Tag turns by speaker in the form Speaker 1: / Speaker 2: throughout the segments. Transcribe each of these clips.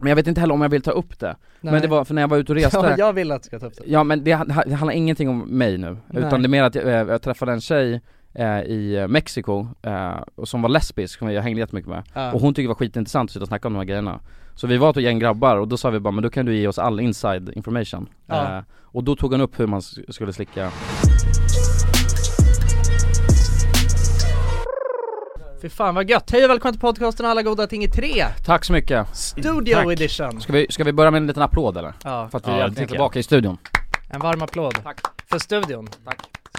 Speaker 1: Men jag vet inte heller om jag vill ta upp det, men
Speaker 2: Nej.
Speaker 1: det var för när jag var ute och reste
Speaker 2: Ja, jag vill att du ska ta upp det.
Speaker 1: Ja men det, ha- det handlar ingenting om mig nu,
Speaker 2: Nej.
Speaker 1: utan det är mer att jag, eh, jag träffade en tjej eh, i eh, Mexiko, eh, och som var lesbisk, som jag hängde jättemycket med
Speaker 2: Ja.
Speaker 1: Och hon tyckte det var skitintressant att sitta och snacka om de här grejerna Så vi var ett gäng grabbar och då sa vi bara, men då kan du ge oss all inside information
Speaker 2: Ja.
Speaker 1: eh, Och då tog hon upp hur man s- skulle slicka
Speaker 2: Fy fan vad gött, hej och välkomna till podcasten Alla goda ting i tre,
Speaker 1: Tack så mycket!
Speaker 2: Studio
Speaker 1: Tack.
Speaker 2: edition!
Speaker 1: Ska vi, ska vi börja med en liten applåd eller?
Speaker 2: Ja,
Speaker 1: För att vi
Speaker 3: Ja, det
Speaker 1: äntligen är
Speaker 3: tycker jag.
Speaker 1: tillbaka i studion
Speaker 2: en varm applåd för studion.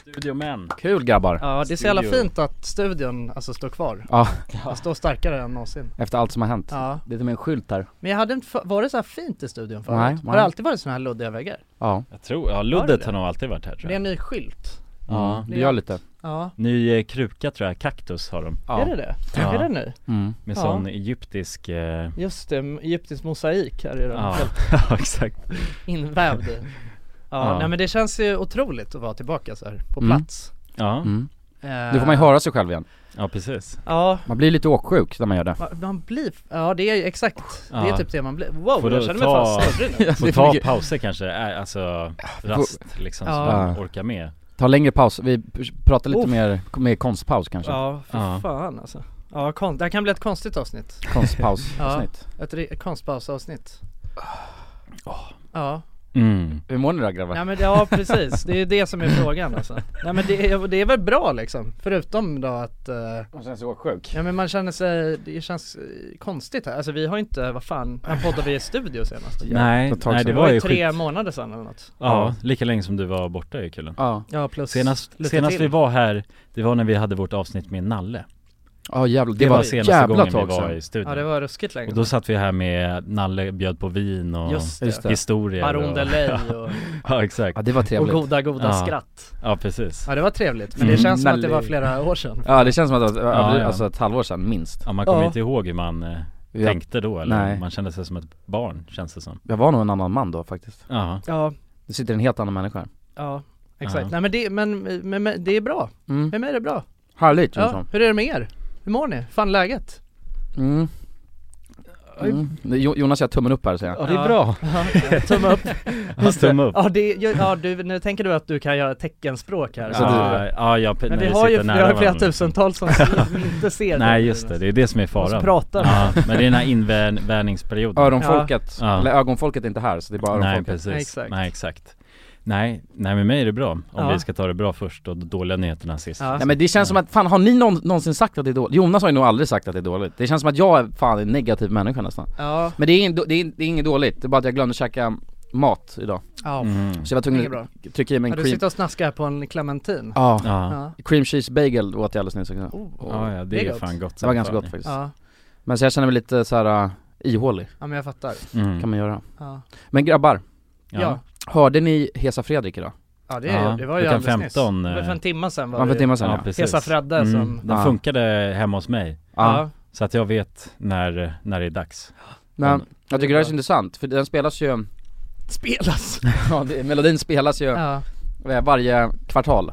Speaker 3: Studiomän.
Speaker 1: Kul grabbar!
Speaker 2: Ja, det är så jävla
Speaker 3: Studio.
Speaker 2: fint att studion alltså står kvar.
Speaker 1: Ja,
Speaker 2: Den står starkare än någonsin.
Speaker 1: efter allt som har hänt
Speaker 2: Ja,
Speaker 1: Det är till och med en skylt där
Speaker 2: men jag hade inte, för- var det så här fint i studion förut?
Speaker 1: Nej,
Speaker 2: Har
Speaker 1: nej.
Speaker 2: det alltid varit såna här luddiga väggar?
Speaker 1: Ja,
Speaker 3: Jag tror, ja
Speaker 2: Har
Speaker 3: luddet
Speaker 2: du
Speaker 3: har nog alltid varit här tror
Speaker 2: Det är
Speaker 3: jag.
Speaker 2: en ny skylt.
Speaker 3: Ja.
Speaker 1: det gör lite
Speaker 2: Ja,
Speaker 3: Ny eh, kruka tror jag, kaktus har de.
Speaker 1: Ja,
Speaker 2: är det det?
Speaker 3: Ja.
Speaker 2: Är det nu?
Speaker 1: Mm.
Speaker 3: Med
Speaker 2: Ja.
Speaker 3: sån egyptisk, eh,
Speaker 2: Just det, egyptisk mosaik här är den
Speaker 3: ja,
Speaker 2: helt
Speaker 3: ja exakt.
Speaker 2: invävd i. Ja,
Speaker 3: Ja.
Speaker 2: nej men det känns ju otroligt att vara tillbaka så här på
Speaker 1: Mm.
Speaker 2: plats.
Speaker 3: Ja,
Speaker 1: Mm.
Speaker 2: Eh,
Speaker 1: Nu får man ju höra sig själv igen
Speaker 3: ja precis.
Speaker 2: Ja,
Speaker 1: Man blir lite åksjuk när man gör det
Speaker 2: Ma- Man blir, ja det är ju exakt, det är
Speaker 3: Ja.
Speaker 2: typ det man blir. Wow,
Speaker 3: Får
Speaker 2: jag
Speaker 3: du
Speaker 2: känner mig
Speaker 3: ta-
Speaker 2: fan snurrig nu.
Speaker 3: Får
Speaker 1: är
Speaker 3: ta
Speaker 1: mycket-
Speaker 3: pauser kanske, eh, alltså rast liksom så
Speaker 2: Ja.
Speaker 3: man orkar med.
Speaker 1: Ta längre paus, vi p- pratar lite
Speaker 2: Uff.
Speaker 1: mer, mer konstpaus kanske
Speaker 2: Ja, för
Speaker 3: Ja.
Speaker 2: fan alltså. Ja, kon- det här kan bli ett konstigt avsnitt.
Speaker 1: Konstpaus
Speaker 2: Ja.
Speaker 1: avsnitt
Speaker 2: Ett ri- konstpausavsnitt. Ja,
Speaker 3: Mm.
Speaker 1: Hur mår ni då grabbar?
Speaker 2: nej men ja precis, det är ju det som är frågan alltså. Nej men det är, det är väl bra liksom, förutom då att eh,
Speaker 1: Man känner sig åksjuk
Speaker 2: Ja men man känner sig, det känns eh, konstigt här, alltså vi har ju inte, vad fan, när poddade vi i studio senast?
Speaker 3: Nej,
Speaker 1: ett tag
Speaker 3: nej
Speaker 1: sedan.
Speaker 3: det
Speaker 2: Det var ju
Speaker 3: skit.
Speaker 2: tre månader sedan eller något
Speaker 3: Ja, lika länge som du var borta är kul.
Speaker 1: Ja,
Speaker 2: Ja plus
Speaker 3: Senast,
Speaker 2: lite
Speaker 3: senast
Speaker 2: till.
Speaker 3: vi var här, det var när vi hade vårt avsnitt med Nalle.
Speaker 1: ja jävlar, det,
Speaker 3: Det, var
Speaker 1: var ett
Speaker 3: senaste
Speaker 1: jävla
Speaker 3: gången vi
Speaker 1: tag
Speaker 3: var i
Speaker 1: sedan
Speaker 3: studion.
Speaker 2: Ja det var ruskigt länge
Speaker 3: Och då satt vi här med Nalle bjöd på vin och
Speaker 2: Just
Speaker 1: Just
Speaker 2: det,
Speaker 1: det.
Speaker 3: historier
Speaker 2: Baron
Speaker 3: och-
Speaker 2: Delay och,
Speaker 3: Ja exakt,
Speaker 1: Ja det var
Speaker 2: och
Speaker 1: trevligt
Speaker 2: goda goda
Speaker 3: Ja.
Speaker 2: skratt
Speaker 3: ja precis
Speaker 2: Ja det var trevligt, men det
Speaker 1: Mm.
Speaker 2: känns som att det
Speaker 1: Nelly.
Speaker 2: var flera år sedan
Speaker 1: Ja det känns som att det var
Speaker 3: Ja, ja.
Speaker 1: alltså ett halvår sedan minst
Speaker 3: Ja man kommer
Speaker 2: Ja.
Speaker 3: inte ihåg hur man eh,
Speaker 1: jag,
Speaker 3: tänkte då eller?
Speaker 1: Nej.
Speaker 3: Man kände sig som ett barn känns det som
Speaker 1: jag var nog en annan man då faktiskt
Speaker 3: Ja,
Speaker 2: Ja,
Speaker 1: Det sitter en helt annan människa här.
Speaker 2: ja, exakt.
Speaker 3: Ja.
Speaker 2: Nej men det, men, men, men det är bra,
Speaker 1: mm.
Speaker 2: med mig är det bra
Speaker 1: Härligt känns
Speaker 2: Ja,
Speaker 1: det
Speaker 2: hur är det med er? Hur mår ni? Fan läget?
Speaker 1: som. mm. Mm. Jo- Jonas gör tummen upp här säger jag
Speaker 2: det är bra. Tumme upp
Speaker 3: ja, tumme upp
Speaker 2: Ja det, ja du, nu tänker du att du kan göra teckenspråk här
Speaker 1: Så
Speaker 2: ja.
Speaker 3: Ja, ja, jag,
Speaker 2: Men
Speaker 3: när
Speaker 2: vi har ju
Speaker 3: sitter
Speaker 2: vi har ju
Speaker 3: nära
Speaker 2: flera
Speaker 3: varandra.
Speaker 2: tusentals som inte ser
Speaker 3: Nej just det, det är det som är
Speaker 2: Måste
Speaker 3: faran
Speaker 2: prata med
Speaker 3: ja, Men det är den här invänjningsperioden
Speaker 1: Öronfolket,
Speaker 3: Ja.
Speaker 1: eller ögonfolket är inte här så det är bara
Speaker 3: Nej
Speaker 1: öronfolket
Speaker 3: precis,
Speaker 2: Nej,
Speaker 3: nej
Speaker 2: exakt.
Speaker 3: exakt. nej nej med mig är det bra om
Speaker 2: Ja.
Speaker 3: vi ska ta det bra först och de dåliga nyheterna sist
Speaker 2: Ja.
Speaker 1: Nej men det känns som att, fan har ni någon, någonsin sagt att det är dåligt? Jonas har ju nog aldrig sagt att det är dåligt Det känns som att jag är fan en negativ människa nästan
Speaker 2: Ja,
Speaker 1: Men det är, ing- det, är, det är inget dåligt, det är bara att jag glömde käka mat idag
Speaker 2: ja,
Speaker 3: Mm.
Speaker 1: Så jag var
Speaker 2: inget
Speaker 1: tvungen
Speaker 2: bra
Speaker 1: att trycka i mig
Speaker 2: ja,
Speaker 1: en
Speaker 2: Du
Speaker 1: cream,
Speaker 2: sitter och snackar på en clementin
Speaker 1: ja.
Speaker 3: Ja.
Speaker 2: Ja,
Speaker 1: cream cheese bagel åt jag alldeles nyss också
Speaker 2: oh.
Speaker 3: Ja, ja, det,
Speaker 2: Det är
Speaker 3: är
Speaker 2: gott.
Speaker 3: fan gott
Speaker 1: Det
Speaker 3: som
Speaker 1: var ganska
Speaker 3: fan.
Speaker 1: gott faktiskt
Speaker 2: ja,
Speaker 1: Men så jag känner mig lite så här äh, ihålig,
Speaker 2: ja men jag fattar
Speaker 3: mm.
Speaker 1: kan man göra
Speaker 2: Ja,
Speaker 1: Men grabbar,
Speaker 2: ja,
Speaker 3: Ja.
Speaker 2: ja.
Speaker 1: hörde ni Hesa Fredrik idag?
Speaker 2: det, är
Speaker 3: Ja,
Speaker 2: det var ju
Speaker 3: klockan
Speaker 2: alldeles
Speaker 3: 15,
Speaker 2: nyss Det var för
Speaker 3: eh,
Speaker 2: en timme sedan var
Speaker 1: Var
Speaker 2: det
Speaker 1: för en
Speaker 2: ju.
Speaker 1: timme sedan ja,
Speaker 3: precis Mm.
Speaker 2: Hesa Fredde som-
Speaker 3: Den
Speaker 1: Ja.
Speaker 3: funkade hemma hos mig
Speaker 1: ja.
Speaker 2: Ja,
Speaker 3: Så att jag vet när, när det är dags
Speaker 1: Men jag tycker det
Speaker 2: bra.
Speaker 1: här är så intressant, för den spelas ju,
Speaker 2: spelas
Speaker 1: ja, det, melodin spelas ju
Speaker 2: Ja,
Speaker 1: eh, varje kvartal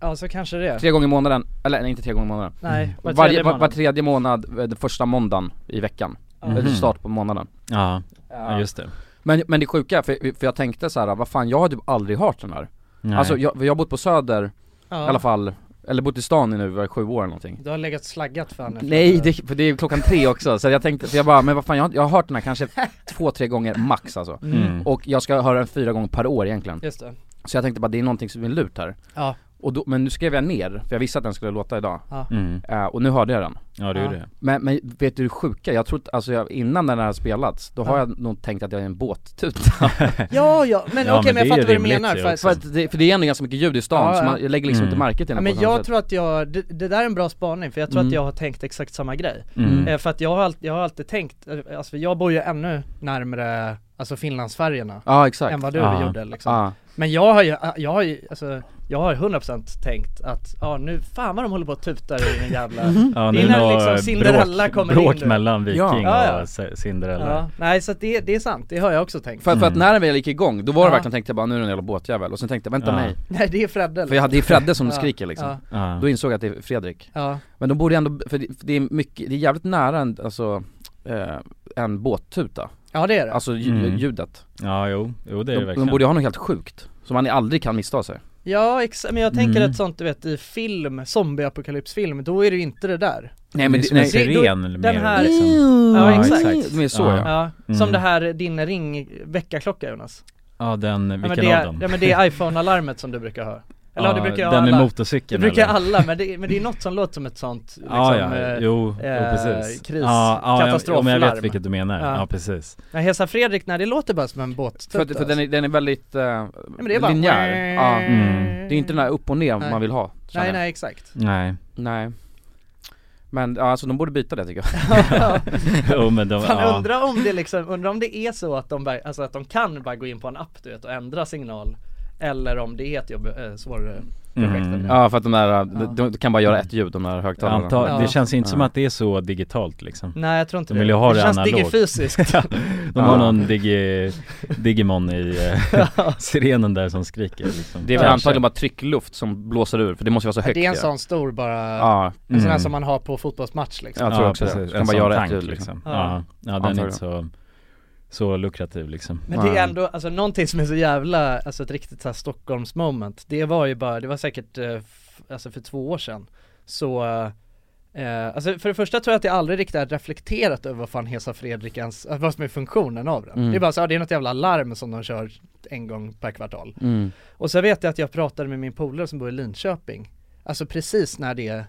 Speaker 2: ja så kanske det
Speaker 1: Tre gånger i månaden, eller nej, inte tre gånger i månaden
Speaker 2: Nej, var
Speaker 1: Var
Speaker 2: tredje
Speaker 1: varje, var,
Speaker 2: månad
Speaker 1: var tredje månad, eh, den första måndagen i veckan,
Speaker 2: Ja.
Speaker 1: eller start på månaden
Speaker 3: Ja, ja just det
Speaker 1: men, men det sjuka, för, för jag tänkte så här, vad fan jag har typ aldrig hört den här
Speaker 3: Nej.
Speaker 1: Alltså jag, för jag har bott på söder
Speaker 2: ja.
Speaker 1: i alla fall, eller bott i stan i nu i sju år eller någonting
Speaker 2: Du har legat slaggat för henne
Speaker 1: Nej, det, för det är klockan tre också, så jag tänkte, för jag bara, men vad fan jag, har- jag har hört den här kanske två, tre gånger max alltså
Speaker 3: Mm.
Speaker 1: Och jag ska höra den fyra gånger per år egentligen
Speaker 2: Just det,
Speaker 1: Så jag tänkte bara, det är någonting som är lurt här
Speaker 2: ja,
Speaker 1: och då, Men nu skrev jag ner, för jag visste att den skulle låta idag,
Speaker 3: Mm.
Speaker 1: Eh, och nu hörde jag den
Speaker 3: Ja det
Speaker 2: Ja.
Speaker 3: är det
Speaker 1: Men, men vet du det sjuka? Jag tror att- alltså jag, innan den här spelats, då har
Speaker 2: Ja.
Speaker 1: jag nog tänkt att jag är en båttuta
Speaker 2: ja, ja men
Speaker 3: Ja, men
Speaker 2: okej men jag
Speaker 3: det är
Speaker 2: fattar
Speaker 3: ju
Speaker 2: vad du
Speaker 3: rimligt
Speaker 2: menar
Speaker 3: ju
Speaker 2: för,
Speaker 3: också.
Speaker 1: För, att det, för det är ändå ganska mycket ljud i stan,
Speaker 2: Ja,
Speaker 1: så
Speaker 2: ja.
Speaker 1: man jag lägger liksom
Speaker 3: Mm.
Speaker 1: inte märke till
Speaker 2: Ja,
Speaker 1: den
Speaker 2: men
Speaker 1: på samma
Speaker 2: jag
Speaker 1: sätt.
Speaker 2: tror att jag, det, det där är en bra spaning för jag tror att
Speaker 1: Mm.
Speaker 2: jag har tänkt exakt samma grej
Speaker 3: Mm.
Speaker 2: Eh, För att jag har, alltid, jag har alltid tänkt, eh, alltså för jag bor ju ännu närmare, alltså Finlandsfärjorna
Speaker 1: Ja
Speaker 2: än
Speaker 1: exakt,
Speaker 2: vad du
Speaker 3: Ja.
Speaker 2: gjorde liksom.
Speaker 1: ja,
Speaker 2: Men jag har ju, jag har ju, alltså, jag har ju 100% tänkt att, ja nu, fan vad de håller på och tutar i min jävla
Speaker 3: Ja,
Speaker 2: Det är
Speaker 3: nu
Speaker 2: när
Speaker 3: när
Speaker 2: liksom Cinderella
Speaker 3: bråk,
Speaker 2: kommer in
Speaker 3: bråk
Speaker 2: nu.
Speaker 3: mellan Viking
Speaker 1: Ja.
Speaker 2: Ja, ja.
Speaker 3: och C- Cinderella
Speaker 2: ja. Nej så att det, det är sant, det har jag också tänkt
Speaker 1: för, för att när den väl gick igång, då var det
Speaker 2: Ja.
Speaker 1: verkligen tänkt jag bara nu är det en jävla båtjävel, och sen tänkte jag vänta
Speaker 3: Ja.
Speaker 1: nej
Speaker 2: Nej det är Fredde
Speaker 1: För jag hade ju Fredde som
Speaker 2: Ja,
Speaker 1: skriker liksom,
Speaker 2: ja,
Speaker 3: Ja.
Speaker 1: då insåg jag att det är Fredrik
Speaker 2: ja,
Speaker 1: Men de borde ändå, för det, för det är mycket, det är jävligt nära en, alltså, eh, en båttuta
Speaker 2: Ja det är det.
Speaker 1: Alltså lju-
Speaker 3: Mm.
Speaker 1: ljudet.
Speaker 3: Ja, jo, jo det är det
Speaker 1: De, de
Speaker 3: verkligen.
Speaker 1: borde ju ha något helt sjukt, som man aldrig kan missta sig.
Speaker 2: Ja exakt, men jag tänker
Speaker 3: Mm.
Speaker 2: att sånt du vet i film, zombieapokalypsfilm, då är det ju inte det där.
Speaker 1: Nej men det,
Speaker 3: det är
Speaker 1: nej. Mm.
Speaker 3: som en
Speaker 2: det- då-
Speaker 3: siren
Speaker 2: den
Speaker 3: mer,
Speaker 2: här-
Speaker 3: liksom.
Speaker 2: Ja,
Speaker 1: Ja,
Speaker 2: exakt.
Speaker 1: exakt. Men så
Speaker 3: Ja.
Speaker 1: ja.
Speaker 2: Ja, som
Speaker 3: Mm.
Speaker 2: det här din ring väckarklocka Jonas.
Speaker 3: Ja den,
Speaker 2: Ja, men
Speaker 3: vilken
Speaker 2: det,
Speaker 3: av dem?
Speaker 2: är- ja men det är iPhone-alarmet som du brukar ha. Eller ja, det brukar jag ha
Speaker 3: Den med
Speaker 2: alla. Det
Speaker 3: motorcykeln
Speaker 2: brukar
Speaker 3: eller?
Speaker 2: alla, men det, men det är något som låter som ett sånt liksom,
Speaker 3: Ja, ja,
Speaker 2: eh,
Speaker 3: jo, jo
Speaker 2: eh,
Speaker 3: precis.
Speaker 2: kris-
Speaker 3: ja, ja, jag- ja, men jag
Speaker 2: katastroflarm.
Speaker 3: vet vilket du menar.
Speaker 2: Ja.
Speaker 3: Ja, precis.
Speaker 2: Ja, Hesa Fredrik, nej det låter bara som en båtstutt
Speaker 1: För, att- för den, är, den är väldigt eh,
Speaker 2: men det är bara
Speaker 1: linjär. Ja.
Speaker 3: Mm.
Speaker 1: Det är inte den här upp och ner
Speaker 2: Nej.
Speaker 1: man vill ha. känner
Speaker 2: Nej
Speaker 1: jag.
Speaker 2: nej exakt
Speaker 3: Nej.
Speaker 1: nej. Men ja, alltså de borde byta det tycker jag.
Speaker 3: jo, men de,
Speaker 2: Fan
Speaker 3: ja.
Speaker 2: undra om det liksom, undra om det är så att de bara, alltså att de kan bara gå in på en app du vet och ändra signal Eller om det är ett jobb, eh, svårare projekt
Speaker 3: Mm.
Speaker 2: mm.
Speaker 1: Ja för att de där, eh, de, de kan bara göra ett ljud de där högtalarna.
Speaker 3: Anta,
Speaker 2: Ja.
Speaker 3: Det känns inte som
Speaker 1: Ja.
Speaker 3: att det är så digitalt liksom.
Speaker 2: Nej jag tror inte
Speaker 3: De
Speaker 2: det,
Speaker 3: vill ju ha
Speaker 2: det
Speaker 3: det
Speaker 2: känns
Speaker 3: analogt.
Speaker 2: digifysiskt
Speaker 3: De har
Speaker 1: Mm. Ja.
Speaker 3: någon digi, Digimon i eh, sirenen där som skriker liksom.
Speaker 1: Det är väl
Speaker 3: Kanske.
Speaker 1: antagligen bara tryckluft som blåser ur för det måste ju vara så högt
Speaker 2: Det är en
Speaker 1: ju.
Speaker 2: sån stor bara,
Speaker 1: Ja,
Speaker 2: en sån här
Speaker 3: Mm.
Speaker 2: som man har på fotbollsmatch liksom
Speaker 1: jag tror också det.
Speaker 3: precis.
Speaker 1: Kan
Speaker 3: En
Speaker 1: bara
Speaker 3: sån
Speaker 1: göra ett
Speaker 3: tank
Speaker 1: ljud,
Speaker 3: liksom.
Speaker 2: liksom.
Speaker 3: Ja, ja den är
Speaker 1: Antagligen.
Speaker 3: inte så, så lukrativ liksom.
Speaker 2: Men det är
Speaker 1: Nej.
Speaker 2: ändå, alltså någonting som är så jävla, alltså ett riktigt såhär Stockholms moment Det var ju bara, det var säkert, eh, f- alltså för två år sedan Så, eh, alltså för det första tror jag att jag aldrig riktigt har reflekterat över vad fan Hesa Fredrik ens, alltså vad som är funktionen av den
Speaker 1: Mm.
Speaker 2: Det är bara så, ja, det är något jävla larm som de kör en gång per kvartal
Speaker 1: Mm.
Speaker 2: Och så vet jag att jag pratade med min polare som bor i Linköping Alltså precis när det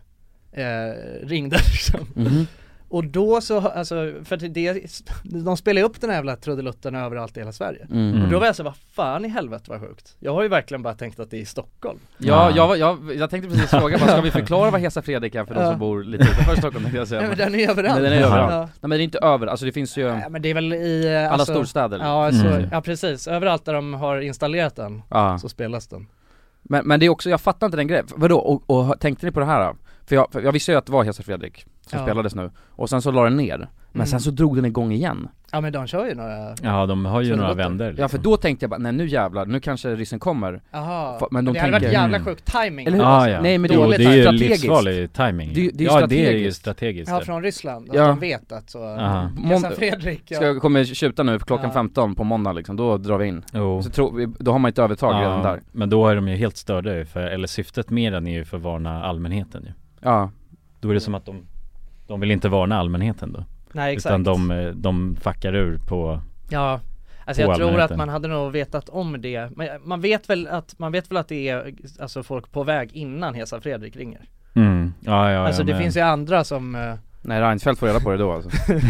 Speaker 2: eh, ringde liksom
Speaker 1: Mhm.
Speaker 2: Och då så, alltså, för att det, de spelar ju upp den här jävla trudelutten överallt i hela Sverige
Speaker 1: Mm.
Speaker 3: Mm.
Speaker 2: och då var jag så här, vad fan i helvete vad sjukt. Jag har ju verkligen bara tänkt att det är i Stockholm.
Speaker 1: Ja,
Speaker 3: Ja.
Speaker 1: jag, var- jag, jag tänkte precis fråga, vad ska vi förklara vad Hesa Fredrik är för de
Speaker 2: Ja.
Speaker 1: som bor lite utanför Stockholm tänkte jag säga
Speaker 2: Nej
Speaker 1: men,
Speaker 2: men
Speaker 1: Nej
Speaker 2: den är överallt.
Speaker 1: Men den är
Speaker 3: överallt.
Speaker 1: men det är inte över, alltså det finns ju
Speaker 2: Ja.
Speaker 1: alla
Speaker 2: Nej, men det är väl i... eh, Alltså,
Speaker 1: storstäder
Speaker 2: Ja, alltså,
Speaker 3: Mm.
Speaker 2: ja precis, överallt där de har installerat den
Speaker 1: Ja.
Speaker 2: så spelas den.
Speaker 1: Men, men det är också, jag fattar inte den grejen, vadå, och, och tänkte ni på det här? då? För jag, för jag visste ju att det var Hesa Fredrik som
Speaker 2: Ja.
Speaker 1: spelades nu, och sen så la den ner, men
Speaker 2: Mm.
Speaker 1: sen så drog den igång igen
Speaker 2: Ja men de kör ju några,
Speaker 3: Ja de har ju
Speaker 2: Så
Speaker 3: några
Speaker 2: det låter-
Speaker 3: vänder liksom.
Speaker 1: Ja för då tänkte jag bara, nej nu jävlar, nu kanske ryssen kommer
Speaker 2: jaha.
Speaker 1: Fa- men de
Speaker 2: det hade varit
Speaker 1: tänker-
Speaker 2: jävla
Speaker 3: Mm.
Speaker 2: sjuk timing
Speaker 1: Eller hur?
Speaker 3: Ja, Ah, ja.
Speaker 1: Nej men det,
Speaker 3: jo,
Speaker 1: är
Speaker 2: Dåligt
Speaker 3: det är ju
Speaker 1: strategiskt.
Speaker 3: livsfarlig timing.
Speaker 1: Det är ju- det är ju
Speaker 3: ja det är ju
Speaker 1: strategiskt.
Speaker 3: strategiskt.
Speaker 2: Ja
Speaker 3: det.
Speaker 2: från Ryssland,
Speaker 1: Ja.
Speaker 2: att de vet att så...
Speaker 3: Aha.
Speaker 2: Hesa
Speaker 1: Månd-
Speaker 2: Fredrik,
Speaker 1: Ska
Speaker 2: ja.
Speaker 1: jag kommer tjuta nu klockan
Speaker 2: Ja.
Speaker 1: 15 på måndag liksom, då drar vi in
Speaker 3: Jo.
Speaker 1: så tror vi, Då har man ett övertag
Speaker 3: Ja,
Speaker 1: redan där
Speaker 3: Men då är de ju helt störda ju för, eller syftet med den är ju för att varna allmänheten ju.
Speaker 1: Ja,
Speaker 3: Då är det som att de, de vill inte varna allmänheten då.
Speaker 2: Nej exakt.
Speaker 3: Utan de, eh, de fuckar ur på,
Speaker 2: Ja, alltså
Speaker 3: På
Speaker 2: jag tror att
Speaker 3: allmänheten.
Speaker 2: man hade nog vetat om det. Men man vet väl att, man vet väl att det är alltså folk på väg innan Hesa Fredrik ringer.
Speaker 3: mm. ja, ja,
Speaker 2: alltså
Speaker 3: ja,
Speaker 2: det
Speaker 3: men,
Speaker 2: finns ju andra som, eh,
Speaker 1: nej Reinfeldt får reda på det då alltså
Speaker 3: men,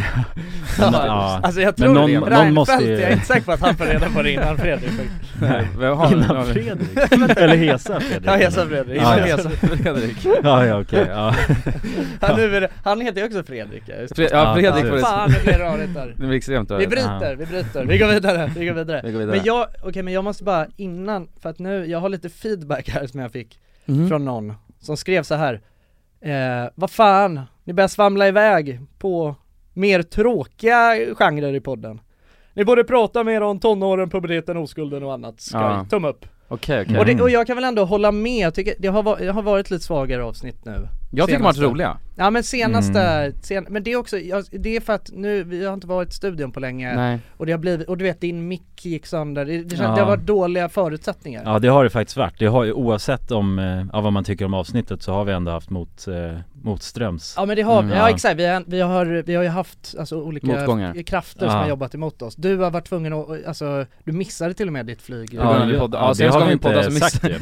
Speaker 3: ja.
Speaker 2: alltså jag
Speaker 3: Men
Speaker 2: tror
Speaker 3: någon-
Speaker 2: det.
Speaker 3: någon
Speaker 2: Reinfeldt,
Speaker 3: måste ju-
Speaker 2: jag är inte säker på att han får reda på det innan Fredrik faktiskt.
Speaker 1: Nej, vem har-
Speaker 3: Innan Fredrik? eller Hesa Fredrik?
Speaker 2: Ja Hesa Fredrik,
Speaker 3: Ja,
Speaker 2: innan
Speaker 3: ja.
Speaker 2: Hesa Fredrik.
Speaker 3: Ja, ja okej, ja.
Speaker 2: Ja, nu är det, han heter ju också Fredrik ja, just det.
Speaker 1: Fre- Ja
Speaker 3: Ja,
Speaker 1: Fredrik får
Speaker 3: precis.
Speaker 1: det,
Speaker 2: Fan det blir rörigt där.
Speaker 1: det blir extremt
Speaker 2: Vi
Speaker 1: rörigt
Speaker 2: bryter, vi bryter, vi går vidare, vi går vidare.
Speaker 1: Vi går vidare.
Speaker 2: Men jag, okej men jag måste bara innan, för att nu, jag har lite feedback här som jag fick
Speaker 1: Mhm.
Speaker 2: från någon som skrev så här. Eh, vad fan, ni börjar svamla iväg på mer tråkiga genrer i podden. Ni borde prata mer om tonåren, puberteten, oskulden och annat. Skoj,
Speaker 1: Ja.
Speaker 2: tumme upp.
Speaker 1: Okej okej,
Speaker 3: Mm.
Speaker 2: Och, det, och jag kan väl ändå hålla med, jag tycker det har, va- det har varit lite svagare avsnitt nu.
Speaker 1: jag tycker de har varit
Speaker 2: Senaste.
Speaker 1: roliga
Speaker 2: Ja men senaste,
Speaker 3: Mm.
Speaker 2: sen, men det är också, jag, det är för att nu, vi har inte varit i studion på länge
Speaker 1: Nej
Speaker 2: och det har blivit, och du vet din mick gick sönder, det, det, känns-
Speaker 3: Ja.
Speaker 2: det har varit dåliga förutsättningar.
Speaker 3: ja det har det faktiskt varit. Det har ju oavsett om, eh, ja, vad man tycker om avsnittet så har vi ändå haft mot, eh, motströms
Speaker 2: Ja men det har vi,
Speaker 3: Mm.
Speaker 2: ja
Speaker 3: Ja.
Speaker 2: exakt, vi har, vi har, vi har ju haft alltså, olika
Speaker 1: Motgångar.
Speaker 2: krafter som
Speaker 3: Ja.
Speaker 2: har jobbat emot oss. Du har varit tvungen att, alltså, du missade till och med ditt flyg.
Speaker 1: Ja, men vi
Speaker 3: det-
Speaker 1: poddar- ja,
Speaker 3: det
Speaker 1: senast
Speaker 3: har
Speaker 1: gången vi
Speaker 3: inte
Speaker 1: poddade så missade-
Speaker 3: sagt ju.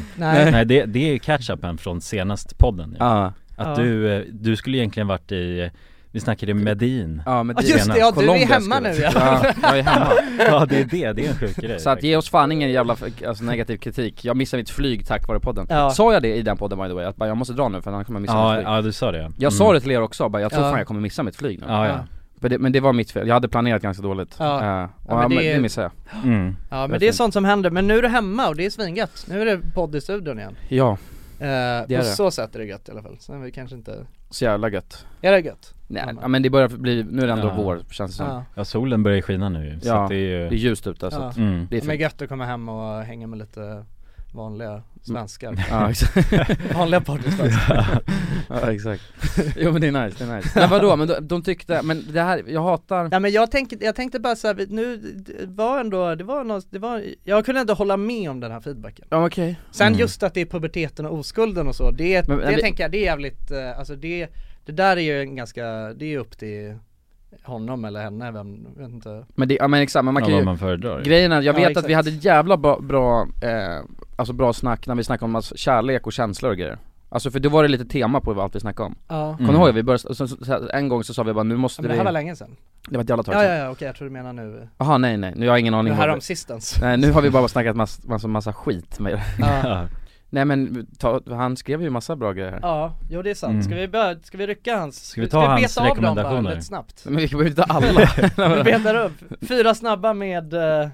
Speaker 2: Nej.
Speaker 3: Nej det, det är ju catch-upen från senast podden ju.
Speaker 1: Ja,
Speaker 3: Att
Speaker 2: Ja.
Speaker 3: du, eh, du skulle egentligen varit i, eh, vi snackade Medin
Speaker 1: ja men
Speaker 2: Ja just det, ja, du är
Speaker 1: Colombia
Speaker 2: hemma nu
Speaker 1: skulle-
Speaker 2: ja.
Speaker 1: Ja, jag är hemma
Speaker 3: Ja det är det, det är en sjuk grej
Speaker 1: Så att ge oss fan ingen jävla alltså, negativ kritik, jag missar mitt flyg tack vare podden
Speaker 2: Ja.
Speaker 1: Sa jag det i den podden by the way, att bara, jag måste dra nu för annars kommer jag missa mitt
Speaker 3: ja, Mm.
Speaker 1: flyg?
Speaker 3: ja du sa det
Speaker 1: Jag sa det till er också, bara, jag tror
Speaker 2: Ja.
Speaker 1: fan jag kommer missa mitt flyg nu
Speaker 3: Ja ja,
Speaker 1: men, det, men det var mitt fel, jag hade planerat ganska dåligt
Speaker 2: Ja.
Speaker 1: Eh, och,
Speaker 2: men
Speaker 1: ja, men
Speaker 2: det-
Speaker 1: det... missade jag
Speaker 3: mm.
Speaker 2: Ja men
Speaker 1: Jag
Speaker 2: det är
Speaker 1: tänkte-
Speaker 2: sånt som händer, men nu är du hemma och det är svingött. Nu är det podd i studion igen.
Speaker 1: Ja,
Speaker 2: Eh, på
Speaker 1: det.
Speaker 2: så sätt är det gött i alla fall, sen är vi kanske inte,
Speaker 1: så jävla gött
Speaker 2: är det gött?
Speaker 1: Nej,
Speaker 2: Ja, men-
Speaker 1: ja, men det börjar bli, nu är det ändå
Speaker 3: Ja.
Speaker 1: vår känns det som
Speaker 2: Ja.
Speaker 3: ja solen börjar skina nu ju, så
Speaker 1: Ja.
Speaker 3: att det är
Speaker 1: Det är
Speaker 3: ju
Speaker 1: ljust ute så
Speaker 2: Ja.
Speaker 1: att
Speaker 3: mm.
Speaker 1: det är
Speaker 2: Men
Speaker 1: fint
Speaker 2: gött att komma hem och hänga med lite vanliga svenskar
Speaker 1: Ja exakt,
Speaker 2: Vanliga partysvenskar
Speaker 1: ja, exakt. Jo men det är nice, det är nice Men vadå, men de, de tyckte, men det här, jag hatar
Speaker 2: Nej men jag tänkte, jag tänkte bara såhär, nu det var ändå, det var något, det var, jag kunde ändå hålla med om den här feedbacken
Speaker 1: Ja okej
Speaker 2: Sen
Speaker 3: Mm.
Speaker 2: just att det är puberteten och oskulden och så, det,
Speaker 1: Men-
Speaker 2: det
Speaker 1: men det-
Speaker 2: tänker jag, det är jävligt, eh, alltså det, det där är ju en ganska, det är ju upp till honom eller henne, vem, jag vet inte
Speaker 1: Men det, ja men exakt, men man
Speaker 3: Man
Speaker 1: kan
Speaker 3: ja,
Speaker 1: ju
Speaker 3: vad man föredrar
Speaker 1: Grejen är, jag
Speaker 2: Ja,
Speaker 1: vet att vi
Speaker 2: exakt.
Speaker 1: hade ett jävla bra, bra eh, alltså bra snack när vi snackade om alltså, kärlek och känslor och grejer Alltså för då var det lite tema på allt vi snackade om
Speaker 2: Ja,
Speaker 1: Kommer du ihåg? Vi började, så, så, så, en gång Mm. så sa vi bara nu måste
Speaker 2: men det
Speaker 1: vi
Speaker 2: här var länge sedan
Speaker 1: Det var ett jävla tag
Speaker 2: Ja
Speaker 1: sedan
Speaker 2: ja ja, okej jag tror du menar nu,
Speaker 1: Jaha nej nej, nu har jag ingen
Speaker 2: nu
Speaker 1: aning om
Speaker 2: härom sistens
Speaker 1: Nej nu har vi bara snackat massa, massa, massa skit med det
Speaker 2: ja.
Speaker 3: Ja.
Speaker 1: Nej men ta, han skrev ju massa bra grejer här
Speaker 2: ja, jo det är sant,
Speaker 3: Mm.
Speaker 2: ska vi börja, ska vi rycka hans, ska
Speaker 3: vi ta hans
Speaker 2: beta av dem bara
Speaker 3: rekommendationer?
Speaker 2: Lite snabbt
Speaker 1: Men vi behöver inte ta alla
Speaker 2: Vi betar upp, fyra snabba med, eh,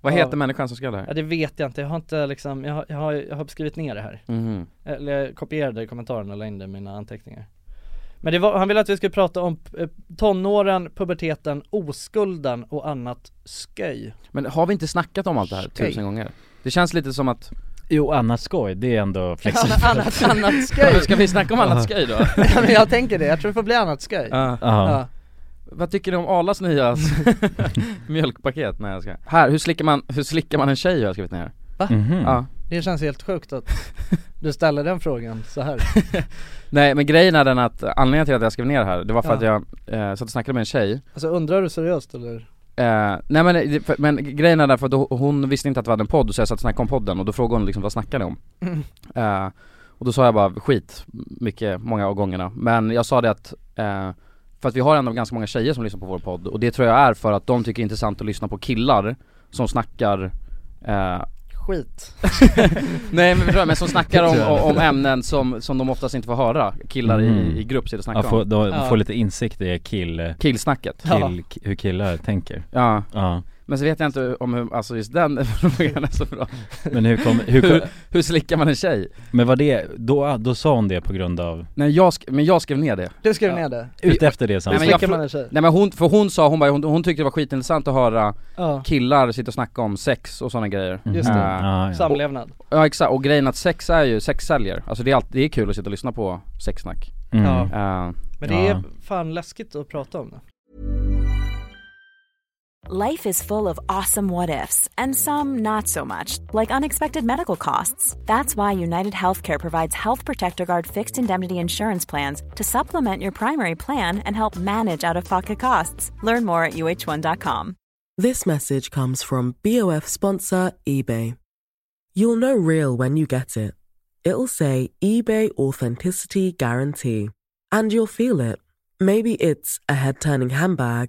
Speaker 1: Vad
Speaker 2: Ja.
Speaker 1: heter människan som skrev det
Speaker 2: ja
Speaker 1: här?
Speaker 2: det vet jag inte, jag har inte liksom, jag har, jag har, jag har skrivit ner det här
Speaker 1: Mhm.
Speaker 2: Eller jag kopierade kommentaren och la in det i mina anteckningar Men det var, han ville att vi skulle prata om eh, tonåren, puberteten, oskulden och annat sköj
Speaker 1: Men har vi inte snackat om allt det här
Speaker 2: Okej.
Speaker 1: tusen gånger? Det känns lite som att,
Speaker 3: Jo annars skoj, det är ändå flexibelt
Speaker 2: Anna- Annat, annat
Speaker 1: Ja,
Speaker 2: sköj!
Speaker 1: ska vi snacka om annat skoj då?
Speaker 2: Ja, men jag tänker det, jag tror det får bli annat sköj
Speaker 1: Ja.
Speaker 3: Ja,
Speaker 2: Ja.
Speaker 1: Vad tycker du om Arlas nya s- mjölkpaket? Nej jag ska. Här, hur slickar man, hur slickar man en tjej har jag skrivit ner?
Speaker 3: Mhm.
Speaker 1: Ja.
Speaker 2: Det känns helt sjukt att du ställer den frågan så här.
Speaker 1: Nej men grejen är den att, anledningen till att jag skrev ner det här, det var för
Speaker 2: Ja.
Speaker 1: att jag eh, satt och snackade med en tjej
Speaker 2: Alltså undrar du seriöst eller?
Speaker 1: Eh, nej men, det- för, men grejen är därför att då- hon visste inte att vi hade en podd så jag satt och snackade om podden och då frågade hon liksom vad snackar ni om? Eh, och då sa jag bara skit, mycket, många av gångerna. Men jag sa det att, eh, för att vi har ändå ganska många tjejer som lyssnar på vår podd och det tror jag är för att de tycker det är intressant att lyssna på killar som snackar eh,
Speaker 2: Skit.
Speaker 1: Nej men, förstår du, men som snackar om, om, om ämnen som, som de oftast inte får höra, killar
Speaker 3: Mm.
Speaker 1: i, i grupp sitter och
Speaker 3: ja
Speaker 1: snackar
Speaker 3: få,
Speaker 1: om
Speaker 3: då,
Speaker 2: Ja.
Speaker 3: få lite insikt i kill,
Speaker 1: Killsnacket,
Speaker 2: Ja.
Speaker 3: kill, hur killar tänker
Speaker 1: ja.
Speaker 3: Ja,
Speaker 1: Men så vet jag inte om hur, alltså just den frågan är så bra
Speaker 3: men hur kom, hur kom
Speaker 1: hur, hur slickar man en tjej?
Speaker 3: men var det, då, då sa hon det på grund av,
Speaker 1: Nej jag, sk- men jag skrev ner det
Speaker 2: Du skrev
Speaker 1: Ja.
Speaker 2: ner det?
Speaker 3: ute efter det
Speaker 1: Nej,
Speaker 3: samtalet?
Speaker 1: men jag
Speaker 2: Slickar
Speaker 1: frå-
Speaker 2: man en tjej?
Speaker 1: Nej men hon, för hon sa, hon, bara, hon, hon tyckte det var skitintressant att höra
Speaker 2: Ja,
Speaker 1: killar sitta och snacka om sex och sådana grejer
Speaker 3: Mhm.
Speaker 2: Just det.
Speaker 1: Ja.
Speaker 3: Ja, ja.
Speaker 2: samlevnad.
Speaker 1: Ja exakt, och grejen att sex är ju, sex säljer, alltså det är, alltid, det är kul att sitta och lyssna på sexsnack
Speaker 3: Mm.
Speaker 2: Ja.
Speaker 1: Eh,
Speaker 2: Men det är
Speaker 3: Ja.
Speaker 2: fan läskigt att prata om det.
Speaker 4: Life is full of awesome what ifs, and some not so much, like unexpected medical costs. That's why United Healthcare provides Health Protector Guard fixed indemnity insurance plans to supplement your primary plan and help manage out of pocket costs. Learn more at uh1.com.
Speaker 5: This message comes from BOF sponsor eBay. You'll know real when you get it. It'll say eBay Authenticity Guarantee. And you'll feel it. Maybe it's a head turning handbag,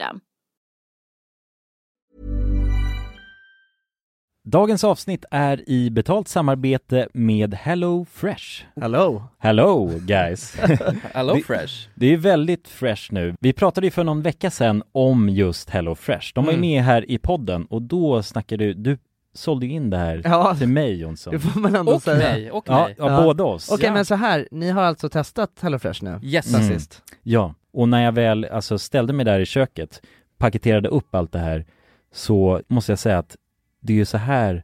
Speaker 3: Dagens avsnitt är i betalt samarbete med Hello Fresh
Speaker 2: Hello!
Speaker 3: Hello guys!
Speaker 1: Hello
Speaker 3: Vi-
Speaker 1: fresh
Speaker 3: Det är väldigt fresh nu. Vi pratade ju för någon vecka sedan om just Hello Fresh. De var ju
Speaker 1: Mm.
Speaker 3: med här i podden och då snackade du, du sålde ju in det här
Speaker 2: Ja,
Speaker 3: till mig Jonsson.
Speaker 2: det får man ändå
Speaker 1: Och
Speaker 2: säga.
Speaker 1: mig, och
Speaker 3: Ja,
Speaker 1: mig
Speaker 3: ja,
Speaker 2: Ja.
Speaker 3: båda oss.
Speaker 2: Okej
Speaker 1: Ja.
Speaker 2: men så här, ni har alltså testat HelloFresh nu?
Speaker 1: Yes alltså.
Speaker 3: Mm.
Speaker 2: Sist.
Speaker 3: Ja, och när jag väl alltså, ställde mig där i köket, paketerade upp allt det här, så måste jag säga att det är ju så här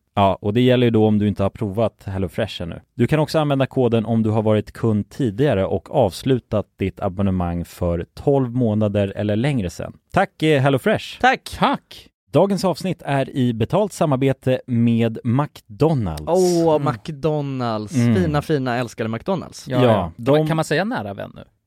Speaker 3: Ja, och det gäller ju då om du inte har provat HelloFresh ännu. Du kan också använda koden om du har varit kund tidigare och avslutat ditt abonnemang för 12 månader eller längre sedan. Tack eh, HelloFresh!
Speaker 2: Tack!
Speaker 1: Tack!
Speaker 3: Dagens avsnitt är i betalt samarbete med McDonalds.
Speaker 2: Åh, McDonalds.
Speaker 3: Mm.
Speaker 2: Fina, fina, älskade McDonalds. Mm. Ja,
Speaker 1: Ja,
Speaker 3: Ja,
Speaker 1: ja.
Speaker 3: de-
Speaker 1: Kan man säga nära vän nu?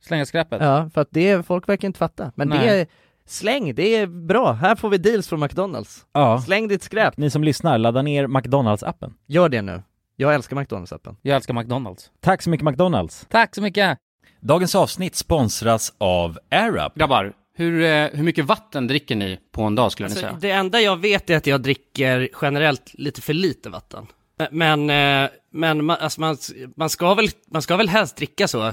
Speaker 1: Slänga skräpet.
Speaker 2: Ja, för att det, folk verkar inte fatta. Men det
Speaker 1: Nej.
Speaker 2: är, släng, det är bra. Här får vi deals från McDonalds.
Speaker 3: Ja.
Speaker 2: Släng ditt skräp.
Speaker 3: Ni som lyssnar, ladda ner McDonalds-appen.
Speaker 2: Gör det nu. Jag älskar McDonalds-appen.
Speaker 1: Jag älskar McDonalds.
Speaker 3: Tack så mycket McDonalds!
Speaker 1: Tack så mycket!
Speaker 3: Dagens avsnitt sponsras av AirUp.
Speaker 6: Grabbar, hur, eh, hur mycket vatten dricker ni på en dag skulle ni
Speaker 7: Alltså,
Speaker 6: säga?
Speaker 7: det enda jag vet är att jag dricker generellt lite för lite vatten. Men, eh, men man, alltså man, man, ska väl, man ska väl helst dricka så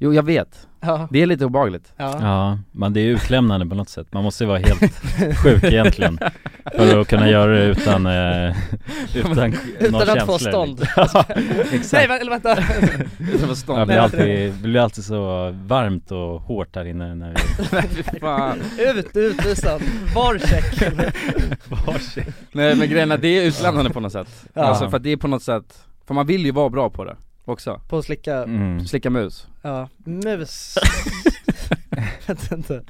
Speaker 1: Jo jag vet,
Speaker 2: Ja.
Speaker 1: det är lite obehagligt.
Speaker 3: Ja, men det är utlämnande på något sätt. Man måste ju vara helt sjuk egentligen för att kunna göra det utan, eh, utan några
Speaker 2: Utan att få
Speaker 3: känslor.
Speaker 2: stånd.
Speaker 3: Ja,
Speaker 8: liksom.
Speaker 2: Nej,
Speaker 3: exakt.
Speaker 2: vä- eller vänta.
Speaker 3: Det blir alltid, det blir alltid så varmt och hårt här inne när vi...
Speaker 1: Fan.
Speaker 2: Ut, utvisad. Var check.
Speaker 1: Nej men grejen är, det är utlämnande på något sätt.
Speaker 2: Ja.
Speaker 1: Alltså för att det är på något sätt, för man vill ju vara bra på det också.
Speaker 2: På att slicka,
Speaker 3: Mm.
Speaker 1: Slicka mus.
Speaker 2: ja, mus. vet inte.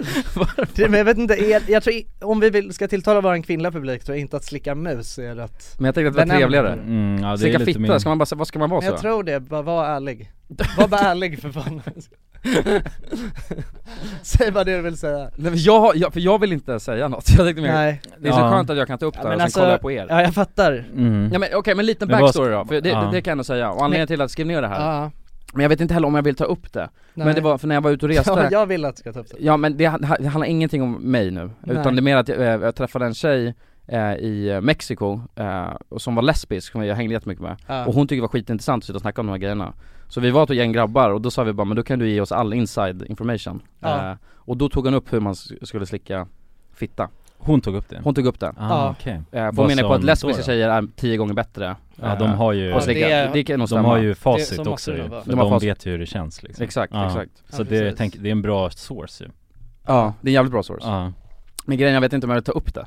Speaker 2: Det, men jag vet inte, jag, jag tror, i- om vi vill, ska tilltala vår kvinnliga publik tror jag inte att slicka mus är rätt.
Speaker 1: Men jag tänkte att det var
Speaker 2: Benämn-
Speaker 1: trevligare.
Speaker 3: Mm, ja, det är
Speaker 1: Slicka
Speaker 3: lite
Speaker 1: fitta,
Speaker 3: min...
Speaker 1: ska man bara, säga- vad ska man vara
Speaker 2: Men jag
Speaker 1: så?
Speaker 2: tror det, bara var ärlig. Var bara ärlig för fan. Säg vad det du vill säga
Speaker 1: Nej, men jag, har- jag, för jag vill inte säga något, jag tänkte mer,
Speaker 2: Nej,
Speaker 1: det är så
Speaker 3: Ja.
Speaker 1: skönt att jag kan ta upp det
Speaker 2: Ja,
Speaker 1: här
Speaker 2: men
Speaker 1: och
Speaker 2: alltså-
Speaker 1: sen kollar jag på er
Speaker 2: ja jag fattar
Speaker 3: Mm.
Speaker 1: Ja men okej, men liten
Speaker 3: Men vad-
Speaker 1: backstory då, för det,
Speaker 3: ja.
Speaker 1: det, det kan jag nog säga, och anledningen till att jag skrev ner det här
Speaker 2: Ja,
Speaker 1: Men jag vet inte heller om jag vill ta upp det, men
Speaker 2: nej.
Speaker 1: det var för när jag var ute och reste
Speaker 2: Ja, jag vill att du ska ta upp det
Speaker 1: Ja men det, ha- det handlar ingenting om mig nu,
Speaker 2: Nej.
Speaker 1: utan det är mer att jag, eh, jag träffade en tjej eh, i eh, Mexiko, eh, och som var lesbisk, som jag hängde jättemycket med
Speaker 2: Ja.
Speaker 1: Och hon tyckte det var skitintressant att sitta och snacka om de här grejerna Så vi var ett gäng grabbar och då sa vi bara, men då kan du ge oss all inside information
Speaker 2: Ja.
Speaker 1: eh, Och då tog hon upp hur man s- skulle slicka fitta
Speaker 3: Hon tog upp det?
Speaker 1: Hon tog upp det,
Speaker 3: Ah,
Speaker 2: Ja.
Speaker 3: okej.
Speaker 1: eh, för
Speaker 3: Vad
Speaker 1: hon menar
Speaker 3: sa
Speaker 1: på att
Speaker 3: hon
Speaker 1: lesbiska
Speaker 3: då då?
Speaker 1: tjejer är tio gånger bättre
Speaker 3: Ja de har ju,
Speaker 1: eh, på att slicka.
Speaker 2: det-
Speaker 1: det, kan
Speaker 3: de
Speaker 1: nog stämma
Speaker 3: har ju
Speaker 2: Det- så
Speaker 3: facit
Speaker 2: måste
Speaker 3: också
Speaker 2: det
Speaker 3: ju,
Speaker 2: vara.
Speaker 3: för
Speaker 1: De
Speaker 3: de,
Speaker 1: har facit.
Speaker 3: vet ju hur det känns liksom
Speaker 1: Exakt,
Speaker 3: Ja.
Speaker 1: exakt
Speaker 3: Så
Speaker 2: Ja,
Speaker 3: det, jag
Speaker 2: precis.
Speaker 3: tänker, det är en bra source ju
Speaker 1: Ja, det är en jävligt bra source
Speaker 3: Ja,
Speaker 1: Men grejen, jag vet inte om jag vill ta upp det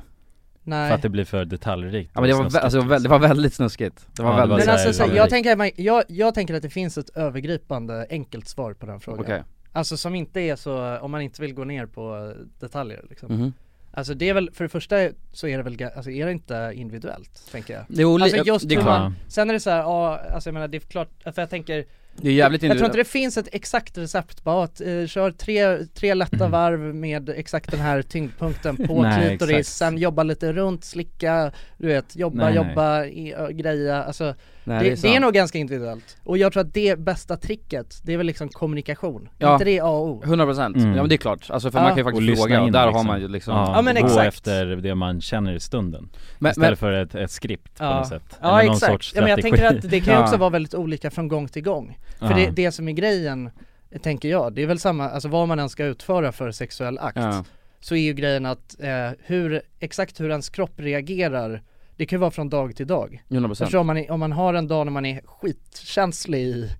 Speaker 3: för
Speaker 2: Nej
Speaker 3: att det blir för detaljrikt
Speaker 1: Ja men det var, vä-
Speaker 3: Snuskigt, liksom.
Speaker 1: alltså, vä- det var väldigt snuskigt Det var
Speaker 3: Ja, det
Speaker 1: väldigt
Speaker 2: Men
Speaker 3: så här,
Speaker 2: alltså så, här,
Speaker 3: sannolikt.
Speaker 2: jag, tänker, att man- jag, jag tänker att det finns ett övergripande enkelt svar på den frågan
Speaker 1: Okej,
Speaker 2: Alltså som inte är så, om man inte vill gå ner på eh, detaljer liksom
Speaker 1: mhm
Speaker 2: Alltså det är väl, för det första så är det väl, ga- alltså är det inte individuellt tänker jag
Speaker 1: Det är oli-
Speaker 2: Alltså
Speaker 1: jag-
Speaker 2: just
Speaker 1: det är
Speaker 2: hur
Speaker 1: klart,
Speaker 2: man, sen är det så här, ja alltså jag menar det är klart, för jag tänker
Speaker 1: det är jävligt
Speaker 2: Jag tror
Speaker 1: individuellt
Speaker 2: inte det finns ett exakt recept, bara att eh, kör tre, tre
Speaker 1: Mm.
Speaker 2: lätta varv med exakt den här tyngdpunkten på
Speaker 3: Nej,
Speaker 2: klitoris,
Speaker 3: exakt.
Speaker 2: sen jobba lite runt, slicka, du vet, jobba,
Speaker 3: Nej, nej.
Speaker 2: jobba, i, ö, greja, alltså
Speaker 1: Nej,
Speaker 2: det, det, är
Speaker 1: sant.
Speaker 2: nog ganska individuellt. Och jag tror att det bästa tricket, det är väl liksom kommunikation,
Speaker 1: Ja.
Speaker 2: inte det A och O?
Speaker 1: 100% procent,
Speaker 3: Mm.
Speaker 1: ja men det är klart, alltså för
Speaker 2: Ja.
Speaker 1: man kan ju
Speaker 3: Och
Speaker 1: faktiskt
Speaker 3: lyssna
Speaker 1: fråga,
Speaker 3: in,
Speaker 1: där
Speaker 3: liksom.
Speaker 1: har man ju liksom
Speaker 3: Ja,
Speaker 2: Ja, men
Speaker 3: gå
Speaker 2: exakt.
Speaker 3: efter det man känner i stunden
Speaker 1: men,
Speaker 3: Istället
Speaker 1: men,
Speaker 3: för ett, ett skript på
Speaker 2: Ja.
Speaker 3: något sätt
Speaker 2: Ja
Speaker 3: Eller någon sorts
Speaker 2: exakt, ja, men jag
Speaker 3: strategi.
Speaker 2: tänker att det kan ju
Speaker 1: Ja.
Speaker 2: också vara väldigt olika från gång till gång. För
Speaker 3: Ja.
Speaker 2: det, det som är grejen, eh, tänker jag, det är väl samma, alltså vad man än ska utföra för sexuell akt
Speaker 1: ja.
Speaker 2: så är ju grejen att eh, hur, exakt hur ens kropp reagerar det kan ju vara från dag till dag.
Speaker 1: 100%
Speaker 2: Förstår om man, är, om man har en dag när man är skitkänslig i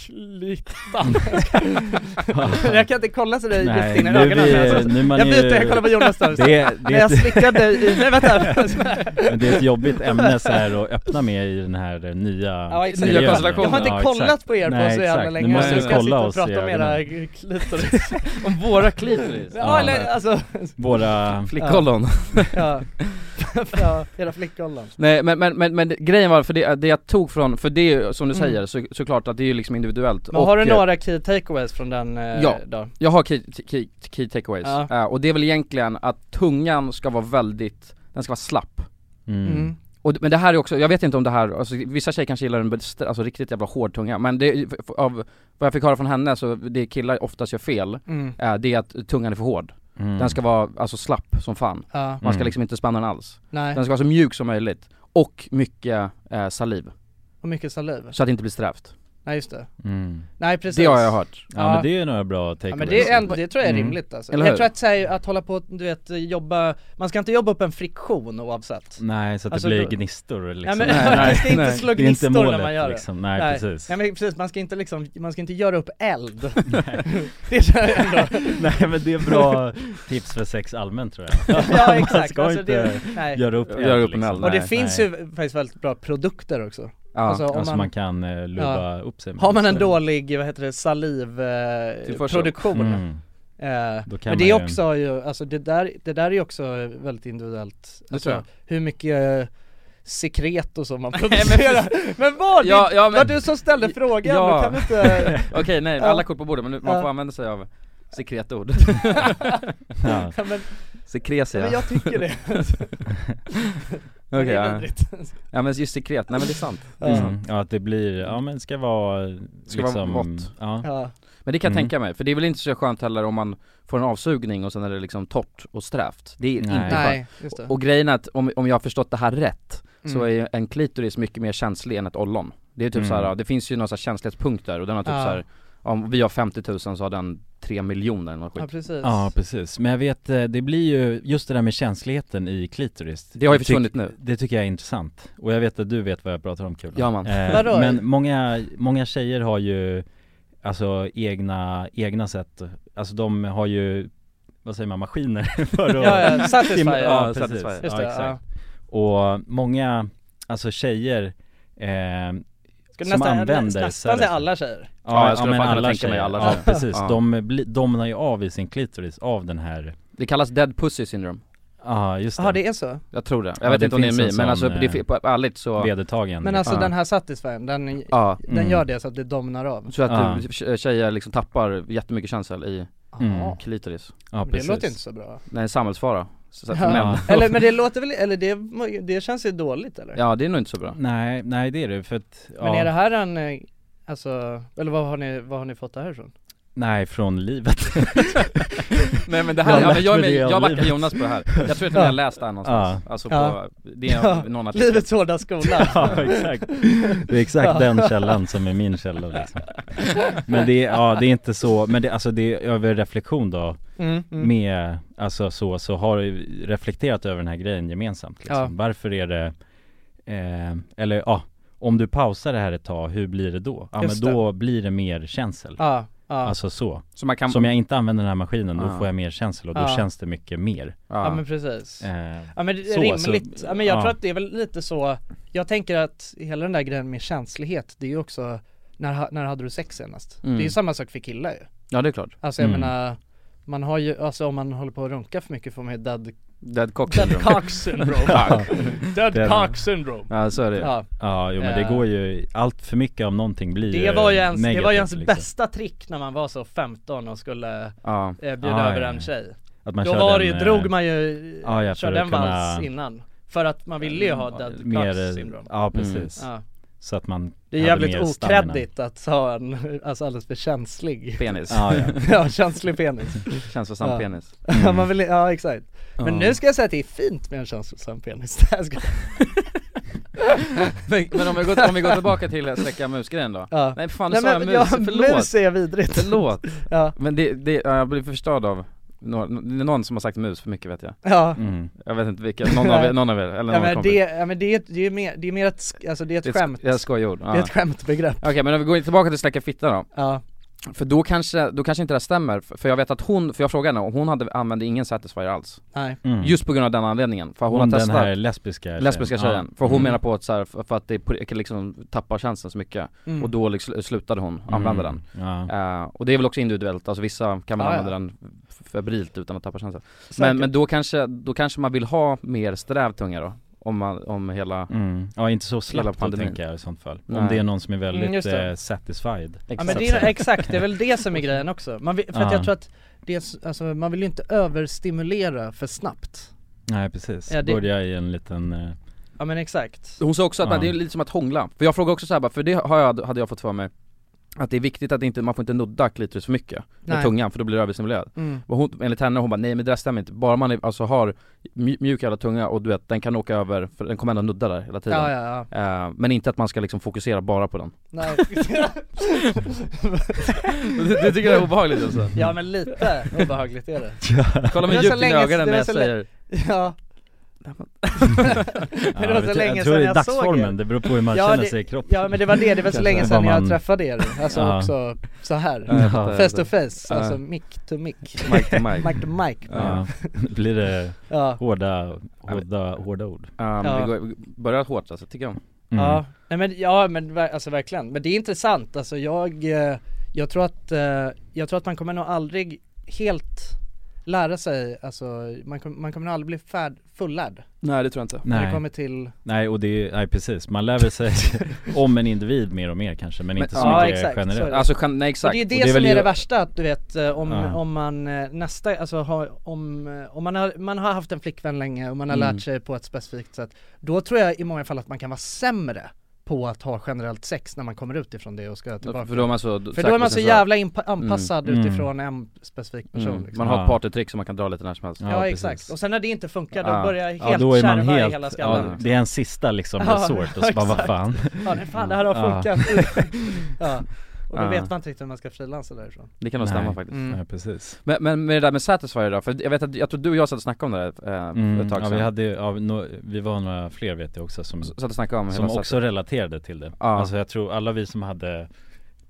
Speaker 2: klittan. jag kan inte kolla så där djupt
Speaker 3: Nej,
Speaker 2: in i
Speaker 3: nu,
Speaker 2: ögonen.
Speaker 3: vi,
Speaker 2: alltså.
Speaker 3: nu man
Speaker 2: Jag
Speaker 3: är
Speaker 2: byter, jag kollar vad Jonas tar.
Speaker 3: det, är-
Speaker 2: När
Speaker 3: det, är
Speaker 2: jag
Speaker 3: ett-
Speaker 2: slickade i, nej vänta.
Speaker 3: men det är ett jobbigt ämne så här att öppna med i den här eh, nya
Speaker 2: Ja, exakt.
Speaker 3: miljön.
Speaker 1: Nya konstellationer.
Speaker 2: Jag har inte
Speaker 3: Ja,
Speaker 2: kollat
Speaker 3: exakt.
Speaker 2: på er på
Speaker 3: Nej,
Speaker 2: så jävla
Speaker 3: exakt.
Speaker 2: länge.
Speaker 3: Nu
Speaker 2: så
Speaker 3: måste
Speaker 2: nu
Speaker 3: vi
Speaker 2: ska jag sitta
Speaker 3: kolla
Speaker 2: och
Speaker 3: oss i
Speaker 2: prata om
Speaker 3: ögonen
Speaker 2: era klitoris.
Speaker 1: Om våra klitoris?
Speaker 2: ja, eller alltså,
Speaker 3: Våra,
Speaker 1: Flickollon
Speaker 2: ja. ja, era flickollon.
Speaker 1: Nej men, men, men, men det- grejen var, för det, det jag tog från, för det är ju, som du
Speaker 2: Mm.
Speaker 1: säger, så, såklart att det är ju liksom individuellt
Speaker 2: Men har du
Speaker 1: eh,
Speaker 2: några key takeaways från den eh,
Speaker 1: Ja.
Speaker 2: då?
Speaker 3: Mm.
Speaker 1: Jag har key, key, key takeaways,
Speaker 2: Ja.
Speaker 1: Eh, och det är väl egentligen att tungan ska vara väldigt, den ska vara slapp
Speaker 3: mm.
Speaker 1: och, men det här är också, jag vet inte om det här, alltså, vissa tjejer kanske gillar en best- alltså, riktigt jävla hård tunga, men det, f- f- av vad jag fick höra från henne så det killar oftast gör fel,
Speaker 2: Mm.
Speaker 1: eh, det är att tungan är för hård.
Speaker 3: Mm.
Speaker 1: Den ska vara alltså slapp som fan,
Speaker 2: Ja,
Speaker 1: man ska
Speaker 3: Mm.
Speaker 1: liksom inte spänna den alls.
Speaker 2: nej.
Speaker 1: Den ska vara så mjuk som möjligt, och mycket eh, saliv,
Speaker 2: Och mycket saliv.
Speaker 1: så att det inte blir strävt.
Speaker 2: Nej just det.
Speaker 3: Mm.
Speaker 2: Nej precis.
Speaker 1: Det har jag hört.
Speaker 3: Ja, men det är några bra
Speaker 2: Ja,
Speaker 3: takeaways
Speaker 2: men det, är ändå, det tror jag är
Speaker 3: Mm.
Speaker 2: rimligt alltså.
Speaker 1: Eller
Speaker 2: Jag
Speaker 1: hur?
Speaker 2: tror att, så här, att hålla på och, du vet, jobba, man ska inte jobba upp en friktion oavsett.
Speaker 3: Nej, så att
Speaker 2: Alltså,
Speaker 3: det blir
Speaker 2: då-
Speaker 3: gnistor liksom
Speaker 2: Nej, men,
Speaker 1: Nej,
Speaker 2: man ska
Speaker 1: nej,
Speaker 2: inte
Speaker 1: nej.
Speaker 2: slå
Speaker 3: Det är inte
Speaker 2: gnistor
Speaker 3: målet
Speaker 2: när man gör det.
Speaker 3: liksom, nej, precis
Speaker 2: Nej men precis, man ska inte liksom, man ska inte göra upp eld. det tror jag ändå.
Speaker 3: Nej men det är bra tips för sex allmänt tror jag
Speaker 2: Ja
Speaker 3: Man
Speaker 2: exakt. Alltså,
Speaker 3: ska inte
Speaker 2: nej.
Speaker 3: göra upp
Speaker 1: Göra upp en
Speaker 3: liksom.
Speaker 1: eld,
Speaker 2: och det
Speaker 1: nej,
Speaker 2: finns
Speaker 3: nej.
Speaker 2: ju faktiskt väldigt bra produkter också.
Speaker 1: Ja.
Speaker 2: Alltså, om
Speaker 3: Alltså
Speaker 2: man,
Speaker 3: man kan eh, lubba upp sig med
Speaker 2: har man en
Speaker 8: Alltså-
Speaker 3: gnistor.
Speaker 2: dålig, vad heter det, salivproduktion eh,
Speaker 1: Tillförsel.
Speaker 2: produktion,
Speaker 3: Mm.
Speaker 2: Eh,
Speaker 3: Då kan
Speaker 2: men det är
Speaker 3: man ju-
Speaker 2: också ju, alltså det där, det där är ju också väldigt individuellt
Speaker 1: Det
Speaker 2: alltså,
Speaker 1: tror jag.
Speaker 2: Hur mycket eh, sekret och så man producerar Men var det,
Speaker 1: Ja, ja, men-
Speaker 2: var du som ställde frågan?
Speaker 1: Ja.
Speaker 2: Då kan du inte...
Speaker 1: Okej nej,
Speaker 2: Ja.
Speaker 1: alla kort på bordet men nu, man
Speaker 2: Ja.
Speaker 1: får använda sig av sekretord.
Speaker 3: Ja.
Speaker 2: ja, men, ja,
Speaker 1: Sekresia.
Speaker 2: men jag tycker det,
Speaker 1: Okej,
Speaker 2: det är
Speaker 1: ja.
Speaker 2: vidrigt
Speaker 1: ja men just sekret, nej men det är sant. Det är sant.
Speaker 3: Mm. Ja att det blir, ja men det ska vara
Speaker 1: Ska vara
Speaker 3: liksom,
Speaker 1: vått.
Speaker 3: Ja.
Speaker 2: ja.
Speaker 1: Men det kan jag
Speaker 3: Mm.
Speaker 1: tänka mig, för det är väl inte så skönt heller om man får en avsugning och sen är det liksom torrt och strävt. Det är
Speaker 3: Nej.
Speaker 1: inte skönt.
Speaker 2: Nej, just det
Speaker 1: Och grejen är att om, om jag har förstått det här rätt, så
Speaker 2: Mm.
Speaker 1: är ju en klitoris mycket mer känslig än ett ollon. Det är typ
Speaker 3: Mm.
Speaker 1: så här, ja, det finns ju några så här känslighetspunkter och den har typ
Speaker 2: Ja.
Speaker 1: så här, om vi har 50 000 så har den 3 miljoner eller något
Speaker 2: Ja
Speaker 1: skit.
Speaker 2: precis
Speaker 3: ja precis, men jag vet eh, det blir ju, just det där med känsligheten i klitoris
Speaker 1: Det har ju
Speaker 3: tyck-
Speaker 1: försvunnit nu.
Speaker 3: Det tycker jag är intressant, och jag vet att du vet vad jag pratar om Kulan
Speaker 1: Ja, man.
Speaker 2: Vadå?
Speaker 3: Men många, många tjejer har ju Alltså egna, egna sätt, alltså de har ju Vad säger man, maskiner för att
Speaker 2: Ja, ja, satisfy, ja.
Speaker 3: ja, precis.
Speaker 1: satisfy.
Speaker 3: ja,
Speaker 2: Just det, ja.
Speaker 3: exakt. Och många, alltså tjejer eh,
Speaker 2: Ska
Speaker 3: som
Speaker 2: nästan,
Speaker 3: använder
Speaker 2: nästan
Speaker 3: sadism.
Speaker 2: säga alla tjejer
Speaker 1: Ja, jag skulle fan kunna tänka
Speaker 3: tjejer,
Speaker 1: mig alla
Speaker 3: ja,
Speaker 1: tjejer.
Speaker 3: precis,
Speaker 1: Ja.
Speaker 3: de bli, domnar ju av i sin klitoris av den här
Speaker 1: Det kallas dead pussy syndrome.
Speaker 3: Ja, just det.
Speaker 2: Jaha det är så?
Speaker 1: Jag tror det, jag
Speaker 3: Ja,
Speaker 1: vet
Speaker 3: det
Speaker 1: inte om det är
Speaker 3: finns
Speaker 1: en meme,
Speaker 3: en
Speaker 1: men alltså
Speaker 3: sån,
Speaker 1: det är, på, ärligt så,
Speaker 3: Vedertagen.
Speaker 2: Men alltså
Speaker 1: Ja.
Speaker 2: den här satisfiern, den,
Speaker 1: ja
Speaker 2: den
Speaker 3: Mm.
Speaker 2: gör det så att det domnar av?
Speaker 1: Så att du- tjejer liksom tappar jättemycket känsel i
Speaker 3: Mm.
Speaker 2: Jaha.
Speaker 1: klitoris
Speaker 3: ja,
Speaker 2: Men det
Speaker 3: precis.
Speaker 2: låter inte så bra
Speaker 1: Det är en samhällsfara så, så,
Speaker 2: Ja.
Speaker 1: men,
Speaker 3: Ja.
Speaker 2: Eller men det låter väl, eller det, det känns ju dåligt eller?
Speaker 1: ja det är nog inte så bra
Speaker 3: Nej, nej det är det för att, ja,
Speaker 2: Men är det här en, eh, alltså, eller vad har ni, vad har ni fått det här ifrån?
Speaker 3: nej från livet.
Speaker 1: Nej men det
Speaker 3: Jag har
Speaker 1: här, ja, men
Speaker 3: lärt
Speaker 1: jag, är
Speaker 3: mig
Speaker 1: med,
Speaker 3: det av
Speaker 1: jag backar
Speaker 3: livet.
Speaker 1: Jonas på det här Jag tror att jag har läst det här någonstans, alltså på,
Speaker 2: Ja.
Speaker 1: det är
Speaker 2: Ja.
Speaker 1: någon artikel
Speaker 2: Livets hårda skola
Speaker 3: ja, exakt. Det är exakt den källan som är min källa liksom. Men det är, ja det är inte så, men det, alltså det är över reflektion då
Speaker 2: mm, mm.
Speaker 3: med, alltså så, så har vi reflekterat över den här grejen gemensamt liksom.
Speaker 2: Ja.
Speaker 3: Varför är det, eh, eller ja, om du pausar det här ett tag, hur blir det då? Ja
Speaker 2: Just
Speaker 3: men då blir det mer känsel.
Speaker 2: Ja, ja,
Speaker 3: Alltså så.
Speaker 1: Så man kan,
Speaker 3: Som jag inte använder den här maskinen, då
Speaker 1: Ja.
Speaker 3: får jag mer känsel och då
Speaker 2: Ja.
Speaker 3: känns det mycket mer.
Speaker 1: ja.
Speaker 2: ja men precis
Speaker 3: Eh,
Speaker 2: Ja men det är
Speaker 3: Så,
Speaker 2: rimligt,
Speaker 3: så-
Speaker 2: ja, men jag
Speaker 3: ja.
Speaker 2: tror att det är väl lite så Jag tänker att hela den där grejen med känslighet, det är ju också När, ha- när hade du sex senast?
Speaker 1: Mm.
Speaker 2: Det är ju samma sak för killar ju
Speaker 1: ja det är klart
Speaker 2: Alltså jag
Speaker 3: Mm.
Speaker 2: menar man har ju, alltså om man håller på att runka för mycket får man ju dead,
Speaker 1: Dead cock
Speaker 2: dead
Speaker 1: syndrome
Speaker 2: cock syndrome
Speaker 1: Ja.
Speaker 2: Dead
Speaker 3: Dead-
Speaker 2: cock syndrome
Speaker 1: Ja så är det ju.
Speaker 2: Ja,
Speaker 3: ja, jo men det
Speaker 2: Eh.
Speaker 3: går ju, allt för mycket av någonting blir
Speaker 2: det var ju
Speaker 3: eh,
Speaker 2: ens, det
Speaker 3: negativt,
Speaker 2: var ju ens
Speaker 3: liksom.
Speaker 2: bästa trick när man var så 15 och skulle eh,
Speaker 1: ja.
Speaker 2: bjuda
Speaker 3: Ah,
Speaker 2: över
Speaker 3: ja.
Speaker 2: en tjej
Speaker 3: Att man
Speaker 2: Då
Speaker 3: kör
Speaker 2: var
Speaker 3: den,
Speaker 2: det ju,
Speaker 3: eh,
Speaker 2: drog man ju,
Speaker 3: ja, ja, för
Speaker 2: körde
Speaker 3: att
Speaker 2: en vals
Speaker 3: kunna-
Speaker 2: innan För att man ville ju ha dead
Speaker 3: mer,
Speaker 2: cock
Speaker 3: eh,
Speaker 2: syndrome
Speaker 3: Ja precis,
Speaker 2: ja.
Speaker 3: så att man
Speaker 2: Det är
Speaker 3: hade
Speaker 2: jävligt
Speaker 3: mer stamina.
Speaker 2: okreddigt att ha en, alltså alldeles för känslig
Speaker 1: Penis,
Speaker 3: Ja, ja.
Speaker 2: Ja, känslig penis
Speaker 1: känslosam
Speaker 2: Ja.
Speaker 1: penis
Speaker 2: Ja, Man vill, ja exakt Men
Speaker 1: Mm. Ja.
Speaker 2: nu ska jag säga att det är fint med en känslosam penis Jag ska-
Speaker 1: Men, men om, vi går, om vi går tillbaka till släcka musgrejen då
Speaker 2: ja.
Speaker 1: Nej fan nu
Speaker 2: Nej
Speaker 1: sa jag
Speaker 2: men
Speaker 1: mus,
Speaker 2: ja,
Speaker 1: förlåt
Speaker 2: mus är vidrigt
Speaker 1: Förlåt,
Speaker 2: Ja,
Speaker 1: men det, det, ja, jag blir förstörd av några- det är någon som har sagt mus för mycket vet jag
Speaker 2: ja
Speaker 3: Mm.
Speaker 1: Jag vet inte vilka, någon av er, någon av er eller
Speaker 2: Ja
Speaker 1: någon
Speaker 2: men,
Speaker 1: kompis
Speaker 2: det, ja men det är, det är mer, det är mer ett, sk- alltså det är ett
Speaker 1: Det är
Speaker 2: skämt
Speaker 1: sk- Jag skojar ord.
Speaker 2: Det är
Speaker 1: Ja.
Speaker 2: ett skämtbegrepp
Speaker 1: Okej men om vi går tillbaka till släcka fitta då,
Speaker 2: Ja,
Speaker 1: för då kanske, då kanske inte det här stämmer, f- för jag vet att hon, för jag frågade henne och hon hade, använde ingen satisfier alls
Speaker 2: nej,
Speaker 3: Mm.
Speaker 1: Just på grund av den anledningen, för hon,
Speaker 3: Hon
Speaker 1: har
Speaker 3: den
Speaker 1: testat
Speaker 3: här lesbiska tjejen.
Speaker 1: lesbiska tjejen, för hon
Speaker 3: Mm.
Speaker 1: menar på att så här, för för att det på- liksom tappar chansen så mycket
Speaker 2: mm.
Speaker 1: och då liksom slutade hon använda den
Speaker 3: Mm. Ja.
Speaker 1: Eh, och det är väl också individuellt, alltså vissa kan man
Speaker 2: Ja, ja.
Speaker 1: använda den f- febrilt utan att tappa känslan. Men,
Speaker 2: Säkert.
Speaker 1: men då, kanske, då kanske man vill ha mer sträv tunga då, om, man, om hela
Speaker 3: Mm. ja, inte så
Speaker 1: Hela
Speaker 3: slappt då
Speaker 1: pandemin.
Speaker 3: tänker jag i sånt fall.
Speaker 1: Nej.
Speaker 3: Om det är någon som är
Speaker 2: Mm,
Speaker 3: väldigt
Speaker 2: just det.
Speaker 3: eh, satisfied.
Speaker 2: Ja men det är, exakt, det är väl det som är grejen också. Man vill, för
Speaker 3: Ja.
Speaker 2: att jag tror att det är, s- alltså, man vill ju inte överstimulera för snabbt.
Speaker 3: Nej precis,
Speaker 2: Ja, det-
Speaker 3: börja i en liten, eh,
Speaker 2: Ja men exakt.
Speaker 1: Hon sa också att man-
Speaker 3: Ja.
Speaker 1: det är lite som att hångla, för jag frågade också så här, bara, för det har jag, hade jag fått för mig Att det är viktigt att inte, man får inte nudda klitoris för mycket med
Speaker 2: Nej.
Speaker 1: tungan för då blir det överstimulerad
Speaker 2: Mm.
Speaker 1: och hon, Enligt henne, hon bara nej men det där stämmer inte, bara man är, alltså har mj- mjuk jävla tunga och du vet den kan åka över, för den kommer ändå nudda där hela tiden
Speaker 2: Ja ja ja.
Speaker 1: Eh, Men inte att man ska liksom fokusera bara på den
Speaker 2: Nej.
Speaker 1: det, det tycker jag är obehagligt alltså
Speaker 2: ja men lite obehagligt är det.
Speaker 1: Kolla mig
Speaker 2: Det var så
Speaker 1: djupt in i
Speaker 2: länge-
Speaker 1: ögonen
Speaker 2: det
Speaker 1: när
Speaker 2: var
Speaker 1: jag
Speaker 2: så
Speaker 1: säger
Speaker 2: Ja.
Speaker 3: ja,
Speaker 2: det var så
Speaker 3: vet-
Speaker 2: länge
Speaker 3: jag tror
Speaker 2: sedan
Speaker 3: det
Speaker 2: jag
Speaker 3: är
Speaker 2: såg er.
Speaker 3: dagsformen, det beror på hur man
Speaker 2: Ja,
Speaker 3: känner
Speaker 2: det-
Speaker 3: sig i kroppen.
Speaker 2: Ja men det var det, det var så länge sedan
Speaker 3: Vad
Speaker 2: jag
Speaker 3: man-
Speaker 2: träffade er. Alltså
Speaker 3: Ja.
Speaker 2: också så här.
Speaker 1: Ja, jag
Speaker 2: Face to
Speaker 1: fattar.
Speaker 2: face,
Speaker 1: Ja.
Speaker 2: alltså mic to mic.
Speaker 1: Mike to Mike
Speaker 2: Mic to mic.
Speaker 3: Ja.
Speaker 1: Ja.
Speaker 3: Blir det
Speaker 2: Ja.
Speaker 3: hårda, hårda, hårda ord?
Speaker 1: Ja, men
Speaker 2: Ja.
Speaker 1: Um, det går- vi börjar hårt alltså, tycker jag
Speaker 3: Mm.
Speaker 2: Ja, nej men, ja men ver- alltså verkligen. Men det är intressant, alltså jag, eh, jag tror att, eh, jag tror att man kommer nog aldrig helt lära sig, alltså man, kom, man kommer nog aldrig bli färd, fullärd
Speaker 1: Nej det tror jag inte
Speaker 2: när det
Speaker 3: Nej,
Speaker 2: kommer till
Speaker 3: nej och det är, nej precis, man lär väl sig om en individ mer och mer kanske men,
Speaker 1: Men-
Speaker 3: inte så
Speaker 1: ja,
Speaker 3: mycket
Speaker 2: exakt,
Speaker 3: generellt
Speaker 2: så är det.
Speaker 1: Alltså, kan, nej
Speaker 2: Och
Speaker 1: exakt
Speaker 2: det är ju det,
Speaker 3: Och det är
Speaker 2: som
Speaker 3: väl
Speaker 2: är
Speaker 3: ju-
Speaker 2: det värsta, att du vet eh, om,
Speaker 3: Ja.
Speaker 2: om man eh, nästa, alltså har, om, eh, om man har, man har haft en flickvän länge och man har
Speaker 1: Mm.
Speaker 2: lärt sig på ett specifikt sätt Då tror jag i många fall att man kan vara sämre på att ha generellt sex när man kommer ut ifrån det och ska tillbaka
Speaker 1: För då är man så
Speaker 2: För då är man så
Speaker 1: säker-
Speaker 2: jävla inpa- anpassad
Speaker 3: Mm.
Speaker 2: utifrån en specifik person
Speaker 1: Mm.
Speaker 2: liksom.
Speaker 1: Man har
Speaker 3: Ja.
Speaker 1: ett partytrick som man kan dra lite när som helst
Speaker 2: Ja,
Speaker 3: precis.
Speaker 2: exakt, och sen när det inte funkar då
Speaker 1: Ja.
Speaker 2: börjar jag helt
Speaker 3: Ja då är man
Speaker 2: kärva i
Speaker 3: helt,
Speaker 2: hela skallen
Speaker 3: ja,
Speaker 2: ja.
Speaker 3: det är en sista liksom
Speaker 2: Ja,
Speaker 3: resort och så bara vad
Speaker 2: exakt.
Speaker 3: fan
Speaker 2: nej fan det här har
Speaker 3: Ja.
Speaker 2: funkat ja. Och då
Speaker 1: Ja.
Speaker 2: vet man inte riktigt hur man ska frilansa därifrån Mm.
Speaker 1: Det kan nog
Speaker 3: Nej.
Speaker 1: stämma faktiskt
Speaker 3: Nej precis
Speaker 1: men, men med det där med Satisfyer då, för jag vet att, jag tror du och jag satt och snackade om det där eh, för
Speaker 3: mm,
Speaker 1: ett tag
Speaker 3: ja,
Speaker 1: sedan
Speaker 3: vi hade ju- ja, no, vi var några fler vet jag också som,
Speaker 1: S- Satt och snackade om
Speaker 3: som
Speaker 1: hela
Speaker 3: också relaterade till det
Speaker 1: Ja.
Speaker 3: Alltså jag tror alla vi som hade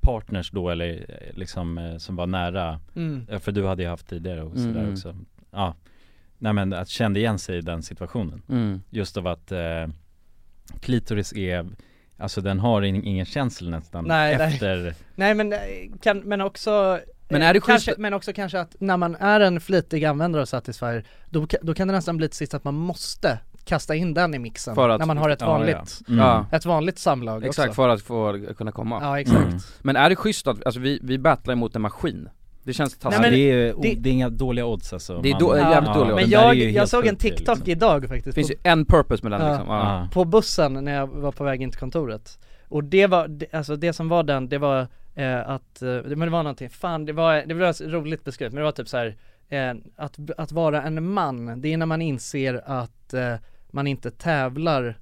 Speaker 3: partners då eller eh, liksom eh, som var nära,
Speaker 2: mm.
Speaker 3: eh, för du hade ju haft tidigare och sådär
Speaker 1: Mm.
Speaker 3: också Ja, nej men att kände igen sig i den situationen
Speaker 1: mm.
Speaker 3: Just av att eh, klitoris är, alltså den har in, ingen känsel nästan
Speaker 2: Nej, nej.
Speaker 3: efter
Speaker 2: Nej men eh, kan, men också
Speaker 1: Men är det
Speaker 2: kanske,
Speaker 1: schysst-
Speaker 2: Men också kanske att när man är en flitig användare av Satisfyer, då, ka- då kan det nästan bli till sist att man måste kasta in den i mixen
Speaker 1: För att-
Speaker 2: när man har ett
Speaker 1: ja,
Speaker 2: vanligt,
Speaker 3: Mm.
Speaker 1: Ja,
Speaker 2: ett vanligt samlag
Speaker 1: exakt
Speaker 2: också.
Speaker 1: för att få kunna komma
Speaker 2: Ja exakt.
Speaker 3: Mm.
Speaker 1: Men är det schysst att, alltså vi, vi battlar mot en maskin? Det känns taskigt
Speaker 2: Nej, men-
Speaker 3: det, är,
Speaker 2: det-
Speaker 3: det, är inga dåliga odds alltså
Speaker 1: Det är då-
Speaker 2: jävligt
Speaker 1: dåliga odds.
Speaker 3: den
Speaker 2: Men
Speaker 3: där är
Speaker 2: jag,
Speaker 3: ju
Speaker 2: jag
Speaker 3: helt
Speaker 2: såg en
Speaker 3: sjuk,
Speaker 2: TikTok
Speaker 3: liksom.
Speaker 2: idag
Speaker 1: Det
Speaker 2: faktiskt,
Speaker 1: finns
Speaker 2: på,
Speaker 1: ju en purpose med den
Speaker 2: Ja.
Speaker 1: liksom, ja.
Speaker 3: Ja.
Speaker 2: på bussen när jag var på väg in till kontoret. Och det var, det- alltså det som var den, det var eh, att, eh, men det var någonting, fan det var, det var roligt beskrivet, men det var typ så här, eh, att, att vara en man, det är när man inser att eh, man inte tävlar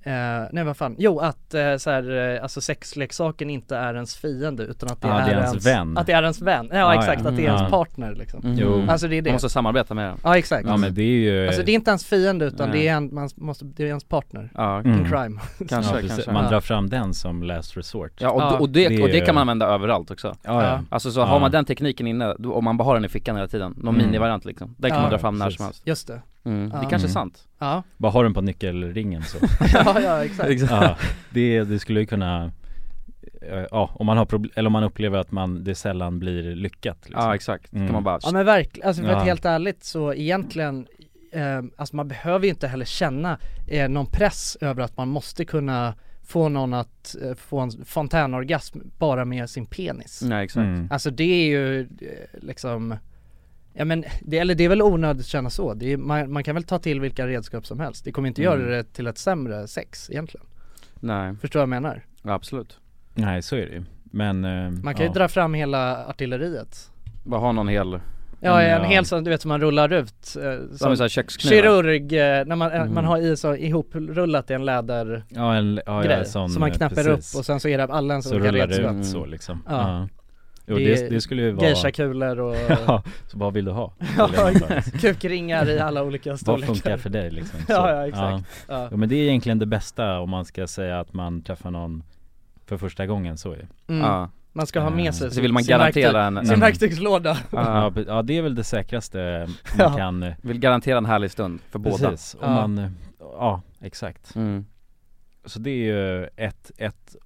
Speaker 2: Eh, nej vad fan, jo att eh, så här, eh, alltså sexleksaken inte är ens fiende utan att det,
Speaker 3: Ja,
Speaker 2: är, ens,
Speaker 3: vän.
Speaker 2: Att det är ens vän, ja
Speaker 3: Ah, ja.
Speaker 2: exakt, att det är
Speaker 3: Mm.
Speaker 2: ens
Speaker 3: Ja.
Speaker 2: partner liksom
Speaker 1: Mm.
Speaker 3: Jo. Mm.
Speaker 2: Alltså det är det,
Speaker 1: Man måste samarbeta med den
Speaker 2: ja exakt
Speaker 3: Ja men det är ju
Speaker 2: Alltså det är inte ens fiende utan
Speaker 1: Nej.
Speaker 2: det är, en, man måste, det är ens partner
Speaker 1: Ja,
Speaker 3: Mm.
Speaker 2: In crime
Speaker 1: kanske,
Speaker 3: ja, precis.
Speaker 1: kanske
Speaker 3: Man
Speaker 2: Ja.
Speaker 3: drar fram den som last resort
Speaker 1: Ja, och,
Speaker 2: Ja.
Speaker 1: och, det,
Speaker 3: Det är
Speaker 1: och det
Speaker 3: ju-
Speaker 1: kan man använda överallt också
Speaker 3: ja,
Speaker 2: Ja.
Speaker 3: ja.
Speaker 1: Alltså så
Speaker 3: Ja.
Speaker 1: har man den tekniken inne, då, om man bara har den i fickan hela tiden, någon
Speaker 3: Mm.
Speaker 1: minivariant liksom Den kan
Speaker 2: Ja,
Speaker 1: man dra fram när
Speaker 3: precis.
Speaker 1: som helst
Speaker 2: Just det,
Speaker 1: mm.
Speaker 2: Ja.
Speaker 1: Det kanske
Speaker 3: Mm.
Speaker 1: är sant
Speaker 2: ja,
Speaker 3: Bara har den på nyckelringen så
Speaker 2: ja, ja exakt
Speaker 3: ja, det, det skulle ju kunna eh, Ja, om man har problem, eller om man upplever att man, det sällan blir lyckat liksom.
Speaker 1: Ja exakt,
Speaker 3: Mm.
Speaker 1: kan man bara
Speaker 2: Ja men verkligen, alltså för att
Speaker 3: Ja.
Speaker 2: helt ärligt så egentligen eh, Alltså man behöver ju inte heller känna eh, någon press över att man måste kunna få någon att eh, få en fontänorgasm bara med sin penis
Speaker 1: Nej exakt
Speaker 3: Mm.
Speaker 2: Alltså det är ju eh, liksom Ja men, det, eller det är väl onödigt att känna så. Det är, man, man kan väl ta till vilka redskap som helst. Det kommer inte
Speaker 1: Mm.
Speaker 2: göra det till ett sämre sex egentligen.
Speaker 1: Nej,
Speaker 2: Förstår vad jag menar?
Speaker 1: ja, absolut
Speaker 3: Nej så är det ju Men eh,
Speaker 2: Man kan
Speaker 3: ja.
Speaker 2: ju dra fram hela artilleriet.
Speaker 1: Bara ha någon hel,
Speaker 2: Ja,
Speaker 3: Mm,
Speaker 2: en
Speaker 3: ja.
Speaker 2: hel sån, du vet som man rullar ut. Eh,
Speaker 1: som en
Speaker 2: som
Speaker 1: sån här kökskniv
Speaker 2: kirurg, eh, när man, eh,
Speaker 1: Mm.
Speaker 2: man har i så ihoprullat i en lädergrej.
Speaker 3: Ja en, ja, ja, sån,
Speaker 2: som man
Speaker 3: eh,
Speaker 2: knäpper
Speaker 3: precis.
Speaker 2: upp och sen så är det alla ens
Speaker 3: Så
Speaker 2: olika
Speaker 3: rullar det
Speaker 2: redskap.
Speaker 1: Mm.
Speaker 3: ut så liksom
Speaker 2: Ja.
Speaker 3: ja. Jo,
Speaker 2: Det
Speaker 3: det,
Speaker 2: är
Speaker 3: det skulle ju vara
Speaker 2: Geishakulor och
Speaker 3: Ja, så vad vill du ha?
Speaker 2: Ja, kukringar i alla olika
Speaker 3: Vad
Speaker 2: storlekar.
Speaker 3: funkar för dig liksom? Så.
Speaker 2: Ja, ja, exakt. Ja.
Speaker 3: Ja, men det är egentligen det bästa om man ska säga att man träffar någon för första gången så ju
Speaker 2: Mm.
Speaker 1: Ja,
Speaker 2: Man ska ha med sig
Speaker 1: så vill man
Speaker 2: sin verktyg-
Speaker 1: garantera en,
Speaker 2: sin
Speaker 1: en
Speaker 2: verktygslåda.
Speaker 1: ja,
Speaker 3: Ja, be- ja det är väl det säkraste man
Speaker 2: Typ. Ja.
Speaker 3: kan eh,
Speaker 1: Vill garantera en härlig stund för båda
Speaker 3: Precis, och
Speaker 2: Ja.
Speaker 3: man, eh, ja exakt
Speaker 1: mm.
Speaker 3: Så det är ju ett, ett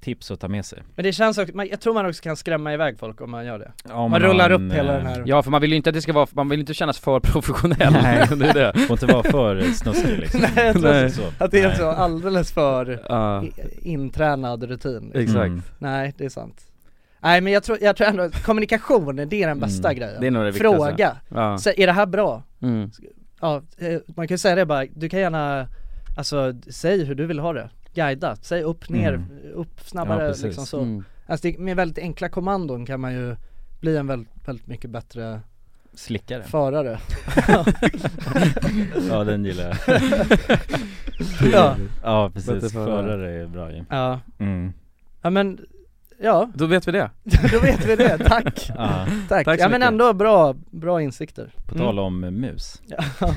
Speaker 3: tips att ta med sig
Speaker 2: Men det känns också, man, jag tror man också kan skrämma iväg folk om man gör det.
Speaker 3: Ja, om
Speaker 2: Man rullar
Speaker 3: har
Speaker 2: upp
Speaker 3: en,
Speaker 2: hela den
Speaker 3: eh,
Speaker 2: här
Speaker 1: Ja för man vill ju inte att det ska vara, man vill inte kännas för professionell
Speaker 3: Nej.
Speaker 1: det är det
Speaker 3: Får inte vara för snuskig liksom
Speaker 2: Nej, jag tror
Speaker 1: Nej.
Speaker 3: Så.
Speaker 2: Att det är
Speaker 3: Nej.
Speaker 2: så alldeles för
Speaker 1: Ja,
Speaker 2: i- intränad rutin liksom.
Speaker 1: exakt
Speaker 3: Mm.
Speaker 2: Nej det är sant Nej men jag tror, jag tror ändå att kommunikation, det är den bästa
Speaker 3: Mm.
Speaker 2: grejen
Speaker 1: Det är nog det viktigaste
Speaker 2: Fråga,
Speaker 1: Ja,
Speaker 2: så, är det här bra?
Speaker 1: mm.
Speaker 2: Ja, eh, man kan ju säga det bara, du kan gärna, alltså säg hur du vill ha det Guida, säg upp, ner,
Speaker 3: Mm.
Speaker 2: upp snabbare
Speaker 3: Ja, precis.
Speaker 2: liksom så
Speaker 1: Mm.
Speaker 2: Alltså det, med väldigt enkla kommandon kan man ju bli en väldigt, väldigt mycket bättre
Speaker 3: Slickare
Speaker 2: förare
Speaker 3: Ja den gillar jag
Speaker 2: Ja,
Speaker 3: Ja
Speaker 1: Bättre
Speaker 3: precis,
Speaker 1: förare.
Speaker 3: förare är bra ju
Speaker 2: ja,
Speaker 3: mm.
Speaker 2: ja men, ja,
Speaker 1: Då vet vi det
Speaker 2: då vet vi det, tack!
Speaker 3: ja.
Speaker 2: Tack,
Speaker 1: Tack så
Speaker 2: ja men
Speaker 1: mycket.
Speaker 2: ändå bra, bra insikter
Speaker 3: På tal om mus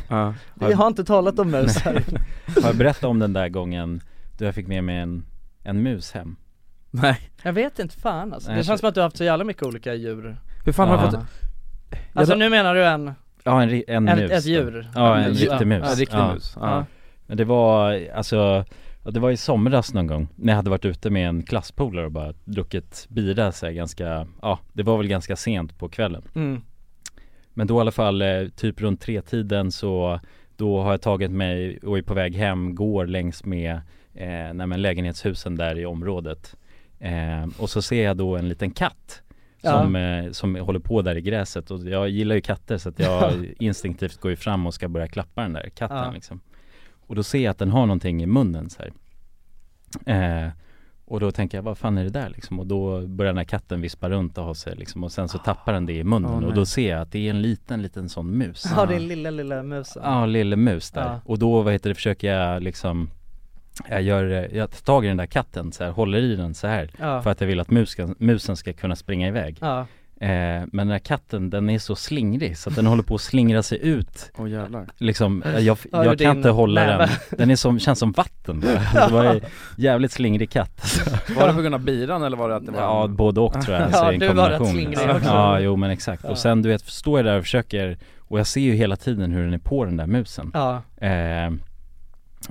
Speaker 1: Ja,
Speaker 2: Vi har inte talat om mus här
Speaker 3: Har jag berättat om den där gången då jag fick med mig en, en mus hem?
Speaker 1: nej
Speaker 2: Jag vet inte fan alltså.
Speaker 3: Nej,
Speaker 2: Det
Speaker 3: jag
Speaker 2: känns som att du har haft så jävla mycket olika djur
Speaker 1: Hur fan har
Speaker 3: Ja.
Speaker 1: du fått,
Speaker 2: Alltså
Speaker 1: Jag-
Speaker 2: nu menar du en,
Speaker 3: Ja en, ri- en
Speaker 2: en
Speaker 3: mus
Speaker 2: ett
Speaker 3: då.
Speaker 2: djur?
Speaker 3: Ja en
Speaker 1: En djur.
Speaker 3: riktig mus
Speaker 1: ja, riktig
Speaker 3: Ja.
Speaker 1: mus?
Speaker 2: Ja.
Speaker 1: Ja.
Speaker 3: Men det var, alltså, ja, det var i somras någon gång när jag hade varit ute med en klasspolare och bara druckit bira så här, ganska, ja det var väl ganska sent på kvällen.
Speaker 2: Mm.
Speaker 3: Men då i alla fall eh, typ runt tre tiden så då har jag tagit mig och är på väg hem, går längs med eh, nej, men lägenhetshusen där i området. Eh, och så ser jag då en liten katt som, eh, som håller på där i gräset och jag gillar ju katter så att jag instinktivt går ju fram och ska börja klappa den där katten
Speaker 2: Ja.
Speaker 3: liksom. Och då ser jag att den har någonting i munnen så här. Eh, och då tänker jag, vad fan är det där liksom? Och då börjar den här katten vispa runt och ha sig liksom och sen
Speaker 2: Ah.
Speaker 3: så tappar den det i munnen
Speaker 1: Åh, nej.
Speaker 3: och då ser jag att det är en liten, liten sån mus.
Speaker 2: Ja din lilla lilla musen
Speaker 3: Ja, lille mus där.
Speaker 2: Ja.
Speaker 3: Och då, vad heter det, försöker jag liksom jag gör, eh, jag tar tag i den där katten så här, håller i den så här
Speaker 2: Ja,
Speaker 3: för att jag vill att muskan, musen ska kunna springa iväg.
Speaker 2: ja.
Speaker 3: Eh, men den där katten den är så slingrig så att den håller på att slingra sig ut
Speaker 1: Åh jävlar
Speaker 3: liksom. Eh, Jag,
Speaker 2: Ja, ur
Speaker 3: jag kan
Speaker 2: din
Speaker 3: inte hålla
Speaker 2: näve.
Speaker 3: den. Den är som, känns som vatten bara. Det var en jävligt slingrig katt.
Speaker 1: Var det på grund av biran eller var det att det var
Speaker 3: Ja, både och tror jag.
Speaker 2: Mm.
Speaker 3: alltså,
Speaker 2: Ja,
Speaker 3: en
Speaker 2: du var rätt
Speaker 3: kombination.
Speaker 2: slingrig också.
Speaker 3: Ja, jo men exakt.
Speaker 2: Ja.
Speaker 3: Och sen du vet, står jag där och försöker och jag ser ju hela tiden hur den är på den där musen.
Speaker 2: ja.
Speaker 3: Eh,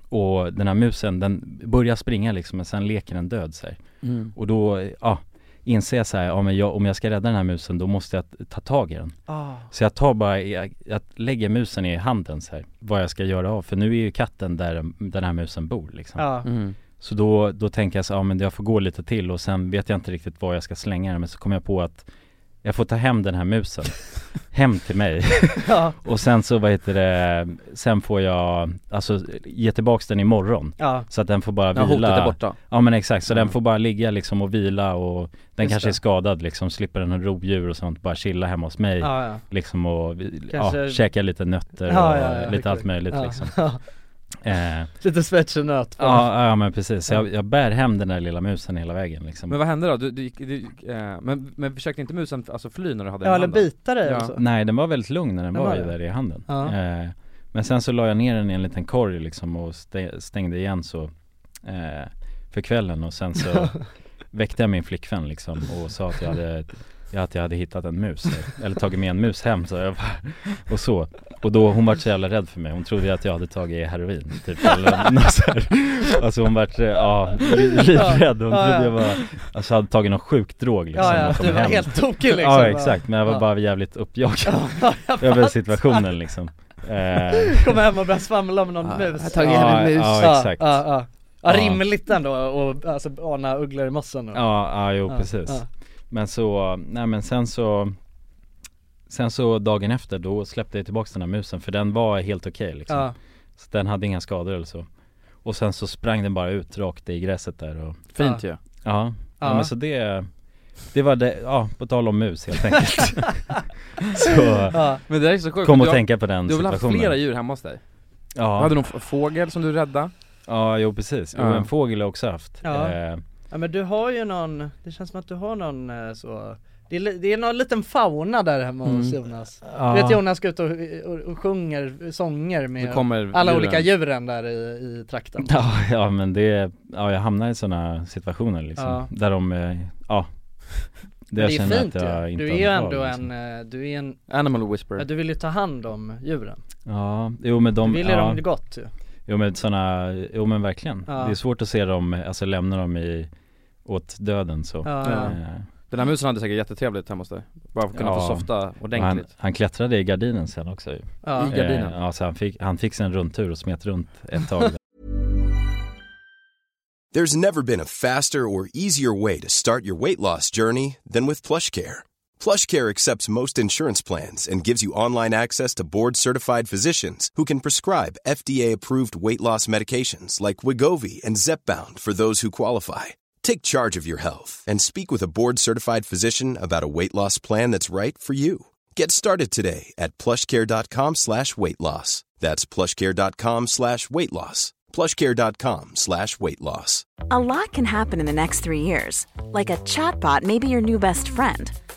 Speaker 3: och den här musen den börjar springa liksom men sen leker den död så här.
Speaker 1: Mm.
Speaker 3: Och då, eh, ja inser jag så här, ja, men jag, om jag ska rädda den här musen då måste jag ta tag i den.
Speaker 2: Ah.
Speaker 3: Så jag tar bara, jag, jag lägger musen i handen så här, vad jag ska göra av, för nu är ju katten där den här musen bor liksom.
Speaker 2: Ja.
Speaker 1: Mm.
Speaker 3: Så då, då tänker jag så ja men jag får gå lite till och sen vet jag inte riktigt var jag ska slänga den men så kommer jag på att jag får ta hem den här musen hem till mig
Speaker 2: ja,
Speaker 3: och sen så vad heter det, sen får jag alltså ge tillbaks den imorgon
Speaker 2: ja,
Speaker 3: så att den får bara
Speaker 1: Ja, hotet
Speaker 3: vila
Speaker 1: är borta.
Speaker 3: Ja men exakt, så
Speaker 1: Mm.
Speaker 3: den får bara ligga liksom och vila och den
Speaker 2: Just
Speaker 3: kanske
Speaker 2: det.
Speaker 3: är skadad liksom, slipper den ha rovdjur och sånt, bara chilla hemma hos mig
Speaker 2: ja, ja.
Speaker 3: liksom och vi-
Speaker 2: Kanske-
Speaker 3: ja, käka lite nötter
Speaker 2: Ja,
Speaker 3: och
Speaker 2: ja, ja,
Speaker 3: lite
Speaker 2: exakt.
Speaker 3: allt möjligt
Speaker 2: Ja.
Speaker 3: liksom.
Speaker 2: Ja.
Speaker 3: Eh,
Speaker 2: Lite svetsenöt bara.
Speaker 3: ja, ja men precis, Så jag, jag bär hem den där lilla musen hela vägen liksom.
Speaker 1: Men vad hände då? Du, du, gick- du, gick, eh, men, men försökte inte musen alltså fly när du hade
Speaker 2: Ja,
Speaker 1: den i
Speaker 2: eller
Speaker 1: handen?
Speaker 2: bita dig
Speaker 1: Ja.
Speaker 2: och så.
Speaker 3: Nej den var väldigt lugn när den
Speaker 2: Den
Speaker 3: var,
Speaker 2: var
Speaker 3: ju
Speaker 2: det?
Speaker 3: där i handen.
Speaker 2: Ja.
Speaker 3: Eh, men sen så la jag ner den i en liten korg liksom och stä- stängde igen så eh, för kvällen och sen så väckte jag min flickvän liksom och sa att jag hade Ja, att jag hade hittat en mus, eller tagit med en mus hem så jag bara, och så Och då, hon vart så jävla rädd för mig, hon trodde ju att jag hade tagit heroin typ eller något så här. Alltså hon vart, eh, ja, livrädd, hon
Speaker 2: Ja, ja.
Speaker 3: trodde jag var, alltså hade tagit någon sjuk drog liksom
Speaker 2: Ja, ja,
Speaker 3: och kom
Speaker 2: du var
Speaker 3: hem.
Speaker 2: helt tokig liksom.
Speaker 3: Ja exakt, men jag var
Speaker 2: Ja.
Speaker 3: bara jävligt uppjagad
Speaker 2: Ja, jag
Speaker 3: över
Speaker 2: fattar.
Speaker 3: situationen liksom eh,
Speaker 2: Kom hem och började svamla om någon
Speaker 1: Ja,
Speaker 2: mus.
Speaker 1: jag har tagit hem en mus.
Speaker 3: Ja, exakt.
Speaker 2: Ja, ja. Ja,
Speaker 3: Ja.
Speaker 2: rimligt ändå och alltså ana ugglor i mossen. och-
Speaker 3: Ja, ja jo
Speaker 2: Ja,
Speaker 3: precis
Speaker 2: ja.
Speaker 3: Men så, nej men sen så Sen så dagen efter då släppte jag tillbaka den här musen för den var helt okej liksom
Speaker 2: Ja.
Speaker 3: Så den hade inga skador eller så Och sen så sprang den bara ut rakt i gräset där och
Speaker 1: Fint ju.
Speaker 3: Ja, ja.
Speaker 2: Ja.
Speaker 3: men så det Det var det, ja på tal om mus helt enkelt Så
Speaker 2: Ja.
Speaker 1: Men det där är så sjukt.
Speaker 3: kom
Speaker 1: för
Speaker 3: och
Speaker 1: du har-
Speaker 3: tänka på den
Speaker 1: Du har väl haft
Speaker 3: situationen
Speaker 1: flera djur hemma hos dig?
Speaker 3: Ja,
Speaker 1: Hade du någon f- fågel som du räddade?
Speaker 3: ja jo precis, jo,
Speaker 1: Ja.
Speaker 3: en fågel har jag också haft
Speaker 2: Ja.
Speaker 3: eh,
Speaker 2: ja men du har ju någon, det känns som att du har någon eh, så det är, li- det är någon liten fauna där hemma hos
Speaker 1: Mm.
Speaker 2: Jonas.
Speaker 3: ja.
Speaker 2: Du vet Jonas går ut och, och, och sjunger sånger
Speaker 1: Då
Speaker 2: med
Speaker 1: kommer
Speaker 2: alla
Speaker 1: djuren.
Speaker 2: olika djuren där i, i trakten.
Speaker 3: Ja, ja men det, ja jag hamnar i sådana situationer liksom,
Speaker 2: Ja.
Speaker 3: där de, eh, ja
Speaker 2: Men det är
Speaker 3: känner
Speaker 2: fint ju. Du
Speaker 3: har
Speaker 2: är ju
Speaker 3: liksom. något
Speaker 2: ändå
Speaker 3: val,
Speaker 2: en, eh, du är en,
Speaker 1: Animal
Speaker 2: ja,
Speaker 1: whisperer.
Speaker 2: du vill ju ta hand om djuren.
Speaker 3: Ja, jo men
Speaker 2: Du
Speaker 3: de,
Speaker 2: vill ju
Speaker 3: ja,
Speaker 2: dem gott ju.
Speaker 3: jo men sådana, jo men verkligen
Speaker 2: Ja.
Speaker 3: Det är svårt att se dem, alltså lämna dem i, åt döden så
Speaker 2: Ja, ja.
Speaker 3: Eh,
Speaker 1: Den här musen hade säkert jättetrevligt hemma hos dig. Bara för att kunna
Speaker 3: Ja.
Speaker 1: få softa
Speaker 3: och han,
Speaker 1: ordentligt.
Speaker 3: han klättrade i gardinen sen också ju.
Speaker 2: Ja.
Speaker 1: I gardinen?
Speaker 3: Eh, Ja så han fick, han fick sig en rundtur och smet runt ett tag
Speaker 9: There's never been a faster or easier way to start your weight loss journey than with PlushCare. PlushCare accepts most insurance plans and gives you online access to board-certified physicians who can prescribe FDA-approved weight loss medications like Wigovi and Zepbound for those who qualify. Take charge of your health and speak with a board-certified physician about a weight loss plan that's right for you. Get started today at plushcare.com slash weight loss. That's plushcare.com slash weight loss. plushcare.com slash weight loss.
Speaker 4: A lot can happen in the next three years. Like a chatbot may be your new best friend.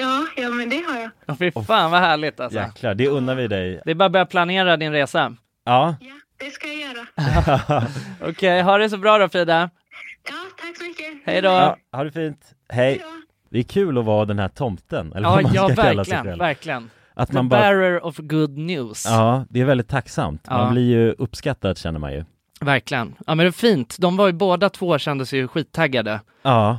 Speaker 10: Ja, ja, men det har jag.
Speaker 2: Åh, Fy fan vad härligt alltså.
Speaker 3: Jäklar, det unnar vi dig.
Speaker 2: Det är bara att börja planera din resa.
Speaker 3: Ja,
Speaker 10: Ja, det ska jag göra.
Speaker 2: Okej, ha det så bra då Frida.
Speaker 10: Ja, tack så mycket.
Speaker 2: Hej då.
Speaker 3: ja ha det fint. Hej. Det är kul att vara den här tomten, eller
Speaker 2: Ja,
Speaker 3: vad man
Speaker 2: ja
Speaker 3: ska kalla sig
Speaker 2: verkligen,
Speaker 3: själv.
Speaker 2: verkligen.
Speaker 3: Att
Speaker 2: The
Speaker 3: man bara...
Speaker 2: bearer of good news.
Speaker 3: Ja, det är väldigt tacksamt. Man
Speaker 2: Ja.
Speaker 3: blir ju uppskattad känner man ju.
Speaker 2: Verkligen. Ja men det är fint. De var ju båda två kändes ju skittaggade
Speaker 3: Ja,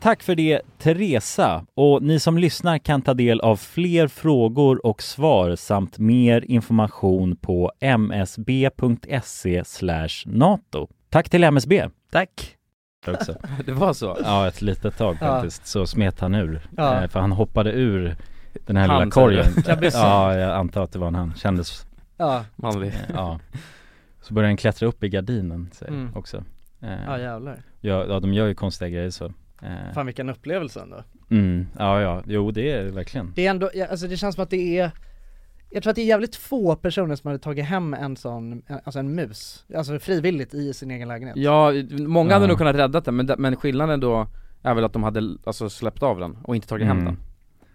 Speaker 3: Tack för det Teresa och ni som lyssnar kan ta del av fler frågor och svar samt mer information på msb.se E nato. Tack till MSB!
Speaker 2: Tack!
Speaker 3: Också.
Speaker 1: Det var så?
Speaker 3: Ja, ett litet tag
Speaker 1: Ja.
Speaker 3: faktiskt så smet han ur.
Speaker 1: Ja.
Speaker 3: Eh, För han hoppade ur den här
Speaker 1: Han,
Speaker 3: lilla
Speaker 1: sa du?
Speaker 3: korgen.
Speaker 1: Klabussen.
Speaker 3: Ja, jag antar att det var en han. Kändes
Speaker 2: Ja.
Speaker 1: Manlig.
Speaker 3: Eh, Ja. Så började han klättra upp i gardinen säger
Speaker 2: Mm.
Speaker 3: också. Eh,
Speaker 2: Ja, jävlar.
Speaker 3: Ja, ja, de gör ju konstiga grejer så. Eh,
Speaker 2: Fan vilken upplevelse ändå.
Speaker 3: Mm, ja, ja, jo det är det verkligen.
Speaker 2: Det är ändå, ja, alltså det känns som att det är Jag tror att det är jävligt få personer som hade tagit hem en sån, alltså en mus, alltså frivilligt i sin egen lägenhet
Speaker 1: Ja, många hade
Speaker 2: Ja.
Speaker 1: nog kunnat rädda den men, de- men skillnaden då är väl att de hade alltså, släppt av den och inte tagit hem
Speaker 3: Mm.
Speaker 1: den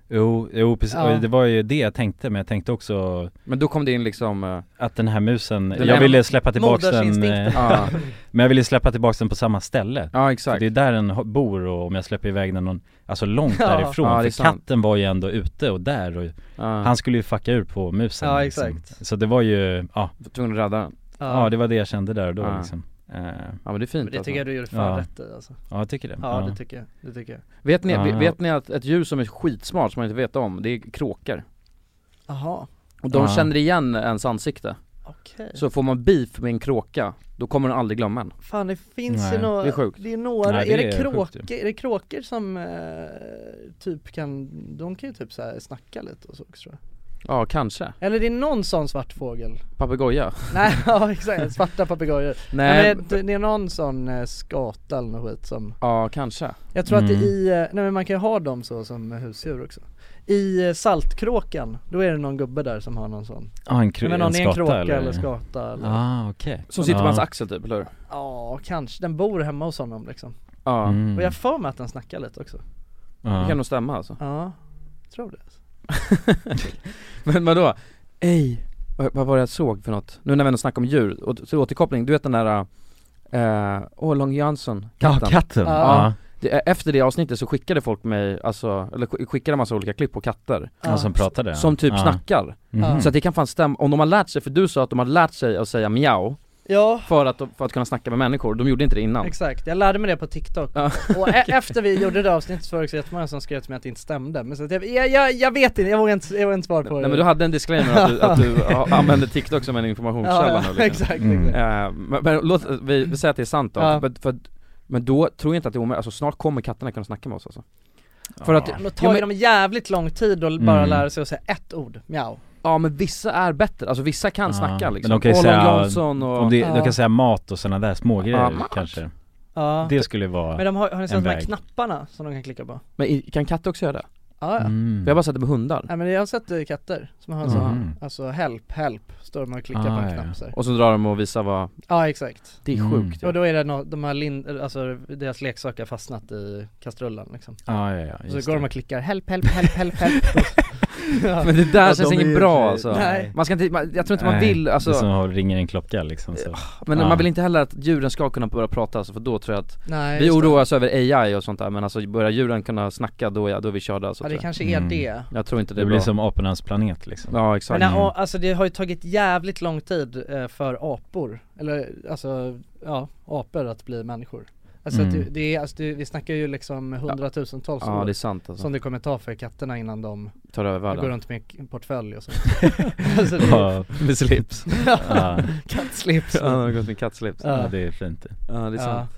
Speaker 3: Jo, jo precis,
Speaker 1: Ja.
Speaker 3: Och det var ju det jag tänkte men jag tänkte också
Speaker 1: Men då kom det in liksom
Speaker 3: Att den här musen,
Speaker 1: Den
Speaker 3: jag
Speaker 1: här
Speaker 3: ville släppa tillbaka den
Speaker 1: modersinstinkten.
Speaker 3: eh,
Speaker 1: Ja.
Speaker 3: Men jag ville släppa tillbaka den på samma ställe
Speaker 1: Ja, exakt.
Speaker 3: För det är där den ho- bor och om jag släpper iväg den någon, alltså långt
Speaker 1: Ja.
Speaker 3: därifrån
Speaker 1: Ja, det är
Speaker 3: För
Speaker 1: sant.
Speaker 3: katten var ju ändå ute och där och han skulle ju fucka ur på musen
Speaker 2: Ja,
Speaker 3: liksom.
Speaker 2: exakt.
Speaker 3: Så det var ju, ja
Speaker 1: Tvungen att rädda den
Speaker 3: Ja,
Speaker 2: Ja.
Speaker 3: det var det jag kände där och då
Speaker 1: Ja.
Speaker 3: liksom eh.
Speaker 1: Ja men det är fint
Speaker 2: Men det tycker jag du gjorde fan rätt i alltså
Speaker 3: Ja jag tycker det
Speaker 2: Ja, det tycker jag, det tycker jag
Speaker 1: Vet ni,
Speaker 3: Ja,
Speaker 1: ve-
Speaker 3: ja.
Speaker 1: vet ni att ett djur som är skitsmart som man inte vet om, det är kråkor
Speaker 2: Jaha,
Speaker 1: Och de
Speaker 3: Ja.
Speaker 1: känner igen ens ansikte
Speaker 2: Okej.
Speaker 1: Så får man beef med en kråka, då kommer den aldrig glömma en
Speaker 2: fan det finns
Speaker 1: Nej,
Speaker 2: ju några,
Speaker 1: det är sjukt.
Speaker 2: det är några,
Speaker 1: Nej, det
Speaker 2: är, det
Speaker 1: är
Speaker 2: kråkor,
Speaker 1: sjukt
Speaker 2: är det kråkor som eh, typ kan, de kan ju typ så här snacka lite och så också tror jag
Speaker 1: Ja kanske,
Speaker 2: Eller det är någon sån svart fågel
Speaker 1: papegoja
Speaker 2: Nej, ja exakt, svarta papegojor
Speaker 1: Nej.
Speaker 2: Nej men det- det är någon sån eh, skata eller något skit som
Speaker 1: Ja kanske
Speaker 2: Jag tror att
Speaker 1: Mm.
Speaker 2: det i, eh, nej men man kan ju ha dem så som husdjur också I eh, Saltkråkan, då är det någon gubbe där som har någon sån
Speaker 3: Ja, Ah, en kro-
Speaker 2: Men någon
Speaker 3: en
Speaker 2: är en
Speaker 3: skata,
Speaker 2: kråka
Speaker 3: eller?
Speaker 2: eller, skata eller
Speaker 3: Ah, okej.
Speaker 1: Som sitter på
Speaker 3: Ja.
Speaker 1: hans axel typ, eller hur?
Speaker 2: Ja, kanske, den bor hemma hos honom liksom
Speaker 1: Ja
Speaker 3: Mm. Ah.
Speaker 2: Och jag har för mig att den snackar lite också
Speaker 1: Det kan nog stämma alltså
Speaker 2: Ja, tror det
Speaker 1: Men vadå? Ej, vad, vad var det jag såg för något? Nu när vi ändå snackar om djur, och till återkoppling, du vet den där eh, Åh, Long Jansson,
Speaker 3: Ja,
Speaker 1: katten
Speaker 3: katten. Ah. Ja.
Speaker 1: Ja. Det, efter det avsnittet så skickade folk mig, alltså, eller sk- skickade en massa olika klipp på katter
Speaker 3: Ja, som pratade, ja.
Speaker 1: Som typ
Speaker 3: Ja.
Speaker 1: snackar
Speaker 3: Mhm.
Speaker 1: Så att det kan fan stämma, om de har lärt sig, för du sa att de har lärt sig att säga miau
Speaker 2: Ja.
Speaker 1: för, att, de- för att kunna snacka med människor, de gjorde inte det innan
Speaker 2: Exakt, jag lärde mig det på TikTok Och e- efter vi gjorde det avsnittet så var det också jättemånga som skrev till mig att det inte stämde Men så att jag, jag, jag, jag vet inte, jag vågar inte, jag vågar inte svara på det
Speaker 1: Nej men du hade en disclaimer att du, att du a- använde TikTok som en
Speaker 2: Ja,
Speaker 1: informationskälla
Speaker 2: ja,
Speaker 1: nu, liksom.
Speaker 2: exakt, exakt. Mm.
Speaker 1: Eh, men, men låt, vi, vi säger att det är sant då,
Speaker 2: Ja.
Speaker 1: för, för, men då tror jag inte att det är omöjligt, alltså snart kommer katterna kunna snacka med oss alltså För att,
Speaker 2: Men då
Speaker 1: Jo,
Speaker 2: tar ju
Speaker 1: men-
Speaker 2: dem jävligt lång tid att bara
Speaker 1: Mm.
Speaker 2: lära sig att säga ett ord, mjau
Speaker 1: Ja men vissa är bättre, alltså vissa kan snacka liksom
Speaker 3: Men de kan ju
Speaker 1: Åh,
Speaker 3: säga,
Speaker 1: Long Johnson och...
Speaker 3: om det, de
Speaker 2: Ja.
Speaker 3: kan säga mat och sådana där små grejer
Speaker 1: Ja, mat.
Speaker 3: kanske
Speaker 2: Ja.
Speaker 3: Det skulle vara
Speaker 2: Men de har, har ni sett
Speaker 3: en
Speaker 2: de här
Speaker 3: väg.
Speaker 2: knapparna som de kan klicka på?
Speaker 1: Men i- kan katter också göra det?
Speaker 2: Ja, ja.
Speaker 3: Mm.
Speaker 1: Vi har bara sett det med hundar
Speaker 2: Nej men jag har sett eh, katter som har en sån,
Speaker 1: Mm. Ah,
Speaker 2: alltså help, help, står man och klickar på en knapp så här.
Speaker 1: Och så drar de och visar vad...
Speaker 2: Ja exakt
Speaker 1: Det är sjukt
Speaker 2: Och då är det no, de har lin, alltså deras leksak har fastnat i kastrullen liksom
Speaker 3: Ja, ja, ja,
Speaker 2: Och Så
Speaker 3: just
Speaker 2: går de
Speaker 3: det.
Speaker 2: och klickar help, help, help, help, help
Speaker 1: Men det där
Speaker 2: Ja,
Speaker 1: känns
Speaker 2: de är
Speaker 1: inget
Speaker 2: ju-
Speaker 1: bra alltså
Speaker 2: Nej
Speaker 1: Man ska inte, man, jag tror inte man
Speaker 3: Nej,
Speaker 1: vill alltså
Speaker 3: Det är som att ringa en klocka liksom så.
Speaker 1: Men
Speaker 3: Ja.
Speaker 1: man vill inte heller att djuren ska kunna börja prata alltså, för då tror jag att
Speaker 2: Nej,
Speaker 1: Vi
Speaker 2: just det.
Speaker 1: oroar oss över AI och sånt där men alltså börjar djuren kunna snacka då, ja, då är vi körda alltså,
Speaker 2: Ja, det
Speaker 1: tror jag.
Speaker 2: kanske är Mm. det.
Speaker 1: Jag tror inte det,
Speaker 3: Det
Speaker 1: är
Speaker 3: blir
Speaker 1: bra
Speaker 3: som apornas planet liksom
Speaker 1: Ja exakt
Speaker 2: Men ja, alltså det har ju tagit jävligt lång tid eh, för apor, eller alltså, ja, apor att bli människor Alltså
Speaker 1: Mm.
Speaker 2: att det, det är, alltså det, vi snackar ju liksom hundratusentals
Speaker 1: Ja,
Speaker 2: år
Speaker 1: det är sant, alltså.
Speaker 2: Som det kommer ta för katterna innan de
Speaker 1: Tar över världen.
Speaker 2: Går runt med en portfölj och så alltså
Speaker 1: Ja, med slips.
Speaker 2: Ja,
Speaker 1: Ja.
Speaker 2: kattslips
Speaker 1: Ja, de har gått med kattslips. Ja, det är fint. Ja, det är sant.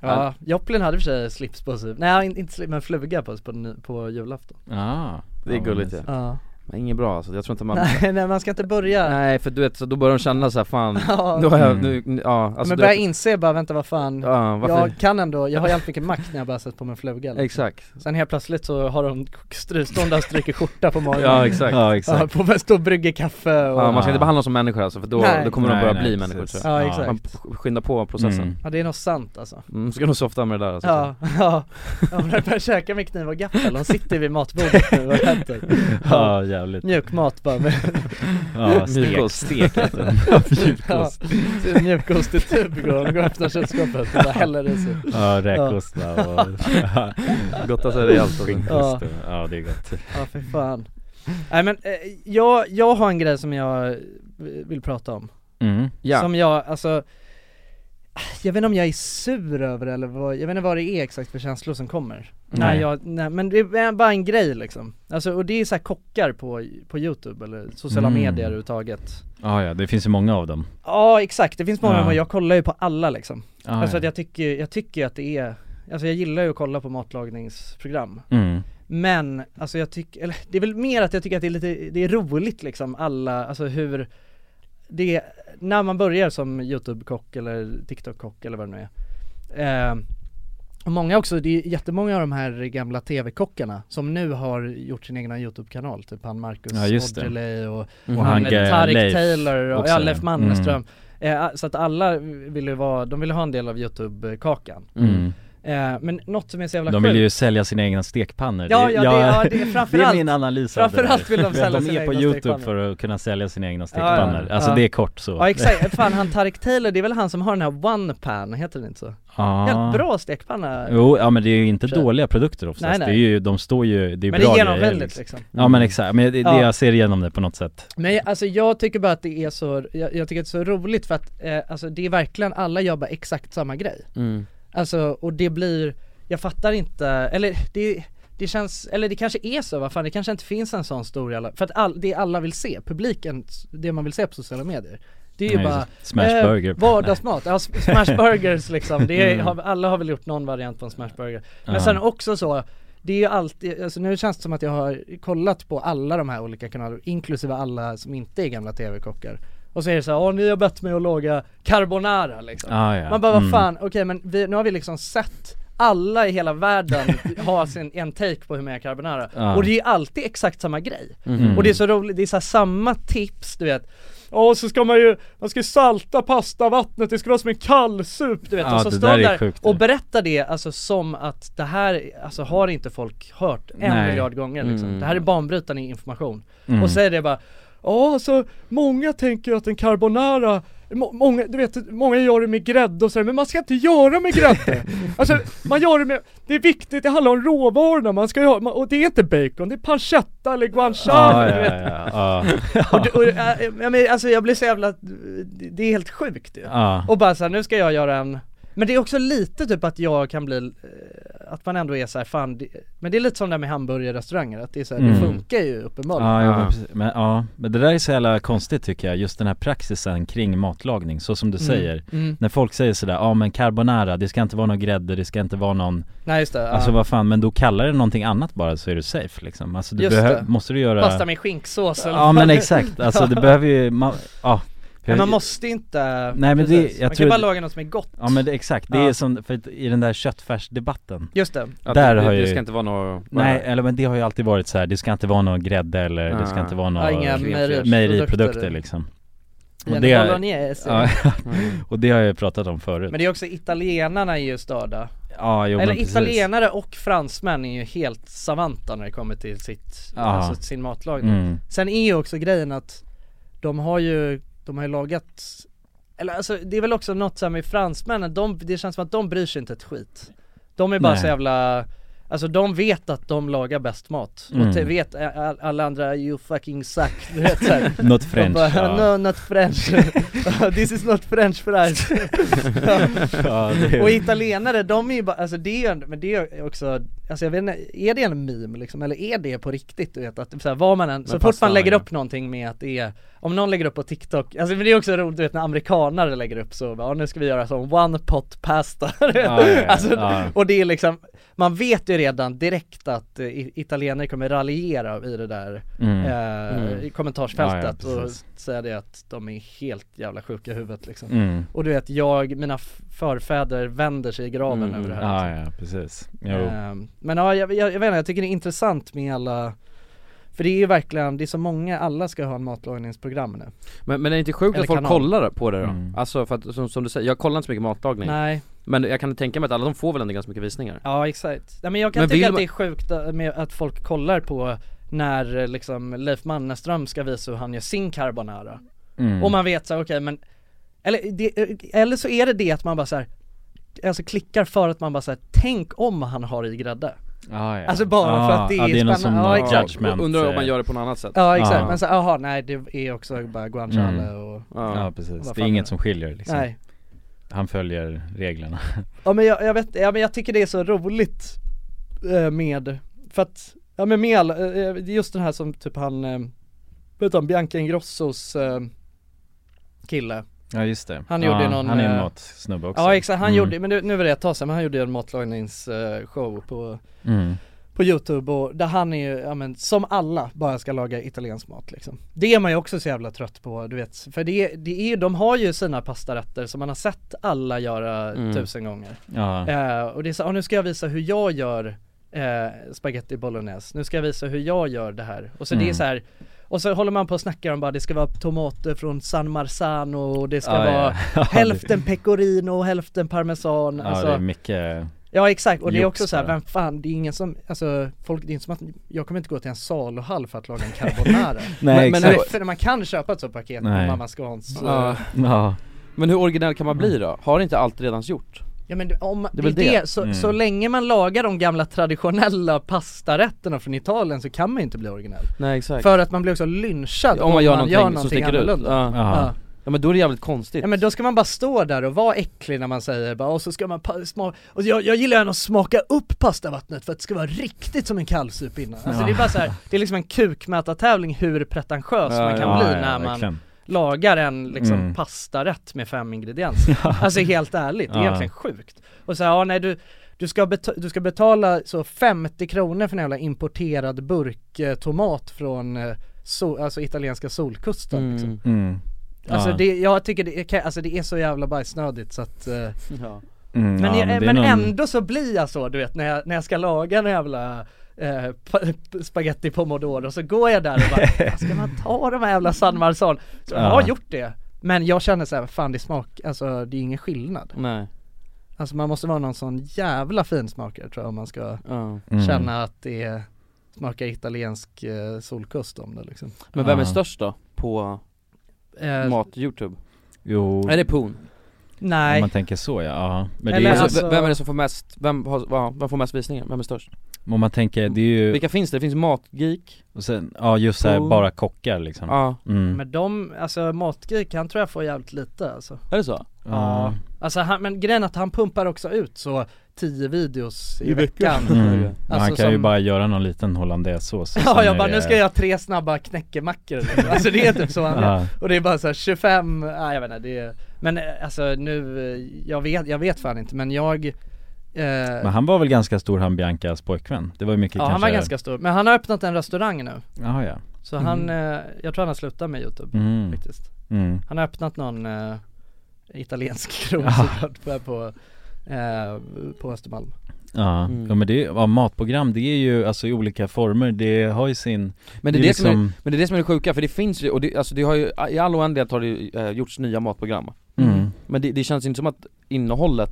Speaker 2: Ja, Ja, Joplin hade för sig slips på sig, nej in- inte slips men fluga på sig på, ny- på julafton
Speaker 1: Ah, det är
Speaker 2: Ja,
Speaker 1: gulligt
Speaker 2: men-
Speaker 1: ju.
Speaker 2: Ja.
Speaker 1: Men inget bra alltså, jag tror inte man
Speaker 2: Nej nej man ska inte börja
Speaker 1: Nej för du vet, så då börjar de känna såhär fan,
Speaker 2: Ja.
Speaker 1: då har jag,
Speaker 2: Mm.
Speaker 1: nu, nu- ja alltså
Speaker 2: Men
Speaker 1: du
Speaker 2: börja
Speaker 1: vet-
Speaker 2: inse bara, vänta vad fan,
Speaker 1: Ja, varför-
Speaker 2: jag kan ändå, jag har jävligt mycket makt när jag bara sätter på mig en fluga liksom.
Speaker 1: Exakt.
Speaker 2: Sen helt plötsligt så har de, stry- står de där och stryker skjorta på morgonen
Speaker 1: Ja, exakt. Ja, exakt.
Speaker 2: Ja, På en stor brygga kaffe och
Speaker 1: Ja, man ska inte behandla dem som människor alltså för då,
Speaker 2: Nej.
Speaker 1: då kommer de
Speaker 2: Nej,
Speaker 1: börja
Speaker 2: nej,
Speaker 1: bli
Speaker 2: precis.
Speaker 1: människor tror
Speaker 2: Ja,
Speaker 1: jag.
Speaker 2: exakt.
Speaker 1: Man sk- skyndar på processen mm.
Speaker 2: Ja det är nog sant alltså
Speaker 1: Ska nog softa med det där alltså, tror jag.
Speaker 2: Ja, ja, ja men de börjar käka med kniv och gaffel, de sitter vid matbordet nu och äter
Speaker 3: Ja, jävligt.
Speaker 2: Mjukmat bara med
Speaker 3: Ja, stek- Mjukost. stek heter det.
Speaker 2: Ja,
Speaker 3: Mjukost.
Speaker 2: typ mjukost i tub går de, går och öppnar kylskåpet och bara häller i sig
Speaker 3: Ja, räkost där och
Speaker 1: Gotta sig rejält alltså.
Speaker 3: Skinkost och- ja, det är gott
Speaker 2: Ja för fan Nej men eh, jag, jag har en grej som jag eh, vill prata om
Speaker 3: Mm.
Speaker 1: Ja.
Speaker 2: Som jag, alltså Jag vet inte om jag är sur över det eller vad, jag vet inte vad det är exakt för känslor som kommer
Speaker 3: Nej.
Speaker 2: Nej, jag, nej men det är bara en grej liksom Alltså och det är så här kockar på, på youtube eller sociala
Speaker 3: Mm.
Speaker 2: medier överhuvudtaget
Speaker 3: Ja, ja, det finns ju många av dem
Speaker 2: Ja exakt, det finns många
Speaker 3: Ja.
Speaker 2: men jag kollar ju på alla liksom
Speaker 3: Ja,
Speaker 2: Alltså
Speaker 3: ja.
Speaker 2: att jag tycker, jag tycker ju att det är Alltså jag gillar ju att kolla på matlagningsprogram
Speaker 3: Mm.
Speaker 2: Men, alltså jag tycker, eller det är väl mer att jag tycker att det är lite, det är roligt liksom alla, alltså hur Det, när man börjar som YouTube-kock eller TikTok-kock eller vad det nu är eh, och många också, det är jättemånga av de här gamla TV-kockarna som nu har gjort sin egna YouTube-kanal, typ han Marcus
Speaker 3: Ja, just det.
Speaker 2: Aujalay och,
Speaker 3: Mm.
Speaker 2: och
Speaker 3: Och han,
Speaker 2: han
Speaker 3: eh,
Speaker 2: Tarik
Speaker 3: Leif
Speaker 2: Taylor och
Speaker 3: också, Mm.
Speaker 2: ja,
Speaker 3: ja.
Speaker 2: Leif Mannerström eh, Så att alla ville ju vara, de ville ha en del av YouTube-kakan
Speaker 3: Mm.
Speaker 2: eh, Men något som är så jävla
Speaker 3: De vill
Speaker 2: sjukt-
Speaker 3: ju sälja sina egna stekpannor
Speaker 2: Ja, ja, det- ja, det är framförallt-
Speaker 3: Det är min analys av det där.
Speaker 2: framförallt vill de sälja
Speaker 3: De
Speaker 2: sina
Speaker 3: är på
Speaker 2: egna
Speaker 3: youtube
Speaker 2: stekpannor.
Speaker 3: för att kunna sälja sina egna stekpannor
Speaker 2: Ja, ja,
Speaker 3: Alltså
Speaker 2: ja.
Speaker 3: det är kort så
Speaker 2: Ja exakt, fan han Tarik Taylor, det är väl han som har den här One Pan, heter den inte så?
Speaker 3: Ja.
Speaker 2: Helt bra stekpanna
Speaker 3: Jo, ja men det är ju inte dåliga produkter oftast
Speaker 2: Nej, nej.
Speaker 3: Det är ju, de står ju, det är
Speaker 2: Men det
Speaker 3: bra
Speaker 2: är
Speaker 3: grejer,
Speaker 2: genomvänligt, liksom.
Speaker 3: Ja men exakt, men det, det,
Speaker 2: Ja.
Speaker 3: jag ser igenom det på något sätt
Speaker 2: Men jag- alltså jag tycker bara att det är så, jag, jag tycker att det är så roligt för att eh, alltså det är verkligen, alla gör bara exakt samma grej
Speaker 1: Mm.
Speaker 2: Alltså och det blir, jag fattar inte, eller det, det känns, eller det kanske är så, vad fan det kanske inte finns en sån stor i alla, för att all, det alla vill se, publiken, det man vill se på sociala medier det är ju
Speaker 3: Nej,
Speaker 2: bara eh,
Speaker 3: just smashburger.
Speaker 2: vardagsmat, ja, s- smashburgers liksom, det är,
Speaker 3: Mm.
Speaker 2: har, alla har väl gjort någon variant på en smashburger Men
Speaker 3: Ja.
Speaker 2: sen också så, det är ju alltid, alltså nu känns det som att jag har kollat på alla de här olika kanalerna, inklusive alla som inte är gamla TV-kockar och så är det så här, åh ni har bett mig att laga carbonara liksom.
Speaker 3: Ah, ja.
Speaker 2: Man bara, vad
Speaker 3: Mm.
Speaker 2: fan, okej men vi, nu har vi liksom sett alla i hela världen ha sin, en take på hur man gör carbonara.
Speaker 3: Ja.
Speaker 2: Och det är alltid exakt samma grej.
Speaker 3: Mhm.
Speaker 2: Och det är så roligt, det är så här samma tips du vet. Ja och så ska man ju, man ska ju salta pastavattnet, det ska vara som en kallsup du vet.
Speaker 3: Ja,
Speaker 2: och så
Speaker 3: det
Speaker 2: står
Speaker 3: där
Speaker 2: de
Speaker 3: är
Speaker 2: där
Speaker 3: sjukt.
Speaker 2: och berättar det alltså som att det här, alltså har inte folk hört en
Speaker 3: Nej.
Speaker 2: miljard gånger liksom.
Speaker 3: Mm.
Speaker 2: Det här är banbrytande information.
Speaker 3: Mm.
Speaker 2: Och så är det bara Ja, så många tänker ju att en carbonara må- Många, du vet, många gör det med grädde och sådär, men man ska inte göra med grädde! Alltså, man gör det med, det är viktigt, det handlar om råvarorna, man ska göra, man, och det är inte bacon, det är pancetta eller guanciale,
Speaker 3: Ah, Ja, ja, ja,
Speaker 2: du vet.
Speaker 3: ja.
Speaker 2: Och, det- och, äh, jag men, alltså jag blir så jävla, det är helt sjukt ju.
Speaker 3: Ja.
Speaker 2: Och bara såhär, nu ska jag göra en men det är också lite typ att jag kan bli, eh, att man ändå är såhär fan, det, men det är lite som det här med hamburgerrestauranger, att det är såhär,
Speaker 3: Mm.
Speaker 2: det funkar ju uppenbarligen
Speaker 3: Ja, ja. Men, precis. men, ja, men det där är så jävla konstigt tycker jag, just den här praxisen kring matlagning, så som du
Speaker 2: Mm,
Speaker 3: säger
Speaker 2: mm.
Speaker 3: När folk säger sådär, ja men carbonara, det ska inte vara någon grädde, det ska inte vara någon
Speaker 2: Nej just det, ja.
Speaker 3: Alltså vad fan, men då kallar det någonting annat bara så är du safe liksom Alltså du
Speaker 2: Just
Speaker 3: behö-
Speaker 2: det.
Speaker 3: måste du göra
Speaker 2: Pasta med skinksås eller
Speaker 3: Ja
Speaker 2: vad
Speaker 3: men
Speaker 2: det-
Speaker 3: exakt, alltså
Speaker 2: Ja.
Speaker 3: det behöver ju, man, ja
Speaker 2: Men man måste inte,
Speaker 3: Nej men det,
Speaker 2: precis.
Speaker 3: jag
Speaker 2: Man
Speaker 3: tror
Speaker 2: kan bara laga något som är gott
Speaker 3: Ja men det, exakt, det
Speaker 2: Ja.
Speaker 3: är som, för att i den där köttfärsdebatten
Speaker 2: Just det.
Speaker 1: Att
Speaker 3: Där
Speaker 1: det-
Speaker 3: har
Speaker 1: det
Speaker 3: ju
Speaker 1: ska inte vara några-
Speaker 3: Nej, eller men det har ju alltid varit så här. det ska inte vara någon grädde eller det ska
Speaker 1: Ah.
Speaker 3: inte vara några
Speaker 2: Ja, inga mejeriprodukter.
Speaker 3: mejeriprodukter liksom
Speaker 2: Gärna bolognese.
Speaker 3: ja,
Speaker 1: Mm.
Speaker 3: och det har jag ju pratat om förut
Speaker 2: Men det är också italienarna är ju störda
Speaker 3: Ja, jo, men
Speaker 2: Eller
Speaker 3: precis.
Speaker 2: italienare och fransmän är ju helt savanta när det kommer till sitt,
Speaker 3: Ja.
Speaker 2: alltså sin matlagning
Speaker 3: Mm.
Speaker 2: Sen är ju också grejen att de har ju, de har ju lagat eller alltså det är väl också något så här med fransmännen, de, det känns som att de bryr sig inte ett skit De är bara
Speaker 3: Nej.
Speaker 2: så jävla Alltså de vet att de lagar bäst mat,
Speaker 3: Mm.
Speaker 2: och te- vet ä- ä- alla andra 'you fucking suck' du vet såhär
Speaker 3: Not French, ja.
Speaker 2: No not French, this is not French fries
Speaker 3: Ja, det är-
Speaker 2: Och italienare, de är ju bara, alltså det är ju, men det är också alltså jag vet inte, är det en meme liksom, eller är det på riktigt du vet att så här, vad man än, så
Speaker 7: Men
Speaker 2: fort
Speaker 7: passar
Speaker 2: man lägger
Speaker 7: han,
Speaker 2: upp någonting med att det är, om någon lägger upp på TikTok, alltså men det är också roligt du vet när amerikanare lägger upp så, bara, "Ja, nu ska vi göra sån one pot pasta, du vet.
Speaker 3: Ja, ja, ja.
Speaker 2: alltså,
Speaker 3: Ja.
Speaker 2: och det är liksom, man vet ju redan direkt att eh, i- italienare kommer raljera i det där
Speaker 3: Mm.
Speaker 2: eh,
Speaker 3: Mm.
Speaker 2: i kommentarsfältet
Speaker 3: Ja, ja,
Speaker 2: och
Speaker 3: precis.
Speaker 2: säga det att de är helt jävla sjuka i huvudet liksom.
Speaker 3: Mm.
Speaker 2: Och du vet, jag, mina f- förfäder vänder sig i graven
Speaker 3: Mm.
Speaker 2: över det här.
Speaker 3: Ja, ja, precis. Jo.
Speaker 2: Ehm, Men ja, jag, jag, jag vet inte, jag tycker det är intressant med alla för det är ju verkligen, det är så många, alla ska ha en matlagningsprogram nu
Speaker 1: Men, men är det inte sjukt
Speaker 2: Eller
Speaker 1: att folk
Speaker 2: kanal.
Speaker 1: kollar på det då? Alltså för att som, som du säger, jag kollar inte så mycket matlagning
Speaker 2: Nej.
Speaker 1: Men jag kan tänka mig att alla de får väl ändå ganska mycket visningar
Speaker 2: Ja exakt, Nej, men jag kan
Speaker 1: Men vill
Speaker 2: tycka att
Speaker 1: man-
Speaker 2: det är sjukt eh, med att folk kollar på när eh, liksom Leif Mannerström ska visa hur han gör sin carbonara
Speaker 3: Mm.
Speaker 2: Och man vet så här, okej men eller, det, eh, eller så är det det att man bara så här, Alltså klickar för att man bara säger tänk om han har i grädde
Speaker 3: Ah, ja.
Speaker 2: Alltså bara för
Speaker 3: Ah,
Speaker 2: att det är,
Speaker 3: ja, det är någon
Speaker 2: spännande
Speaker 3: som
Speaker 2: Ja,
Speaker 3: har
Speaker 2: exakt.
Speaker 3: judgment, eh.
Speaker 1: Undrar om man gör det på något annat sätt
Speaker 2: Ja exakt,
Speaker 3: Ah.
Speaker 2: men så jaha nej det är också bara guanciale
Speaker 1: Mm.
Speaker 2: och
Speaker 3: Ja, precis,
Speaker 2: vad
Speaker 3: det är
Speaker 2: fan
Speaker 3: inget som skiljer liksom
Speaker 2: Nej.
Speaker 3: Han följer reglerna
Speaker 2: Ja men jag, jag vet, ja men jag tycker det är så roligt eh, med, för att, ja men med alla, eh, eh, det är just den här som typ han, eh, vet du han, Bianca Ingrossos eh, kille
Speaker 3: Ja just det
Speaker 2: Han
Speaker 3: ja,
Speaker 2: gjorde ju någon
Speaker 3: Han är en
Speaker 2: eh,
Speaker 3: matsnubbe också
Speaker 2: Ja exakt, han
Speaker 3: Mm.
Speaker 2: gjorde, men nu, nu var det ett tag sedan, men han gjorde ju en matlagningsshow eh, på
Speaker 3: Mm.
Speaker 2: på youtube och där han är ju, ja men som alla, bara ska laga italiensk mat liksom. Det är man ju också så jävla trött på, du vet. För det, det är ju, de har ju sina pastarätter som man har sett alla göra
Speaker 3: Mm.
Speaker 2: tusen gånger.
Speaker 3: Ja.
Speaker 2: Eh, och det är så, ah, nu ska jag visa hur jag gör eh, spaghetti bolognese, nu ska jag visa hur jag gör det här. Och så det är
Speaker 3: Mm.
Speaker 2: så här och så håller man på och snackar om bara det ska vara tomater från San Marzano och det ska
Speaker 3: Ah, Ja, ja.
Speaker 2: vara
Speaker 3: Ja, det-
Speaker 2: hälften pecorino och hälften parmesan.
Speaker 3: Ja
Speaker 2: alltså,
Speaker 3: det är mycket
Speaker 2: Ja exakt, och det är
Speaker 3: jox
Speaker 2: också så här,
Speaker 3: bara.
Speaker 2: vem fan, det är ingen som, alltså folk, det är inte som att, jag kommer inte gå till en saluhall för att laga en carbonara
Speaker 1: Nej,
Speaker 2: men, men
Speaker 1: exakt.
Speaker 2: för man kan köpa ett sånt paket på
Speaker 1: Nej.
Speaker 2: Mamma Scans
Speaker 1: Ja. Men hur originell kan man bli då? Har det inte allt redan gjort?
Speaker 2: Ja men du, om,
Speaker 1: Det
Speaker 2: det
Speaker 1: är
Speaker 2: är
Speaker 1: väl
Speaker 2: det,
Speaker 1: det.
Speaker 2: Så,
Speaker 1: Mm.
Speaker 2: så länge man lagar de gamla traditionella pastarätterna från Italien så kan man ju inte bli originell
Speaker 1: Nej exakt
Speaker 2: För att man blir också lynchad
Speaker 1: Om man gör någonting, som
Speaker 2: någonting
Speaker 1: sticker ut
Speaker 2: annorlunda
Speaker 1: ja.
Speaker 2: Ja.
Speaker 1: Ja. men då är det jävligt konstigt
Speaker 2: Ja men då ska man bara stå där och vara äcklig när man säger bara, och så ska man pa- sma- och jag, jag gillar gärna att smaka upp pastavattnet för att det ska vara riktigt som en kallsup innan. Alltså
Speaker 3: Ja.
Speaker 2: det är bara så här, det är liksom en kukmätartävling hur pretentiös
Speaker 3: Ja,
Speaker 2: man kan
Speaker 3: ja,
Speaker 2: bli
Speaker 3: ja,
Speaker 2: när man
Speaker 3: verkligen.
Speaker 2: lagar en liksom
Speaker 3: Mm.
Speaker 2: pastarätt med fem ingredienser. Alltså helt ärligt, det är
Speaker 3: Ja.
Speaker 2: egentligen sjukt. Och så här, ja nej du du ska, beta- du ska betala så 50 kronor för en jävla importerad burk eh, tomat från eh, so- alltså italienska solkusten liksom.
Speaker 3: Mm.
Speaker 2: Alltså
Speaker 3: Ja.
Speaker 2: det, jag tycker det, är- kan- alltså det är så jävla bajsnödigt så att eh,
Speaker 3: Mm,
Speaker 2: Men,
Speaker 3: ja,
Speaker 2: jag,
Speaker 3: men
Speaker 2: men,
Speaker 3: det är någon-
Speaker 2: ändå så blir jag så du vet när jag, när jag ska laga en jävla eh, pa- p- spaghetti pomodoro så går jag där och bara "Fan, Ska man ta de här jävla San Marzan? Så jag
Speaker 1: Ja.
Speaker 2: har gjort det Men jag känner såhär, fan det smak, alltså det är ingen skillnad
Speaker 3: Mm.
Speaker 1: Nej
Speaker 2: Alltså man måste vara någon sån jävla finsmakare tror jag om man ska
Speaker 1: Ja.
Speaker 3: Mm.
Speaker 2: känna att det är, smakar italiensk eh, solkust om det liksom
Speaker 1: Men vem är
Speaker 2: Ja.
Speaker 1: störst då? På
Speaker 2: Eh,
Speaker 1: mat-youtube?
Speaker 3: Jo
Speaker 1: Är Äh, det Poon?
Speaker 2: Nej
Speaker 3: Om man tänker så ja, ja. Men det
Speaker 1: Eller,
Speaker 3: är ju,
Speaker 1: alltså, v- Vem är det som får mest, vem, har, va, vem får mest visningar? Vem är störst?
Speaker 3: Om man tänker, det är ju
Speaker 1: Vilka finns det? Det finns Matgeek
Speaker 3: och sen, Ja just såhär
Speaker 1: Poon.
Speaker 3: bara kockar liksom
Speaker 1: Ja.
Speaker 3: mm.
Speaker 2: Oh. Men de, alltså Matgeek, han tror jag får jävligt lite alltså
Speaker 1: Är det så?
Speaker 2: Ja Alltså han, men grejen är att han pumpar också ut så 10 videos i,
Speaker 1: I
Speaker 2: veckan,
Speaker 1: veckan.
Speaker 3: Mm.
Speaker 2: Alltså
Speaker 3: Ja, han kan ju
Speaker 2: som-
Speaker 3: bara göra någon liten hollandaisesås och
Speaker 2: Ja
Speaker 3: sen
Speaker 2: jag
Speaker 3: är
Speaker 2: bara,
Speaker 3: det-
Speaker 2: nu ska jag göra tre snabba knäckemackor liksom. Alltså det är typ så han
Speaker 3: Ja.
Speaker 2: gör. Och det är bara så här 25, nej jag vet inte det är, Men eh, alltså nu, eh, jag vet, jag vet fan inte men jag eh,
Speaker 3: Men han var väl ganska stor han Biancas pojkvän? Det var ju mycket
Speaker 2: Ja
Speaker 3: kanske
Speaker 2: han var ganska stor, men han har öppnat en restaurang nu
Speaker 3: Jaha, ja.
Speaker 2: Så han, eh, jag tror han har slutat med youtube
Speaker 3: Mm.
Speaker 2: faktiskt
Speaker 3: Mm.
Speaker 2: Han har öppnat någon eh, italiensk krog
Speaker 3: Ja.
Speaker 2: såklart på, på, eh, på Östermalm
Speaker 3: Ja,
Speaker 1: Mm.
Speaker 3: ja men det, ja, matprogram det är ju alltså i olika former, det har ju sin
Speaker 1: Men det, är det som
Speaker 3: liksom-
Speaker 1: är, men det är det som är det sjuka, för det finns ju, och det, alltså det har ju, i all oändlighet har det ju, eh, gjorts nya matprogram
Speaker 3: Mm.
Speaker 1: Men det, det känns inte som att innehållet,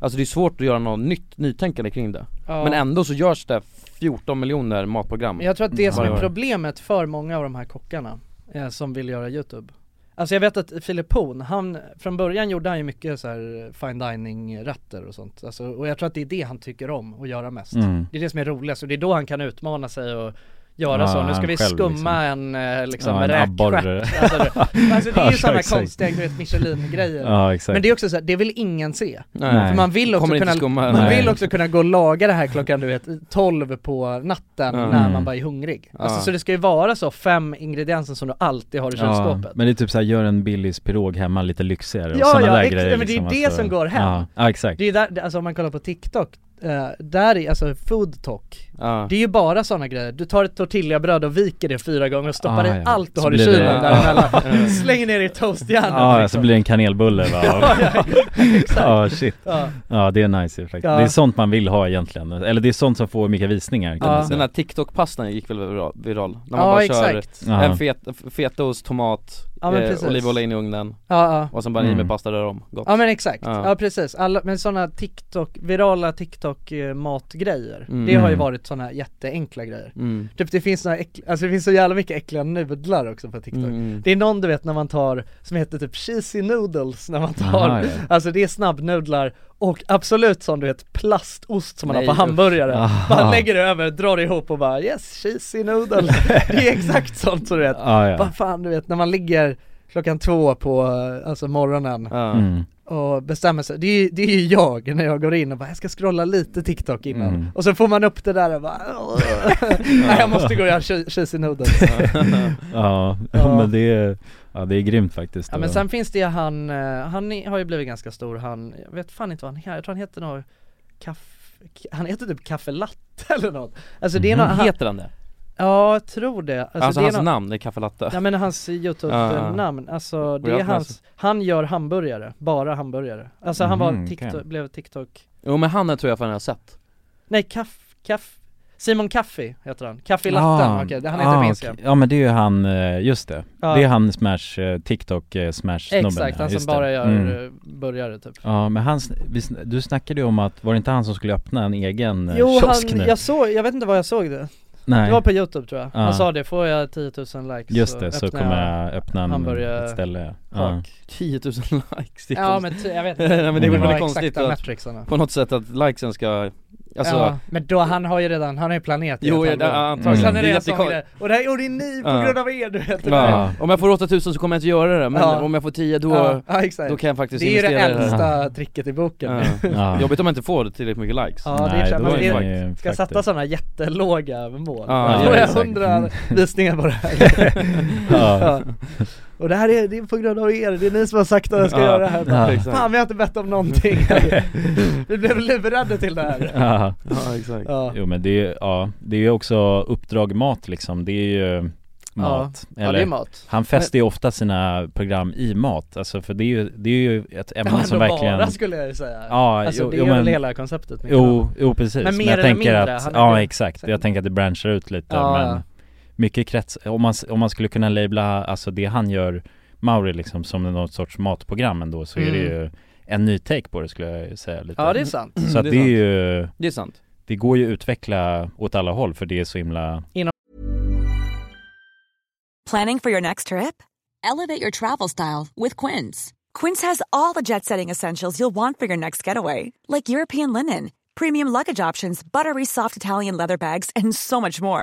Speaker 1: alltså det är svårt att göra något nytt, nytänkande kring det
Speaker 2: Ja.
Speaker 1: Men ändå så görs det 14 miljoner matprogram
Speaker 2: Men jag tror att
Speaker 3: Mm.
Speaker 2: det som
Speaker 1: varje
Speaker 2: är
Speaker 1: år.
Speaker 2: problemet för många av de här kockarna eh, som vill göra YouTube Alltså jag vet att Philip Poon, han, från början gjorde han ju mycket så här eh, fine dining rätter och sånt alltså, Och jag tror att det är det han tycker om att göra mest
Speaker 3: Mm.
Speaker 2: Det är det som är roligast och det är då han kan utmana sig och göra
Speaker 3: Ja,
Speaker 2: så, nu
Speaker 3: han
Speaker 2: ska vi
Speaker 3: själv liksom.
Speaker 2: skumma en eh, liksom
Speaker 3: Ja, en abborre.
Speaker 2: räkstjärt alltså, det- alltså det är
Speaker 3: Ja,
Speaker 2: ju sådana
Speaker 3: exakt.
Speaker 2: konstiga du vet, Michelin-grejer
Speaker 3: Ja, exakt.
Speaker 2: Men det är också så här, det vill ingen se
Speaker 3: Nej.
Speaker 2: För man vill också
Speaker 3: Kommer inte
Speaker 2: kunna,
Speaker 3: skumma.
Speaker 2: man
Speaker 3: Nej.
Speaker 2: vill också kunna gå och laga det här klockan du vet 12 på natten
Speaker 3: Ja.
Speaker 2: när
Speaker 3: Mm.
Speaker 2: man bara är hungrig
Speaker 3: Ja.
Speaker 2: Alltså så det ska ju vara så, fem ingredienser som du alltid har i
Speaker 3: Ja,
Speaker 2: kylskåpet
Speaker 3: men det är typ såhär, gör en Billys pirog hemma lite lyxigare och
Speaker 2: Ja,
Speaker 3: sådana
Speaker 2: ja,
Speaker 3: där
Speaker 2: ex-
Speaker 3: grejer liksom, alltså.
Speaker 2: ja, men det är det som går hem.
Speaker 3: Ja, ja exakt
Speaker 2: Det är där, alltså om man kollar på TikTok, eh, där är alltså food talk
Speaker 1: Ja.
Speaker 2: Det är ju bara sådana grejer, du tar ett tortillabröd och viker det fyra gånger och stoppar
Speaker 3: Ah,
Speaker 2: i
Speaker 3: ja.
Speaker 2: allt du
Speaker 3: Så
Speaker 2: har i
Speaker 3: blir det-
Speaker 2: kylen däremellan,
Speaker 3: Ja.
Speaker 2: slänger ner i
Speaker 3: Ja,
Speaker 2: toastjärnet
Speaker 3: så blir det en kanelbulle va?
Speaker 2: liksom. Ja, ja, exakt.
Speaker 3: Ja, shit
Speaker 2: Ja.
Speaker 3: ja. det är nice ju faktiskt
Speaker 1: Ja.
Speaker 3: Det är sånt man vill ha egentligen, eller det är sånt som får mycket visningar kan
Speaker 1: Den-
Speaker 3: man säga.
Speaker 1: Den här TikTok-pastan gick väl vira- viral? När man
Speaker 2: Ja,
Speaker 1: bara
Speaker 2: exakt.
Speaker 1: kör
Speaker 3: Ja.
Speaker 1: en fet, fetaost, tomat,
Speaker 2: Ja, men
Speaker 1: eh,
Speaker 2: precis.
Speaker 1: olivolja in i ugnen
Speaker 2: Ja, ja.
Speaker 1: och sen bara i
Speaker 2: Mm.
Speaker 1: med pasta rör om, gott
Speaker 2: Ja men exakt, ja,
Speaker 1: Ja.
Speaker 2: precis. Alla, men sådana TikTok, virala TikTok eh, matgrejer,
Speaker 1: Mm.
Speaker 2: det har ju
Speaker 1: Mm.
Speaker 2: varit sådana jätteenkla grejer.
Speaker 1: Mm.
Speaker 2: Typ det finns några äckl- alltså det finns så jävla mycket äckliga nudlar också på TikTok.
Speaker 1: Mm.
Speaker 2: Det är någon du vet när man tar, som heter typ cheesy noodles när man tar,
Speaker 1: Aha, ja.
Speaker 2: alltså det är snabbnudlar och absolut sån du vet plastost som man
Speaker 1: Nej,
Speaker 2: har på
Speaker 1: usch.
Speaker 2: hamburgare.
Speaker 1: Ah.
Speaker 2: Man lägger det över, drar ihop och bara yes cheesy noodles. det är exakt sånt som du vet.
Speaker 3: Ja, ja.
Speaker 2: Vad fan du vet när man ligger klockan två på eh, alltså morgonen
Speaker 3: Mm.
Speaker 2: och bestämmer sig, det är, ju- det är ju jag när jag går in och bara jag ska scrolla lite TikTok innan
Speaker 3: Mm.
Speaker 2: och så får man upp det där och bara nej jag måste gå och göra che- cheesy noodles
Speaker 3: ja,
Speaker 2: Ja.
Speaker 3: men det är, ja det är grymt faktiskt
Speaker 2: Ja men sen finns det ju han, eh, han i- har ju blivit ganska stor, han, jag vet fan inte vad han heter, jag tror han heter något kaff, k- han heter typ kaffelatte eller något Alltså det är
Speaker 1: Mhm.
Speaker 2: något,
Speaker 1: Heter han det?
Speaker 2: Ja, jag tror det Alltså,
Speaker 1: Alltså,
Speaker 2: det
Speaker 1: hans
Speaker 2: är nå-
Speaker 1: namn är kaffelatte
Speaker 2: Ja men hans
Speaker 1: Ja, ja.
Speaker 2: youtube-namn, alltså det
Speaker 1: jag
Speaker 2: är
Speaker 1: läser.
Speaker 2: hans, han gör hamburgare, bara hamburgare Alltså han var
Speaker 1: Mhm,
Speaker 2: TikTok,
Speaker 1: okej.
Speaker 2: blev TikTok
Speaker 1: Jo men han tror jag fan jag har sett
Speaker 2: Nej, Kaff, Kaff Simon Kaffi heter han, Kaffi Latten, okej, det- han heter
Speaker 3: ah,
Speaker 2: på
Speaker 3: okej.
Speaker 2: Instagram
Speaker 3: Ja men det är ju han, eh, just det.
Speaker 2: Ja.
Speaker 3: Det är han smash, eh, TikTok eh, smash snubben
Speaker 2: Exakt, han som bara gör
Speaker 1: Mm.
Speaker 2: eh, burgare typ
Speaker 3: Mm. Ja men han, sn- vi, sn- du snackade ju om att, var det inte han som skulle öppna en egen eh,
Speaker 2: Jo
Speaker 3: kiosk
Speaker 2: han,
Speaker 3: nu?
Speaker 2: jag såg, jag vet inte var jag såg det
Speaker 3: Nej.
Speaker 2: Det var på youtube tror jag,
Speaker 1: Ah.
Speaker 3: Ja.
Speaker 2: han sa det, får jag 10 000 likes
Speaker 3: Just det, så
Speaker 2: öppnar
Speaker 3: kommer jag öppna en,
Speaker 2: hamburgare-
Speaker 3: ett ställe
Speaker 1: Ja.
Speaker 3: ja.
Speaker 1: 10 000 likes, det är
Speaker 2: Ja,
Speaker 1: konstigt.
Speaker 2: men ty- jag vet inte.
Speaker 1: Nej men
Speaker 2: Det
Speaker 1: det är
Speaker 2: var
Speaker 1: väl
Speaker 2: exakta
Speaker 1: konstigt att,
Speaker 2: matrixarna.
Speaker 1: på något sätt att likesen ska, alltså
Speaker 2: ja, men då, han har ju redan, han har ju planerat i
Speaker 1: Jo,
Speaker 2: ett halvår.
Speaker 1: ja, det- ja, antagligen.
Speaker 2: Sen är det
Speaker 1: Det är
Speaker 2: jag som
Speaker 1: jättekon-
Speaker 2: det, och det här gjorde ni på
Speaker 1: Ja.
Speaker 2: grund av er du vet
Speaker 1: Ja. Om jag får 8000 så kommer jag inte göra det, men
Speaker 2: Ja.
Speaker 1: om jag får 10 då,
Speaker 2: Ja, ja, exakt.
Speaker 1: då kan jag faktiskt
Speaker 2: Det är ju
Speaker 1: investera
Speaker 2: det
Speaker 1: i här.
Speaker 2: äldsta tricket i boken.
Speaker 1: Ja.
Speaker 2: Ja.
Speaker 1: Jobbigt om man inte får tillräckligt mycket likes
Speaker 2: Ja det är man
Speaker 1: är
Speaker 2: det, ska sätta sådana jättelåga mål. Ja,
Speaker 1: Ja, ja,
Speaker 2: får jag
Speaker 1: exakt.
Speaker 2: hundra
Speaker 1: Mm.
Speaker 2: visningar på det här.
Speaker 1: Ja.
Speaker 2: ja. Och det här är, det är på grund av er, det är ni som har sagt att jag ska
Speaker 1: Ja.
Speaker 2: göra det här. Bara,
Speaker 1: Ja, exakt.
Speaker 2: Fan vi har inte bett om någonting. vi blev lurade till det här.
Speaker 3: Ja.
Speaker 1: Ja, exakt.
Speaker 2: Ja.
Speaker 3: Jo men det är, ja, det är ju också uppdrag mat liksom, det är ju mat.
Speaker 2: Ja, det är mat.
Speaker 3: Han fäster ju ofta sina program i mat, alltså för det är ju, det är ju ett ämne som
Speaker 2: Ja, ändå
Speaker 3: alltså, verkligen
Speaker 2: bara, skulle jag ju säga.
Speaker 3: Ja,
Speaker 2: Alltså,
Speaker 3: jo,
Speaker 2: det
Speaker 3: jo,
Speaker 2: är väl
Speaker 3: men-
Speaker 2: hela konceptet liksom. med
Speaker 3: Jo,
Speaker 2: kebab.
Speaker 3: jo precis,
Speaker 2: Men
Speaker 3: men,
Speaker 2: mer
Speaker 3: jag
Speaker 2: eller
Speaker 3: tänker
Speaker 2: mindre,
Speaker 3: att,
Speaker 2: han är
Speaker 3: ja
Speaker 2: ju-
Speaker 3: exakt, jag tänker att det branchar ut lite
Speaker 2: Ja,
Speaker 3: men
Speaker 2: ja.
Speaker 3: Mycket krets, om man, s- om man skulle kunna labla, alltså det han gör Mauri liksom som något sorts matprogram ändå så är det
Speaker 2: Mm.
Speaker 3: ju en ny take på det skulle jag ju säga lite
Speaker 2: Ja, det är sant.
Speaker 3: Så att
Speaker 2: Det
Speaker 3: det
Speaker 2: är
Speaker 3: är,
Speaker 2: sant.
Speaker 3: ju
Speaker 1: Det är sant.
Speaker 3: Det går ju att utveckla åt alla håll för det är så himla
Speaker 4: Planning for your next trip? Elevate your travel style with Quince. Quince has all the jet setting essentials you'll want for your next getaway, like European linen, premium luggage options, buttery soft Italian leather bags, and so much more.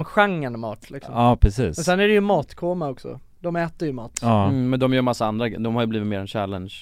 Speaker 2: Och genren mat liksom
Speaker 3: Ja, precis.
Speaker 2: Men sen är det ju matkoma också, de äter ju mat
Speaker 3: Ja.
Speaker 1: Mm, men de gör massa andra, de har ju blivit mer en challenge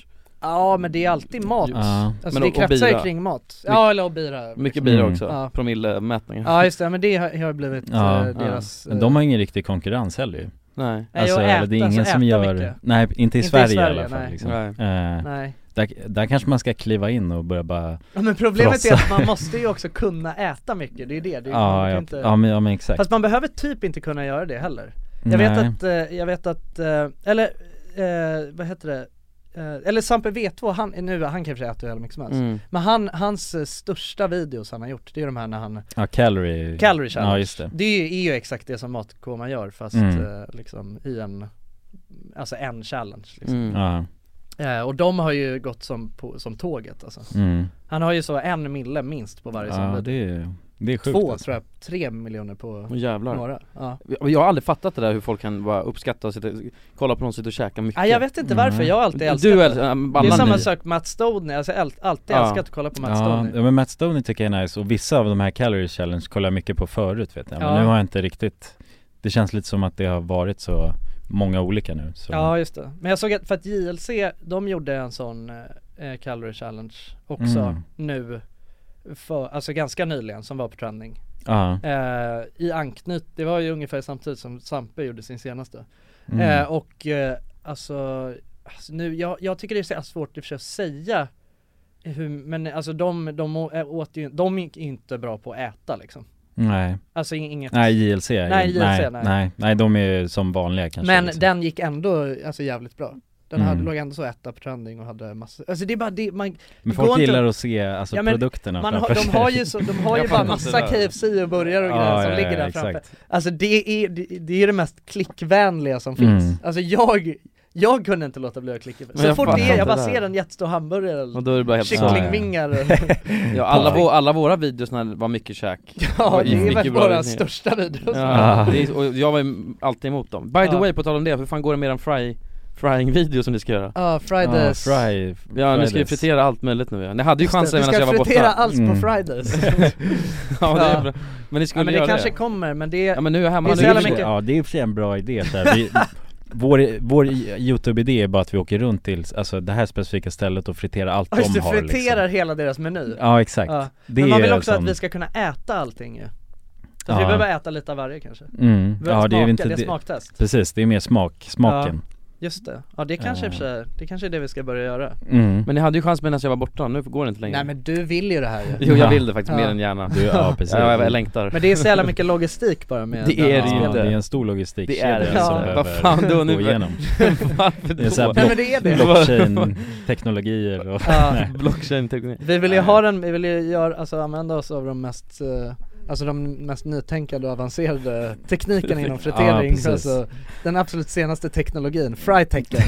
Speaker 2: Ja men det är alltid mat,
Speaker 1: Ja.
Speaker 2: alltså
Speaker 1: Men
Speaker 2: det
Speaker 1: och- och
Speaker 2: kretsar ju
Speaker 1: bira.
Speaker 2: kring mat
Speaker 1: Mycket-
Speaker 2: Ja eller och bira
Speaker 1: Mycket bira
Speaker 3: Mm.
Speaker 1: också,
Speaker 2: Ja.
Speaker 1: promillemätningar
Speaker 2: Ja just det, men det har har blivit
Speaker 3: Ja.
Speaker 2: eh, deras
Speaker 3: Men de har ingen riktig konkurrens heller ju
Speaker 1: Nej.
Speaker 2: Nej,
Speaker 3: Alltså,
Speaker 2: och
Speaker 3: eller det är
Speaker 2: äta,
Speaker 3: ingen
Speaker 2: alltså
Speaker 3: som
Speaker 2: äta
Speaker 3: gör,
Speaker 2: mycket.
Speaker 3: nej inte i Sverige, i alla
Speaker 2: Sverige,
Speaker 3: fall
Speaker 2: nej.
Speaker 3: liksom.
Speaker 2: Nej.
Speaker 3: Eh,
Speaker 2: Nej.
Speaker 3: Där, där kanske man ska kliva in och börja bara
Speaker 2: Ja, men problemet är
Speaker 3: frossa.
Speaker 2: att man måste ju också kunna äta mycket, det är det, det är, man
Speaker 3: ja,
Speaker 2: kan
Speaker 3: ja,
Speaker 2: inte-
Speaker 3: ja, men, ja men exakt
Speaker 2: Fast man behöver typ inte kunna göra det heller Jag vet
Speaker 3: Nej.
Speaker 2: att, eh, jag vet att, eh, eller eh, vad heter det? Eh, eller Sampe V2, han, nu, han kan i och för sig äta hur jävla mycket som
Speaker 1: Alltså,
Speaker 2: helst
Speaker 3: Mm.
Speaker 2: Men han, hans eh, största videos han har gjort, det är de här när han
Speaker 3: Ja, calorie
Speaker 2: Calorie challenge,
Speaker 3: Ja just det
Speaker 2: det är ju, är ju exakt det som matkoma gör fast
Speaker 3: Mm.
Speaker 2: eh, liksom i en, alltså en challenge liksom.
Speaker 3: Mm. Ja.
Speaker 2: Eh, Och de har ju gått som, på, som tåget alltså.
Speaker 3: Mm.
Speaker 2: Han har ju så en mille minst på varje sån
Speaker 3: Ja
Speaker 2: video.
Speaker 3: det är, det är sjukt
Speaker 2: Två
Speaker 3: alltså.
Speaker 2: tror jag, tre miljoner på
Speaker 1: Åh, jävlar.
Speaker 2: några ja.
Speaker 1: Jag, jag har aldrig fattat det där hur folk kan bara uppskatta och sitta, kolla på någon sitta och käka mycket
Speaker 2: Ja, jag vet
Speaker 3: Mm.
Speaker 2: inte varför, jag har alltid älskat
Speaker 1: Du
Speaker 2: det.
Speaker 1: älskar, ähm,
Speaker 2: Det är
Speaker 1: alla
Speaker 2: samma
Speaker 1: ni.
Speaker 2: sak med Matt Stoney, alltså jag har äl- alltid älskat att kolla på Matt
Speaker 3: ja,
Speaker 2: Stoney
Speaker 3: Ja men Matt Stoney tycker jag är nice och vissa av de här calorie challenge kollar jag mycket på förut vet jag Men
Speaker 2: Ja.
Speaker 3: nu har jag inte riktigt Det känns lite som att det har varit så många olika nu så.
Speaker 2: Ja just det, men jag såg att för att JLC, de gjorde en sån eh, calorie challenge också
Speaker 3: Mm.
Speaker 2: nu för, alltså ganska nyligen som var på trending
Speaker 3: Ja.
Speaker 2: eh, I anknyt, det var ju ungefär samtidigt som Sampe gjorde sin senaste
Speaker 3: Mm.
Speaker 2: eh, Och eh, alltså, alltså nu, jag, jag tycker det är så jävla svårt i och för sig att säga hur, men alltså de, de å- ä- åt ju, de gick inte bra på att äta liksom
Speaker 3: Nej
Speaker 2: Alltså in- inget
Speaker 3: Nej JLC är ju-
Speaker 2: Nej, JLC,
Speaker 3: nej,
Speaker 2: nej.
Speaker 3: nej Nej de är ju som vanliga kanske
Speaker 2: Men
Speaker 3: liksom.
Speaker 2: den gick ändå, alltså jävligt bra Den hade,
Speaker 3: Mm.
Speaker 2: låg ändå så etta på trending och hade massor, alltså det är bara det, man
Speaker 3: Men
Speaker 2: det
Speaker 3: folk
Speaker 2: går inte
Speaker 3: gillar
Speaker 2: att-
Speaker 3: att se alltså,
Speaker 2: men
Speaker 3: produkterna
Speaker 2: man har,
Speaker 3: framför
Speaker 2: De har
Speaker 3: sig.
Speaker 2: ju, så, de har ju
Speaker 3: Jag
Speaker 2: bara
Speaker 3: fattar inte
Speaker 2: massa
Speaker 3: det där.
Speaker 2: KFC och burgare och
Speaker 3: Ja,
Speaker 2: grejer som
Speaker 3: ja,
Speaker 2: ligger
Speaker 3: ja,
Speaker 2: där
Speaker 3: exakt.
Speaker 2: framför Alltså det är, det, det är ju det mest klickvänliga som
Speaker 3: Mm.
Speaker 2: finns Alltså jag, jag kunde inte låta bli att klicka
Speaker 1: Men
Speaker 2: Så
Speaker 1: jag
Speaker 2: fort
Speaker 1: fattar
Speaker 2: det är, jag
Speaker 1: inte
Speaker 2: bara
Speaker 1: det där.
Speaker 2: ser en jättestor hamburgare
Speaker 1: Och då är det bara
Speaker 2: eller
Speaker 1: helt
Speaker 2: kycklingvingar
Speaker 1: Ja alla, vå, alla våra videos när det var mycket käk
Speaker 2: Ja, det är
Speaker 1: gick
Speaker 2: väl
Speaker 1: ju
Speaker 2: våra
Speaker 1: ner.
Speaker 2: största videos.
Speaker 1: ja,
Speaker 2: Ja.
Speaker 1: det är, och jag var ju alltid emot dem By the
Speaker 2: Ja.
Speaker 1: way, på tal om det, hur fan går det med den fry, frying video som ni ska göra?
Speaker 2: Ja, Ah, Fridays. Ja, fry-
Speaker 1: Ja, ni ska ju
Speaker 2: Fridays.
Speaker 1: fritera allt möjligt nu ja. Ni hade ju
Speaker 2: Just det,
Speaker 1: chansen
Speaker 2: vi
Speaker 1: medan
Speaker 2: ska
Speaker 1: jag var borta
Speaker 2: fritera allt på Mm. Fridays.
Speaker 1: Ja det
Speaker 2: Ja.
Speaker 1: är bra, men ni skulle
Speaker 2: Ja, men det
Speaker 1: göra
Speaker 2: kanske
Speaker 1: det
Speaker 2: kommer, men det
Speaker 1: Ja men nu är jag hemma,
Speaker 3: Ja,
Speaker 1: nu
Speaker 3: det, är
Speaker 1: är
Speaker 3: för sig- ja det är i och för sig en bra idé så här. Vi, Vår, vår Youtube-idé är bara att vi åker runt till alltså, det här specifika stället och friterar allt
Speaker 2: Ja just
Speaker 3: de
Speaker 2: det,
Speaker 3: har liksom.
Speaker 2: friterar hela deras meny
Speaker 3: Ja, exakt. Det
Speaker 2: Men man
Speaker 3: är
Speaker 2: vill också
Speaker 3: som-
Speaker 2: att vi ska kunna äta allting ju Så att vi
Speaker 3: Ja.
Speaker 2: behöver äta lite av varje kanske
Speaker 3: Mm.
Speaker 2: Vi behöver
Speaker 3: Ja, det är
Speaker 2: smaka,
Speaker 3: ju inte
Speaker 2: det är smaktest
Speaker 3: Precis, det är mer smak, smaken
Speaker 2: ja, Just det, ja det kanske i och för sig, det kanske är det vi ska börja göra
Speaker 3: Mm.
Speaker 1: Men ni hade ju chans medan jag var borta, nu går det inte längre
Speaker 2: Nej men du vill ju det här ju
Speaker 1: Jo jag vill det faktiskt mer än gärna
Speaker 3: Du- ja, precis.
Speaker 1: ja, jag, jag längtar
Speaker 2: Men det är så jävla mycket logistik bara med
Speaker 1: Det är det ju
Speaker 2: inspelningen.
Speaker 1: inte
Speaker 3: det är en stor logistikkedja
Speaker 1: Det är det
Speaker 3: som
Speaker 1: inte, vad
Speaker 3: behöver
Speaker 1: fan då
Speaker 3: gå
Speaker 1: nu
Speaker 3: igenom.
Speaker 1: Varför då?
Speaker 3: Det är så här
Speaker 2: Nej, men det är det.
Speaker 3: blockchain-teknologier och
Speaker 2: Ja.
Speaker 3: Nej.
Speaker 1: Blockchain-teknologi
Speaker 2: Vi vill ju ha den, vi vill ju göra, alltså använda oss av de mest eh, Alltså de mest nytänkande och avancerade teknikerna inom
Speaker 1: Ja,
Speaker 2: fritering,
Speaker 1: precis.
Speaker 2: alltså den absolut senaste teknologin, frytecken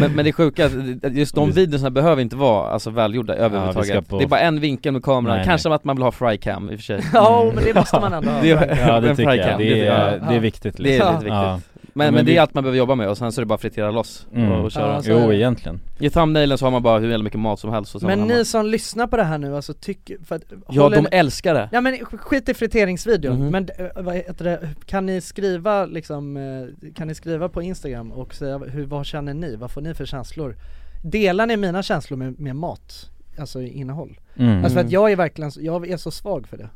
Speaker 1: men, men det sjuka, är att just de videorna behöver inte vara alltså, välgjorda överhuvudtaget
Speaker 3: vi ska på-
Speaker 1: Det är bara en vinkel med kameran,
Speaker 3: Nej,
Speaker 1: kanske att man vill ha frycam i och för sig
Speaker 2: Mm. Ja, men det måste man ändå ha.
Speaker 1: Det-
Speaker 3: Ja, det
Speaker 1: en
Speaker 3: tycker jag.
Speaker 1: frycam,
Speaker 3: Det är-
Speaker 1: jag.
Speaker 3: det är viktigt,
Speaker 1: Det är
Speaker 3: liksom.
Speaker 1: lite viktigt
Speaker 3: Ja.
Speaker 1: Men,
Speaker 3: Men
Speaker 1: men, det
Speaker 3: vi-
Speaker 1: är allt man behöver jobba med och sen så är det bara att fritera loss
Speaker 3: Mm.
Speaker 1: och, och köra
Speaker 2: Ja, så är Jo, det.
Speaker 3: egentligen
Speaker 1: I thumbnailen så har man bara hur jävla mycket mat som helst och så
Speaker 2: Men
Speaker 1: har man
Speaker 2: ni som lyssnar på det här nu, alltså tycker, för att,
Speaker 1: Ja
Speaker 2: håller-
Speaker 1: de älskar det!
Speaker 2: Ja men sk- skit i friteringsvideon,
Speaker 1: Mhm.
Speaker 2: men eh, vad heter det, kan ni skriva liksom, eh, kan ni skriva på Instagram och säga hur, vad känner ni, vad får ni för känslor? Delar ni mina känslor med, med mat? Alltså i innehåll?
Speaker 1: Mm.
Speaker 2: Alltså för att
Speaker 1: Mm.
Speaker 2: jag är verkligen, så- jag är så svag för det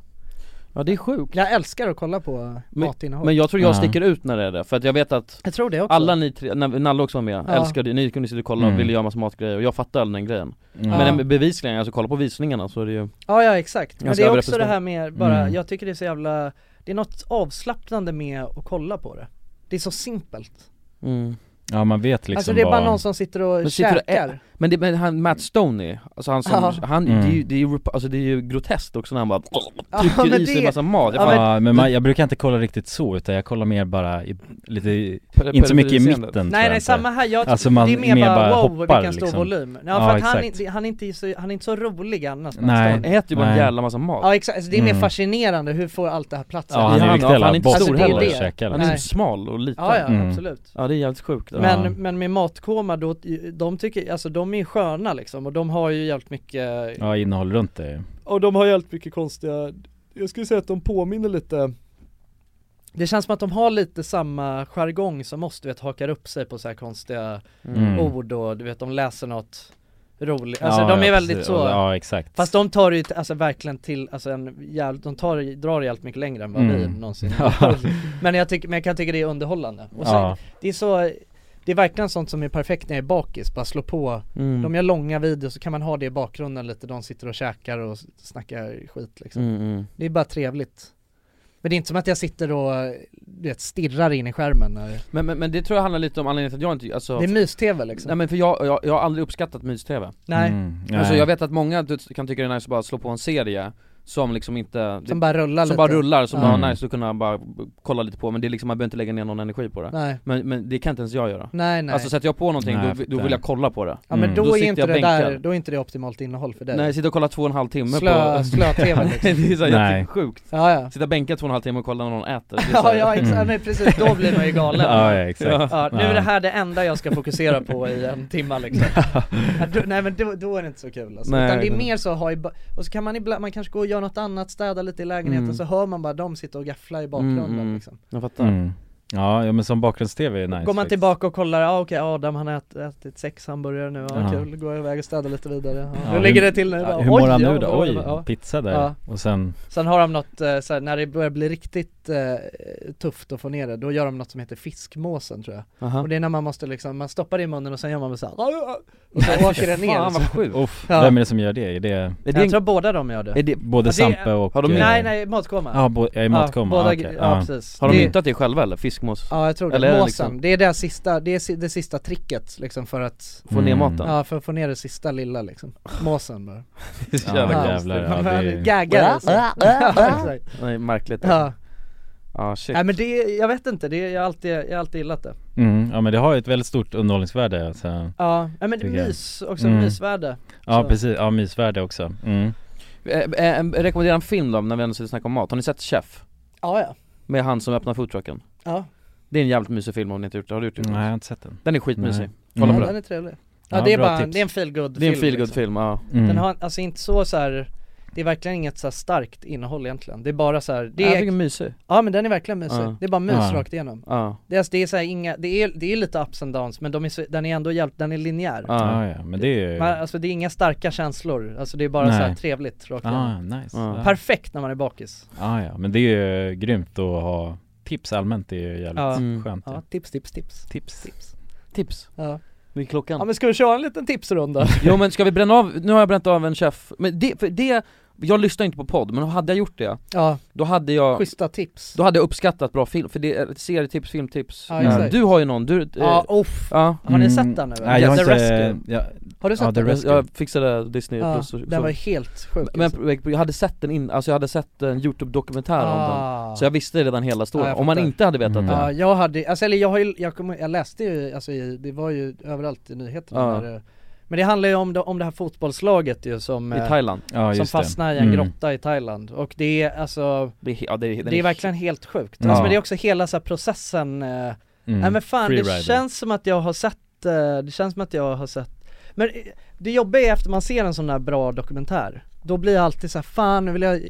Speaker 1: Ja det är sjukt
Speaker 2: Jag älskar att kolla på matinnehåll
Speaker 1: men, men jag tror jag sticker ut när det är det, för att jag vet att
Speaker 2: Jag tror det också.
Speaker 1: Alla ni tre, när Nalle också var med,
Speaker 2: Ja.
Speaker 1: älskade, ni kunde sitta och kolla
Speaker 3: Mm.
Speaker 1: och ville göra massa matgrejer och jag fattade all den grejen
Speaker 2: Mm. Ja.
Speaker 1: Men det- bevisligen, alltså kolla på visningarna så är det ju
Speaker 2: Ja ja exakt, men
Speaker 1: Ganska
Speaker 2: det är också det
Speaker 1: överrepresenterat.
Speaker 2: här med bara,
Speaker 1: Mm.
Speaker 2: jag tycker det är så jävla, det är något avslappnande med att kolla på det Det är så simpelt
Speaker 1: Mm.
Speaker 3: Ja man vet liksom
Speaker 2: Alltså det är bara
Speaker 3: vad...
Speaker 2: någon som sitter och
Speaker 1: Men sitter du och
Speaker 2: käkar
Speaker 1: ä- Men, det, men han, Matt Stoney, alltså han som,
Speaker 2: Ja.
Speaker 1: han,
Speaker 3: Mm.
Speaker 1: det, är ju, det, är ju, rep- alltså det är ju groteskt också när han bara
Speaker 2: Ja,
Speaker 1: trycker
Speaker 2: men
Speaker 1: i sig
Speaker 2: det-
Speaker 1: en massa mat Jag
Speaker 3: Ja,
Speaker 1: fan-
Speaker 3: men, man, jag brukar inte kolla riktigt så utan jag kollar mer bara i, lite, i- inte så mycket i
Speaker 1: periferi-scenen.
Speaker 3: mitten Mm, tror
Speaker 2: Nej
Speaker 3: jag
Speaker 2: nej
Speaker 3: inte.
Speaker 2: samma här, jag,
Speaker 3: Alltså man
Speaker 2: det är mer, bara, wow
Speaker 3: hoppar
Speaker 2: vilken stor
Speaker 3: liksom.
Speaker 2: volym Ja,
Speaker 3: Ja,
Speaker 2: för att han,
Speaker 3: exakt.
Speaker 2: inte- han, är inte så, han är inte så rolig annars Matt
Speaker 3: Nej.
Speaker 2: Stone.
Speaker 1: Han äter ju bara en
Speaker 3: Nej.
Speaker 1: jävla massa mat
Speaker 2: Ja exakt, alltså, det är mer
Speaker 3: Mm.
Speaker 2: fascinerande, hur får allt det här platsen?
Speaker 3: Ja, han är ju riktigt
Speaker 1: han
Speaker 3: jävla
Speaker 1: är inte stor
Speaker 2: det är
Speaker 1: heller
Speaker 2: det.
Speaker 3: käkar,
Speaker 1: Han är
Speaker 2: Nej.
Speaker 1: så smal och liten
Speaker 2: Ja, ja,
Speaker 3: Mm.
Speaker 2: absolut.
Speaker 1: Ja det är jävligt sjukt
Speaker 2: Men,
Speaker 1: Ja.
Speaker 2: men med matkoma då, de tycker, alltså de är ju sköna liksom och de har ju jävligt mycket
Speaker 3: Ja innehåll runt det
Speaker 2: Och de har jävligt mycket konstiga, jag skulle säga att de påminner lite Det känns som att de har lite samma jargong som oss, du vet hakar upp sig på så här konstiga
Speaker 3: Mm.
Speaker 2: ord och du vet de läser något roligt, Oh, alltså
Speaker 3: Ja,
Speaker 2: de är
Speaker 3: ja,
Speaker 2: väldigt
Speaker 3: precis.
Speaker 2: så
Speaker 3: Ja exakt
Speaker 2: Fast de tar det ju t- alltså verkligen till, alltså en jävligt, de tar, det- drar det jävligt mycket längre än vad vi
Speaker 3: Mm.
Speaker 2: någonsin
Speaker 3: Ja.
Speaker 2: men, jag tycker, men jag kan tycka det är underhållande och sen,
Speaker 3: Ja.
Speaker 2: det är så det är verkligen sånt som är perfekt när jag är bakis, bara slå på
Speaker 1: Mm.
Speaker 2: De gör långa videos så kan man ha det i bakgrunden lite, de sitter och käkar och s- snackar skit liksom
Speaker 1: Mm, mm.
Speaker 2: Det är bara trevligt Men det är inte som att jag sitter och du vet, stirrar in i skärmen när...
Speaker 1: Men, men, men det tror jag handlar lite om anledningen till att jag inte, alltså
Speaker 2: Det är mys-tv liksom
Speaker 1: Nej men för jag, jag, jag har aldrig uppskattat mys-tv
Speaker 2: Nej.
Speaker 3: Mm,
Speaker 1: Alltså
Speaker 3: nej.
Speaker 1: jag vet att många du- kan tycka det är nice att bara slå på en serie som liksom inte
Speaker 2: Som bara rullar
Speaker 1: Som
Speaker 2: lite.
Speaker 1: bara rullar, som
Speaker 2: Ja.
Speaker 1: bara nice att kunna bara b- kolla lite på men det är liksom, man behöver inte lägga ner någon energi på det
Speaker 2: Nej.
Speaker 1: Men, men det kan inte ens jag göra
Speaker 2: Nej, nej.
Speaker 1: Alltså sätter jag på någonting
Speaker 3: Nej,
Speaker 1: då, då
Speaker 3: det-
Speaker 1: vill jag kolla på det
Speaker 2: Ja men då, är
Speaker 1: sitter
Speaker 2: inte
Speaker 1: jag
Speaker 2: det
Speaker 1: bänkad.
Speaker 2: där, då är inte det optimalt innehåll för dig
Speaker 1: Nej, sitta och kolla två och en halv timme
Speaker 2: Slö-
Speaker 1: på
Speaker 2: slö-tv liksom.
Speaker 1: Det är så
Speaker 3: Nej.
Speaker 1: jätte- sjukt
Speaker 2: Ja, ja.
Speaker 1: Sitta bänka två och en halv timme och kolla när någon äter Det är så
Speaker 2: Ja,
Speaker 1: här-
Speaker 2: ja exakt,
Speaker 1: Mm.
Speaker 2: men precis, då blir man ju galen
Speaker 3: Ja, ja, exakt.
Speaker 2: Ja, Nu är
Speaker 3: Ja.
Speaker 2: det här det enda jag ska fokusera på i en timme liksom ja, då, Nej men då, då är det inte så kul alltså.
Speaker 1: Nej,
Speaker 2: Utan det är
Speaker 1: nej.
Speaker 2: mer så att ha i, ba- och så kan man ibland, man kanske går och gör något annat, städa lite i lägenheten
Speaker 1: Mm.
Speaker 2: så hör man bara dem sitta och gaffla i bakgrunden liksom
Speaker 1: Jag fattar
Speaker 3: mm. Ja, ja men som bakgrunds-tv är nice
Speaker 2: Går man
Speaker 3: faktiskt.
Speaker 2: tillbaka och kollar, ja okej Adam han har ätit, ätit sex hamburgare nu, ja
Speaker 3: Ja.
Speaker 2: kul, går jag iväg och städar lite vidare ja,
Speaker 3: Ja,
Speaker 2: Hur ligger det till nu?
Speaker 3: ja,
Speaker 2: Bara,
Speaker 3: Hur mår han
Speaker 2: ja,
Speaker 3: nu då?
Speaker 2: bra,
Speaker 3: Oj,
Speaker 2: ja.
Speaker 3: pizza där
Speaker 2: Ja.
Speaker 3: och sen
Speaker 2: Sen har de något, eh, såhär, när det börjar bli riktigt eh, tufft att få ner det, då gör de något som heter fiskmåsen tror jag
Speaker 1: Aha.
Speaker 2: Och det är när man måste liksom, man stoppar det i munnen och sen gör man väl såhär Och så åker den ner
Speaker 1: Fan
Speaker 2: liksom.
Speaker 1: vad sjukt
Speaker 3: Uff,
Speaker 2: Ja.
Speaker 3: vem är det som gör det? Är det
Speaker 1: Är det
Speaker 2: Jag
Speaker 1: en-
Speaker 2: tror båda de gör det
Speaker 1: är det,
Speaker 3: både
Speaker 2: Ja, det är-
Speaker 3: Sampe och...
Speaker 1: Har de-
Speaker 3: eh,
Speaker 2: Nej nej, matkoma
Speaker 3: Ja, bo- är det matkomma?
Speaker 2: båda,
Speaker 3: Ah,
Speaker 2: gre-
Speaker 3: okej.
Speaker 2: ja,
Speaker 3: Ja.
Speaker 2: precis
Speaker 1: Har de
Speaker 2: det,
Speaker 1: myntat det själva eller? Fiskmås?
Speaker 2: Ja jag tror det,
Speaker 1: Eller är det
Speaker 2: måsen,
Speaker 1: liksom-
Speaker 2: det är det sista, det är si- det sista tricket liksom för att
Speaker 1: Få ner
Speaker 3: Mm.
Speaker 1: maten?
Speaker 2: Ja för att få ner det sista lilla liksom, måsen bara
Speaker 1: Det är
Speaker 3: Ja,
Speaker 1: så jävla
Speaker 3: ja.
Speaker 1: konstigt.
Speaker 3: jävlar, ja, det är-
Speaker 2: Man gaggar liksom. Ja, exakt.
Speaker 1: Nej märkligt
Speaker 2: Ja,
Speaker 1: ja shit
Speaker 2: nej men det, jag vet inte, det, jag har alltid, jag har alltid gillat det
Speaker 3: Mm, ja men det har ju ett väldigt stort underhållningsvärde alltså.
Speaker 2: Ja, nej, men
Speaker 3: Tycker jag.
Speaker 2: mys, också
Speaker 3: Mm.
Speaker 2: mysvärde
Speaker 3: Ja
Speaker 2: Så.
Speaker 3: precis, ja mysvärde också mm.
Speaker 1: Eh, eh, Rekommendera en film då när vi ändå sitter och snackar om mat, har ni sett Chef?
Speaker 2: Ja ja,
Speaker 1: Med han som öppnar foodtrucken?
Speaker 2: ja,
Speaker 1: Det är en jävligt mysig film om ni inte gjort det, har du gjort det?
Speaker 3: Nej jag har inte sett den
Speaker 1: Den är skitmysig,
Speaker 3: Nej. Mm.
Speaker 2: ja
Speaker 1: kolla på
Speaker 2: den
Speaker 1: den
Speaker 2: är trevlig Ja,
Speaker 3: Ja,
Speaker 2: det är
Speaker 3: bra
Speaker 2: bara,
Speaker 3: tips.
Speaker 2: det är en feelgood
Speaker 1: Det är en
Speaker 2: film, liksom.
Speaker 1: feelgood film, ja
Speaker 3: Mm.
Speaker 2: Den har, alltså inte så så här. Det är verkligen inget så här starkt innehåll egentligen, det är bara så här, det
Speaker 1: Ja, Jag
Speaker 2: är,
Speaker 1: tycker den är mysig,
Speaker 2: ja men den är verkligen mysig,
Speaker 1: Ja.
Speaker 2: det är bara mys
Speaker 3: Ja.
Speaker 2: rakt igenom
Speaker 1: ja,
Speaker 2: Det är, alltså, det är så här inga, det är, det är lite ups and downs men de är så, den är ändå hjälpt, den är linjär
Speaker 1: ja,
Speaker 3: Ja ja, men det är ju...
Speaker 2: Man, Alltså det är inga starka känslor, alltså det är bara
Speaker 3: Nej.
Speaker 2: så här trevligt rakt igenom
Speaker 3: ah, nice
Speaker 1: Ja.
Speaker 3: ja.
Speaker 2: Perfekt när man är bakis
Speaker 3: ah, ja, men det är ju grymt att ha tips allmänt, det är ju jävligt
Speaker 2: Ja.
Speaker 1: Mm.
Speaker 3: skönt
Speaker 2: Ja,
Speaker 3: ja.
Speaker 2: tips, tips, tips
Speaker 3: Tips
Speaker 1: Tips,
Speaker 2: Ja,
Speaker 1: det är klockan
Speaker 2: ja men ska vi köra en liten tipsrunda?
Speaker 1: Jo men ska vi bränna av, nu har jag bränt av en chef, men det, för det, jag lyssnar inte på podd, men hade jag gjort det,
Speaker 2: Ja,
Speaker 1: då hade jag
Speaker 2: schyssta tips
Speaker 1: då hade jag uppskattat bra film, för det är serietips, filmtips
Speaker 2: Ja,
Speaker 1: Eh,
Speaker 2: exakt.
Speaker 1: Du har ju någon, du, eh,
Speaker 2: Ja, uff
Speaker 1: ja.
Speaker 2: Har ni
Speaker 3: Mm.
Speaker 2: sett den nu? eller?
Speaker 3: Nej jag har
Speaker 2: The
Speaker 3: inte...
Speaker 2: Rescue.
Speaker 3: Ja,
Speaker 2: Har du sett
Speaker 3: ja, The
Speaker 2: den?
Speaker 1: Jag,
Speaker 3: Rescue.
Speaker 1: jag fixade Disney
Speaker 2: Ja,
Speaker 1: plus och,
Speaker 2: den
Speaker 1: så.
Speaker 2: var ju helt sjuk
Speaker 1: Men
Speaker 2: alltså.
Speaker 1: jag hade sett den in, alltså jag hade sett en youtube-dokumentär om den
Speaker 2: Ah.
Speaker 1: Så jag visste redan hela storyn,
Speaker 2: Ja, jag
Speaker 1: om man
Speaker 2: fattar.
Speaker 1: inte hade vetat
Speaker 3: Mm.
Speaker 1: det
Speaker 2: Ja, jag hade, alltså, eller jag, har ju, jag, kommer- jag läste ju, alltså, i, det var ju överallt i nyheterna
Speaker 1: Ja.
Speaker 2: när det- Men det handlar ju om, det- om det här fotbollslaget ju som,
Speaker 1: I
Speaker 2: eh,
Speaker 1: Thailand,
Speaker 3: ja,
Speaker 2: som
Speaker 3: just
Speaker 2: fastnar i
Speaker 3: det.
Speaker 2: en
Speaker 3: Mm.
Speaker 2: grotta i Thailand och det är alltså,
Speaker 1: det är, he- ja, det, är, den
Speaker 2: det är verkligen helt sjukt.
Speaker 3: Ja.
Speaker 2: Alltså, men det är också hela så här, processen, eh,
Speaker 3: Mm.
Speaker 2: nej men fan det
Speaker 3: Freerider.
Speaker 2: känns som att jag har sett, eh, det känns som att jag har sett Men eh, det jobbiga är efter man ser en sån här bra dokumentär, då blir jag alltid så här, fan nu vill jag,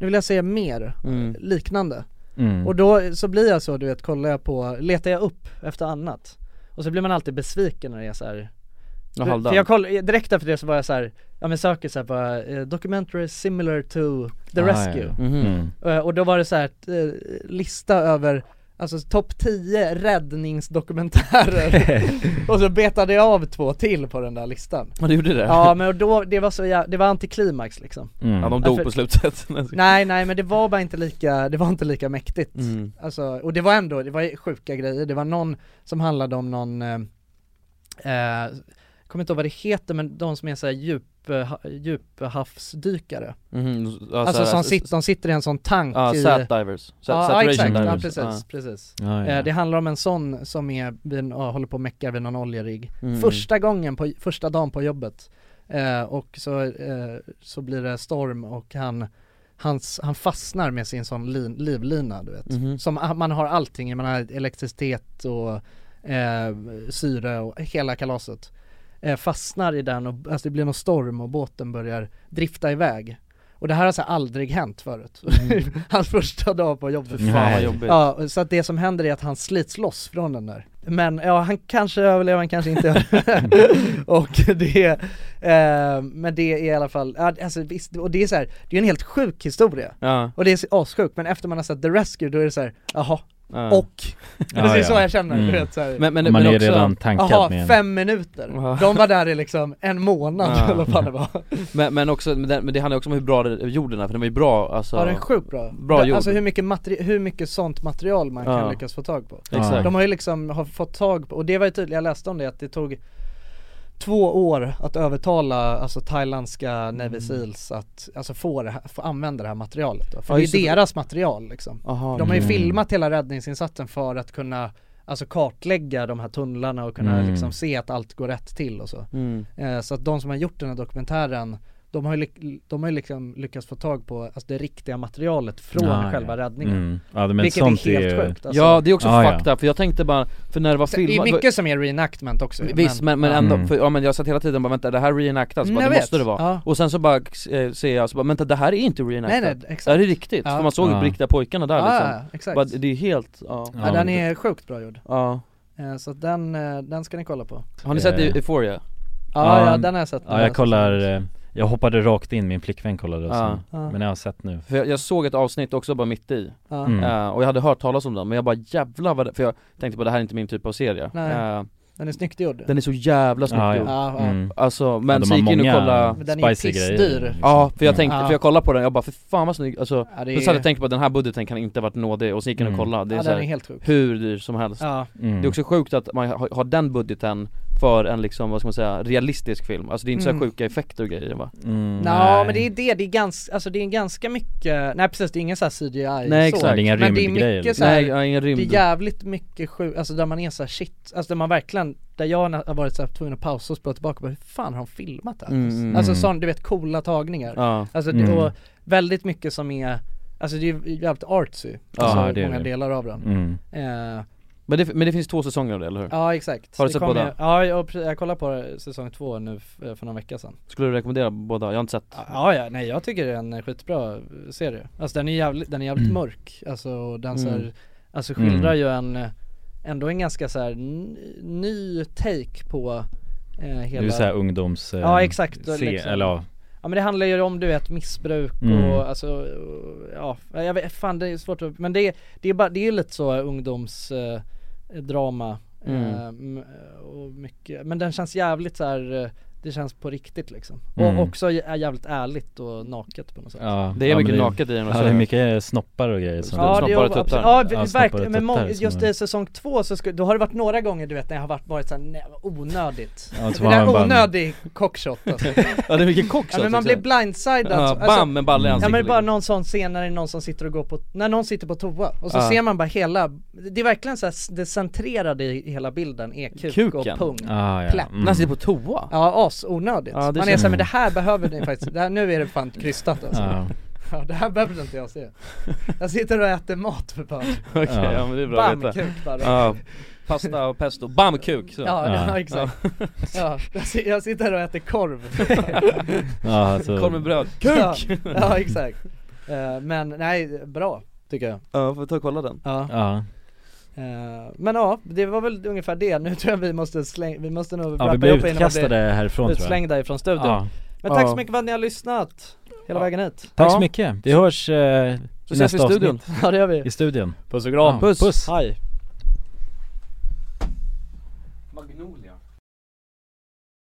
Speaker 2: nu vill jag se mer eh,
Speaker 1: Mm.
Speaker 2: liknande
Speaker 3: mm.
Speaker 2: och då eh, så blir jag så du vet, kollar jag på, letar jag upp efter annat Och så blir man alltid besviken när det är så här.
Speaker 1: Ja,
Speaker 2: För-
Speaker 1: halvdan.
Speaker 2: För jag koll, direkt efter det så var jag så här, ja men söker så här bara, eh, documentary similar to The
Speaker 3: Ah,
Speaker 2: Rescue
Speaker 3: ja.
Speaker 1: Mhm.
Speaker 3: Mm.
Speaker 2: Eh, Och då var det så här, ett, eh, lista över Alltså topp 10 räddningsdokumentärer Och så betade jag av två till på den där listan
Speaker 1: Ja, du gjorde det?
Speaker 2: Ja men och då, det var så jä- det var antiklimax liksom
Speaker 3: Mm.
Speaker 1: Ja, de
Speaker 2: Ja,
Speaker 1: dog
Speaker 2: för-
Speaker 1: på slutet
Speaker 2: Nej nej men det var bara inte lika, det var inte lika mäktigt
Speaker 1: mm.
Speaker 2: Alltså, och det var ändå, det var ju sjuka grejer, det var någon som handlade om någon eh, eh, kommer inte ihåg vad det heter, men de som är så här djup, eh, ha- djuphavsdykare.
Speaker 1: Mhm, ja,
Speaker 2: alltså
Speaker 1: så här-
Speaker 2: som sit, de sitter i en sån tank
Speaker 1: Ja,
Speaker 2: i...
Speaker 1: sat divers. Sat-
Speaker 2: ja, ja,
Speaker 1: saturation
Speaker 2: exakt, ja,
Speaker 1: divers.
Speaker 2: precis,
Speaker 1: Ja.
Speaker 2: precis.
Speaker 1: Ja, ja,
Speaker 2: Eh,
Speaker 1: ja.
Speaker 2: Det handlar om en sån som är vid en, ja, håller på och meckar vid någon oljerigg.
Speaker 1: Mm.
Speaker 2: Första gången, på, första dagen på jobbet. Eh, och så, eh, så blir det storm och han, hans, han fastnar med sin sån lin, livlina du vet.
Speaker 1: Mhm.
Speaker 2: Som ah, man har allting, man har elektricitet och eh, syre och hela kalaset. Eh, fastnar i den och alltså det blir någon storm och båten börjar drifta iväg. Och det här har så här aldrig hänt förut. Hans första dag på jobbet.
Speaker 1: Fy fan, vad Mm. Nej. jobbigt.
Speaker 2: Ja, så att det som händer är att han slits loss från den där. Men ja, han kanske överlever, han kanske inte överlever. Och det, eh, men det är i alla fall, ja, alltså visst, och det är så här, det är en helt sjuk historia.
Speaker 1: Ja.
Speaker 2: Och det är så assjukt, men efter man har sett The Rescue då är det så här, jaha,
Speaker 1: Ja.
Speaker 2: och.
Speaker 1: Ja,
Speaker 2: det är
Speaker 1: ja.
Speaker 2: så jag känner,
Speaker 1: Mm.
Speaker 2: du vet så här.
Speaker 1: Men- men- Och man men är också- redan tankad
Speaker 2: Jaha,
Speaker 1: med en-
Speaker 2: fem minuter.
Speaker 1: Ja.
Speaker 2: De var där i liksom en månad
Speaker 1: Ja.
Speaker 2: eller vad det var.
Speaker 1: men, men också, men det, men det handlar också om hur bra det, jorden är, för den var ju bra alltså
Speaker 2: Ja den är sjukt bra.
Speaker 1: Bra
Speaker 2: Det-
Speaker 1: jord
Speaker 2: Alltså hur mycket, materi- hur mycket sånt material man
Speaker 1: Ja.
Speaker 2: kan lyckas få tag på.
Speaker 1: Exakt.
Speaker 2: De har ju liksom har fått tag på, och det var ju tydligt, jag läste om det att det tog två år att övertala alltså
Speaker 1: Mm.
Speaker 2: thailändska Navy Seals att alltså, få, det här, få använda det här materialet då. För
Speaker 1: Ja,
Speaker 2: det
Speaker 1: just det.
Speaker 2: är deras material liksom.
Speaker 1: Aha,
Speaker 2: de har ju
Speaker 1: mm.
Speaker 2: filmat hela räddningsinsatsen för att kunna Alltså kartlägga de här tunnlarna och kunna
Speaker 1: Mm.
Speaker 2: liksom se att allt går rätt till och så.
Speaker 1: Mm.
Speaker 2: Eh, Så att de som har gjort den här dokumentären de har ju, lyck- de har ju liksom lyckats få tag på alltså, det riktiga materialet från
Speaker 3: Ah, ja.
Speaker 2: själva räddningen.
Speaker 3: Mm. Ja, men
Speaker 2: Vilket
Speaker 3: sånt
Speaker 2: är helt
Speaker 3: är ju-
Speaker 2: sjukt alltså.
Speaker 1: Ja det är också
Speaker 3: Ah, ja.
Speaker 1: fucked up, för jag tänkte bara, för när det var
Speaker 2: Så Alltså, Det är
Speaker 1: filmat
Speaker 2: mycket som är reenactment också.
Speaker 1: Visst men, men ändå,
Speaker 3: Mm.
Speaker 1: för, ja men jag satt hela tiden bara vänta det här reenactas,
Speaker 2: Mm,
Speaker 1: bara,
Speaker 2: jag
Speaker 1: det
Speaker 2: vet.
Speaker 1: måste det vara
Speaker 2: Ja.
Speaker 1: Och sen så bara eh, ser jag så bara, vänta det här är inte reenactat
Speaker 2: Nej, nej, exakt.
Speaker 1: Det här är riktigt,
Speaker 2: Ja.
Speaker 1: för man såg ju
Speaker 2: Ja.
Speaker 1: på riktiga pojkarna där
Speaker 2: Ja,
Speaker 1: liksom
Speaker 2: ja, exakt.
Speaker 1: Bara, Det är helt, ja,
Speaker 2: ja, den är sjukt bra gjord.
Speaker 1: Ja.
Speaker 2: Eh, Så att den, eh, den ska ni kolla på.
Speaker 1: Har ni sett
Speaker 3: Eh.
Speaker 1: Euphoria?
Speaker 2: Ja, ja, den har jag sett
Speaker 3: Ja jag kollar, eh, jag hoppade rakt in, min flickvän kollade och
Speaker 1: Ja.
Speaker 3: sen,
Speaker 1: Ja.
Speaker 3: men jag har sett nu
Speaker 1: För jag, jag såg ett avsnitt också bara mitt i
Speaker 2: Ja.
Speaker 3: Mm.
Speaker 1: Eh, Och jag hade hört talas om den, men jag bara jävlar vad det, för jag tänkte på det här är inte min typ av serie
Speaker 2: Nej.
Speaker 1: Eh,
Speaker 2: Den är snyggt gjord.
Speaker 1: Den är så jävla snyggt
Speaker 3: Ja, ja.
Speaker 1: gjord
Speaker 2: Ja, ja. Mm.
Speaker 1: Alltså
Speaker 3: Ja,
Speaker 1: men
Speaker 3: de
Speaker 1: så
Speaker 3: har
Speaker 1: gick jag in
Speaker 3: många liksom.
Speaker 1: och kollade
Speaker 2: Men den är ju spicy grejer, pissdyr. liksom.
Speaker 1: Ja för jag
Speaker 2: Mm.
Speaker 1: tänkte,
Speaker 2: Ja.
Speaker 1: för jag kollade på den, jag bara för fan vad snygg, alltså
Speaker 2: Ja, det
Speaker 1: Då
Speaker 2: är-
Speaker 1: satt jag och tänkte på att den här budgeten kan inte ha varit nådig och så gick jag in och
Speaker 2: Mm.
Speaker 1: kollade, det är,
Speaker 2: Ja,
Speaker 1: så
Speaker 2: den
Speaker 1: här
Speaker 2: är helt sjuk.
Speaker 1: hur dyr som helst
Speaker 2: Ja.
Speaker 3: Mm.
Speaker 1: Det är också sjukt att man har, har den budgeten för en liksom, vad ska man säga, realistisk film Alltså det är inte så
Speaker 2: Mm.
Speaker 1: här sjuka effekter och grejer va?
Speaker 3: Mm,
Speaker 2: Ja men det är det, det är ganska, alltså det är ganska mycket, nej precis det är ingen såhär CGI
Speaker 1: Nej, exakt.
Speaker 2: så,
Speaker 1: Det är inga
Speaker 2: men det är
Speaker 1: rymdgrejer,
Speaker 2: mycket
Speaker 1: liksom.
Speaker 2: såhär,
Speaker 1: Nej, ja, ingen
Speaker 2: det
Speaker 1: rymd.
Speaker 2: är jävligt mycket sjuk, alltså där man är såhär shit, alltså där man verkligen, där jag na- har varit såhär tvungen att pausa och spola tillbaka och bara, hur fan har de filmat det här?
Speaker 1: Mm, mm,
Speaker 2: Alltså
Speaker 1: mm.
Speaker 2: sån, du vet coola tagningar,
Speaker 1: Ja.
Speaker 2: alltså det,
Speaker 1: Mm.
Speaker 2: och väldigt mycket som är, alltså det är ju jävligt artsy,
Speaker 1: Ja,
Speaker 2: alltså
Speaker 1: det är
Speaker 2: många
Speaker 1: det.
Speaker 2: delar av den
Speaker 1: Mm.
Speaker 2: Eh,
Speaker 1: men, det, men det finns två säsonger av det eller hur?
Speaker 2: Ja exakt,
Speaker 1: Har du
Speaker 2: Det
Speaker 1: sett
Speaker 2: kom
Speaker 1: båda?
Speaker 2: ju- Ja jag, jag kollade på säsong två nu f- för någon vecka sedan
Speaker 1: Skulle du rekommendera båda? Jag har inte sett
Speaker 2: Ja, ja, nej jag tycker det är en skitbra serie. Alltså den är jävligt, den är
Speaker 3: Mm.
Speaker 2: jävligt mörk, alltså och den så här,
Speaker 1: Mm.
Speaker 2: alltså skildrar
Speaker 1: Mm.
Speaker 2: ju en, ändå en ganska så här n- ny take på eh, hela
Speaker 3: ju så här ungdoms, eh,
Speaker 2: Ja exakt, Liksom. och
Speaker 3: se- eller ja.
Speaker 2: Ja men det handlar ju om du vet missbruk
Speaker 3: Mm.
Speaker 2: och alltså, och, ja, jag vet, fan det är svårt att, men det, är- det är bara, det är ju lite så ungdomsdrama eh, drama,
Speaker 1: Mm.
Speaker 2: ehm, och mycket, men den känns jävligt så här. eh, det känns på riktigt liksom.
Speaker 3: Mm.
Speaker 2: Och också jä- jävligt ärligt och naket på något sätt.
Speaker 3: Ja,
Speaker 1: Det är
Speaker 3: ja,
Speaker 1: mycket
Speaker 3: men
Speaker 1: naket i den alltså. också.
Speaker 3: Ja det är mycket snoppar och grejer som
Speaker 2: Ja, det är, absolut, ja,
Speaker 3: snoppar och
Speaker 2: verkligen, men
Speaker 3: tuttar
Speaker 2: många,
Speaker 3: som
Speaker 2: just
Speaker 3: är-
Speaker 2: det, säsong två så skulle, då har det varit några gånger du vet när jag har varit, varit såhär, nej vad onödigt
Speaker 1: Ja, så
Speaker 2: Det
Speaker 1: var
Speaker 2: där
Speaker 1: man bara-
Speaker 2: onödig cockshot alltså.
Speaker 1: Ja det är mycket kock
Speaker 2: Ja men man blir blindsided
Speaker 1: Ja,
Speaker 2: alltså.
Speaker 1: bam, en balle i
Speaker 2: Ja
Speaker 1: ansiktet,
Speaker 2: men bara
Speaker 1: liksom.
Speaker 2: någon sån scen när det är någon som sitter och går på, när någon sitter på toa och så
Speaker 1: Ja.
Speaker 2: ser man bara hela, det är verkligen såhär, det centrerade i hela bilden är kuk och pung,
Speaker 1: Ah, ja.
Speaker 2: Plätt.
Speaker 1: mm. Man sitter på toa?
Speaker 2: Ja asonödigt.
Speaker 1: Ja, det
Speaker 2: man är
Speaker 1: känns-
Speaker 2: såhär, men det här behöver ni faktiskt, det här, nu är det fan krystat alltså.
Speaker 1: Ja.
Speaker 2: Ja. det här behöver inte jag se. Jag sitter och äter mat för fan.
Speaker 1: Okej, ja. men det är bra
Speaker 2: Bam,
Speaker 1: att veta
Speaker 2: kuk bara.
Speaker 1: ja. Pasta och pesto, bam kuk! Så.
Speaker 2: Ja, ja, exakt. Ja, jag si- jag sitter här och äter korv.
Speaker 1: Ja, alltså- Korv med bröd. Kuk!
Speaker 2: Ja, ja exakt. Eh, Men nej, bra tycker jag.
Speaker 1: Ja, får vi ta och kolla den?
Speaker 2: Ja.
Speaker 3: Ja.
Speaker 2: Eh, Men ja, det var väl ungefär det. Nu tror jag vi måste slänga, vi måste nog
Speaker 3: vi
Speaker 2: wrappa
Speaker 3: blir
Speaker 2: upp innan man blir
Speaker 3: utkastade härifrån, tror jag.
Speaker 2: Utslängda ifrån studion.
Speaker 3: Ja.
Speaker 2: Men tack
Speaker 3: Ja.
Speaker 2: så mycket för att ni har lyssnat hela vägen hit.
Speaker 3: Tack så mycket, vi hörs eh, i
Speaker 2: Så ses vi i studion.
Speaker 3: avsnitt.
Speaker 2: Ja, det gör vi.
Speaker 3: I studion
Speaker 2: Puss och kram.
Speaker 3: Ja, puss.
Speaker 2: Hej.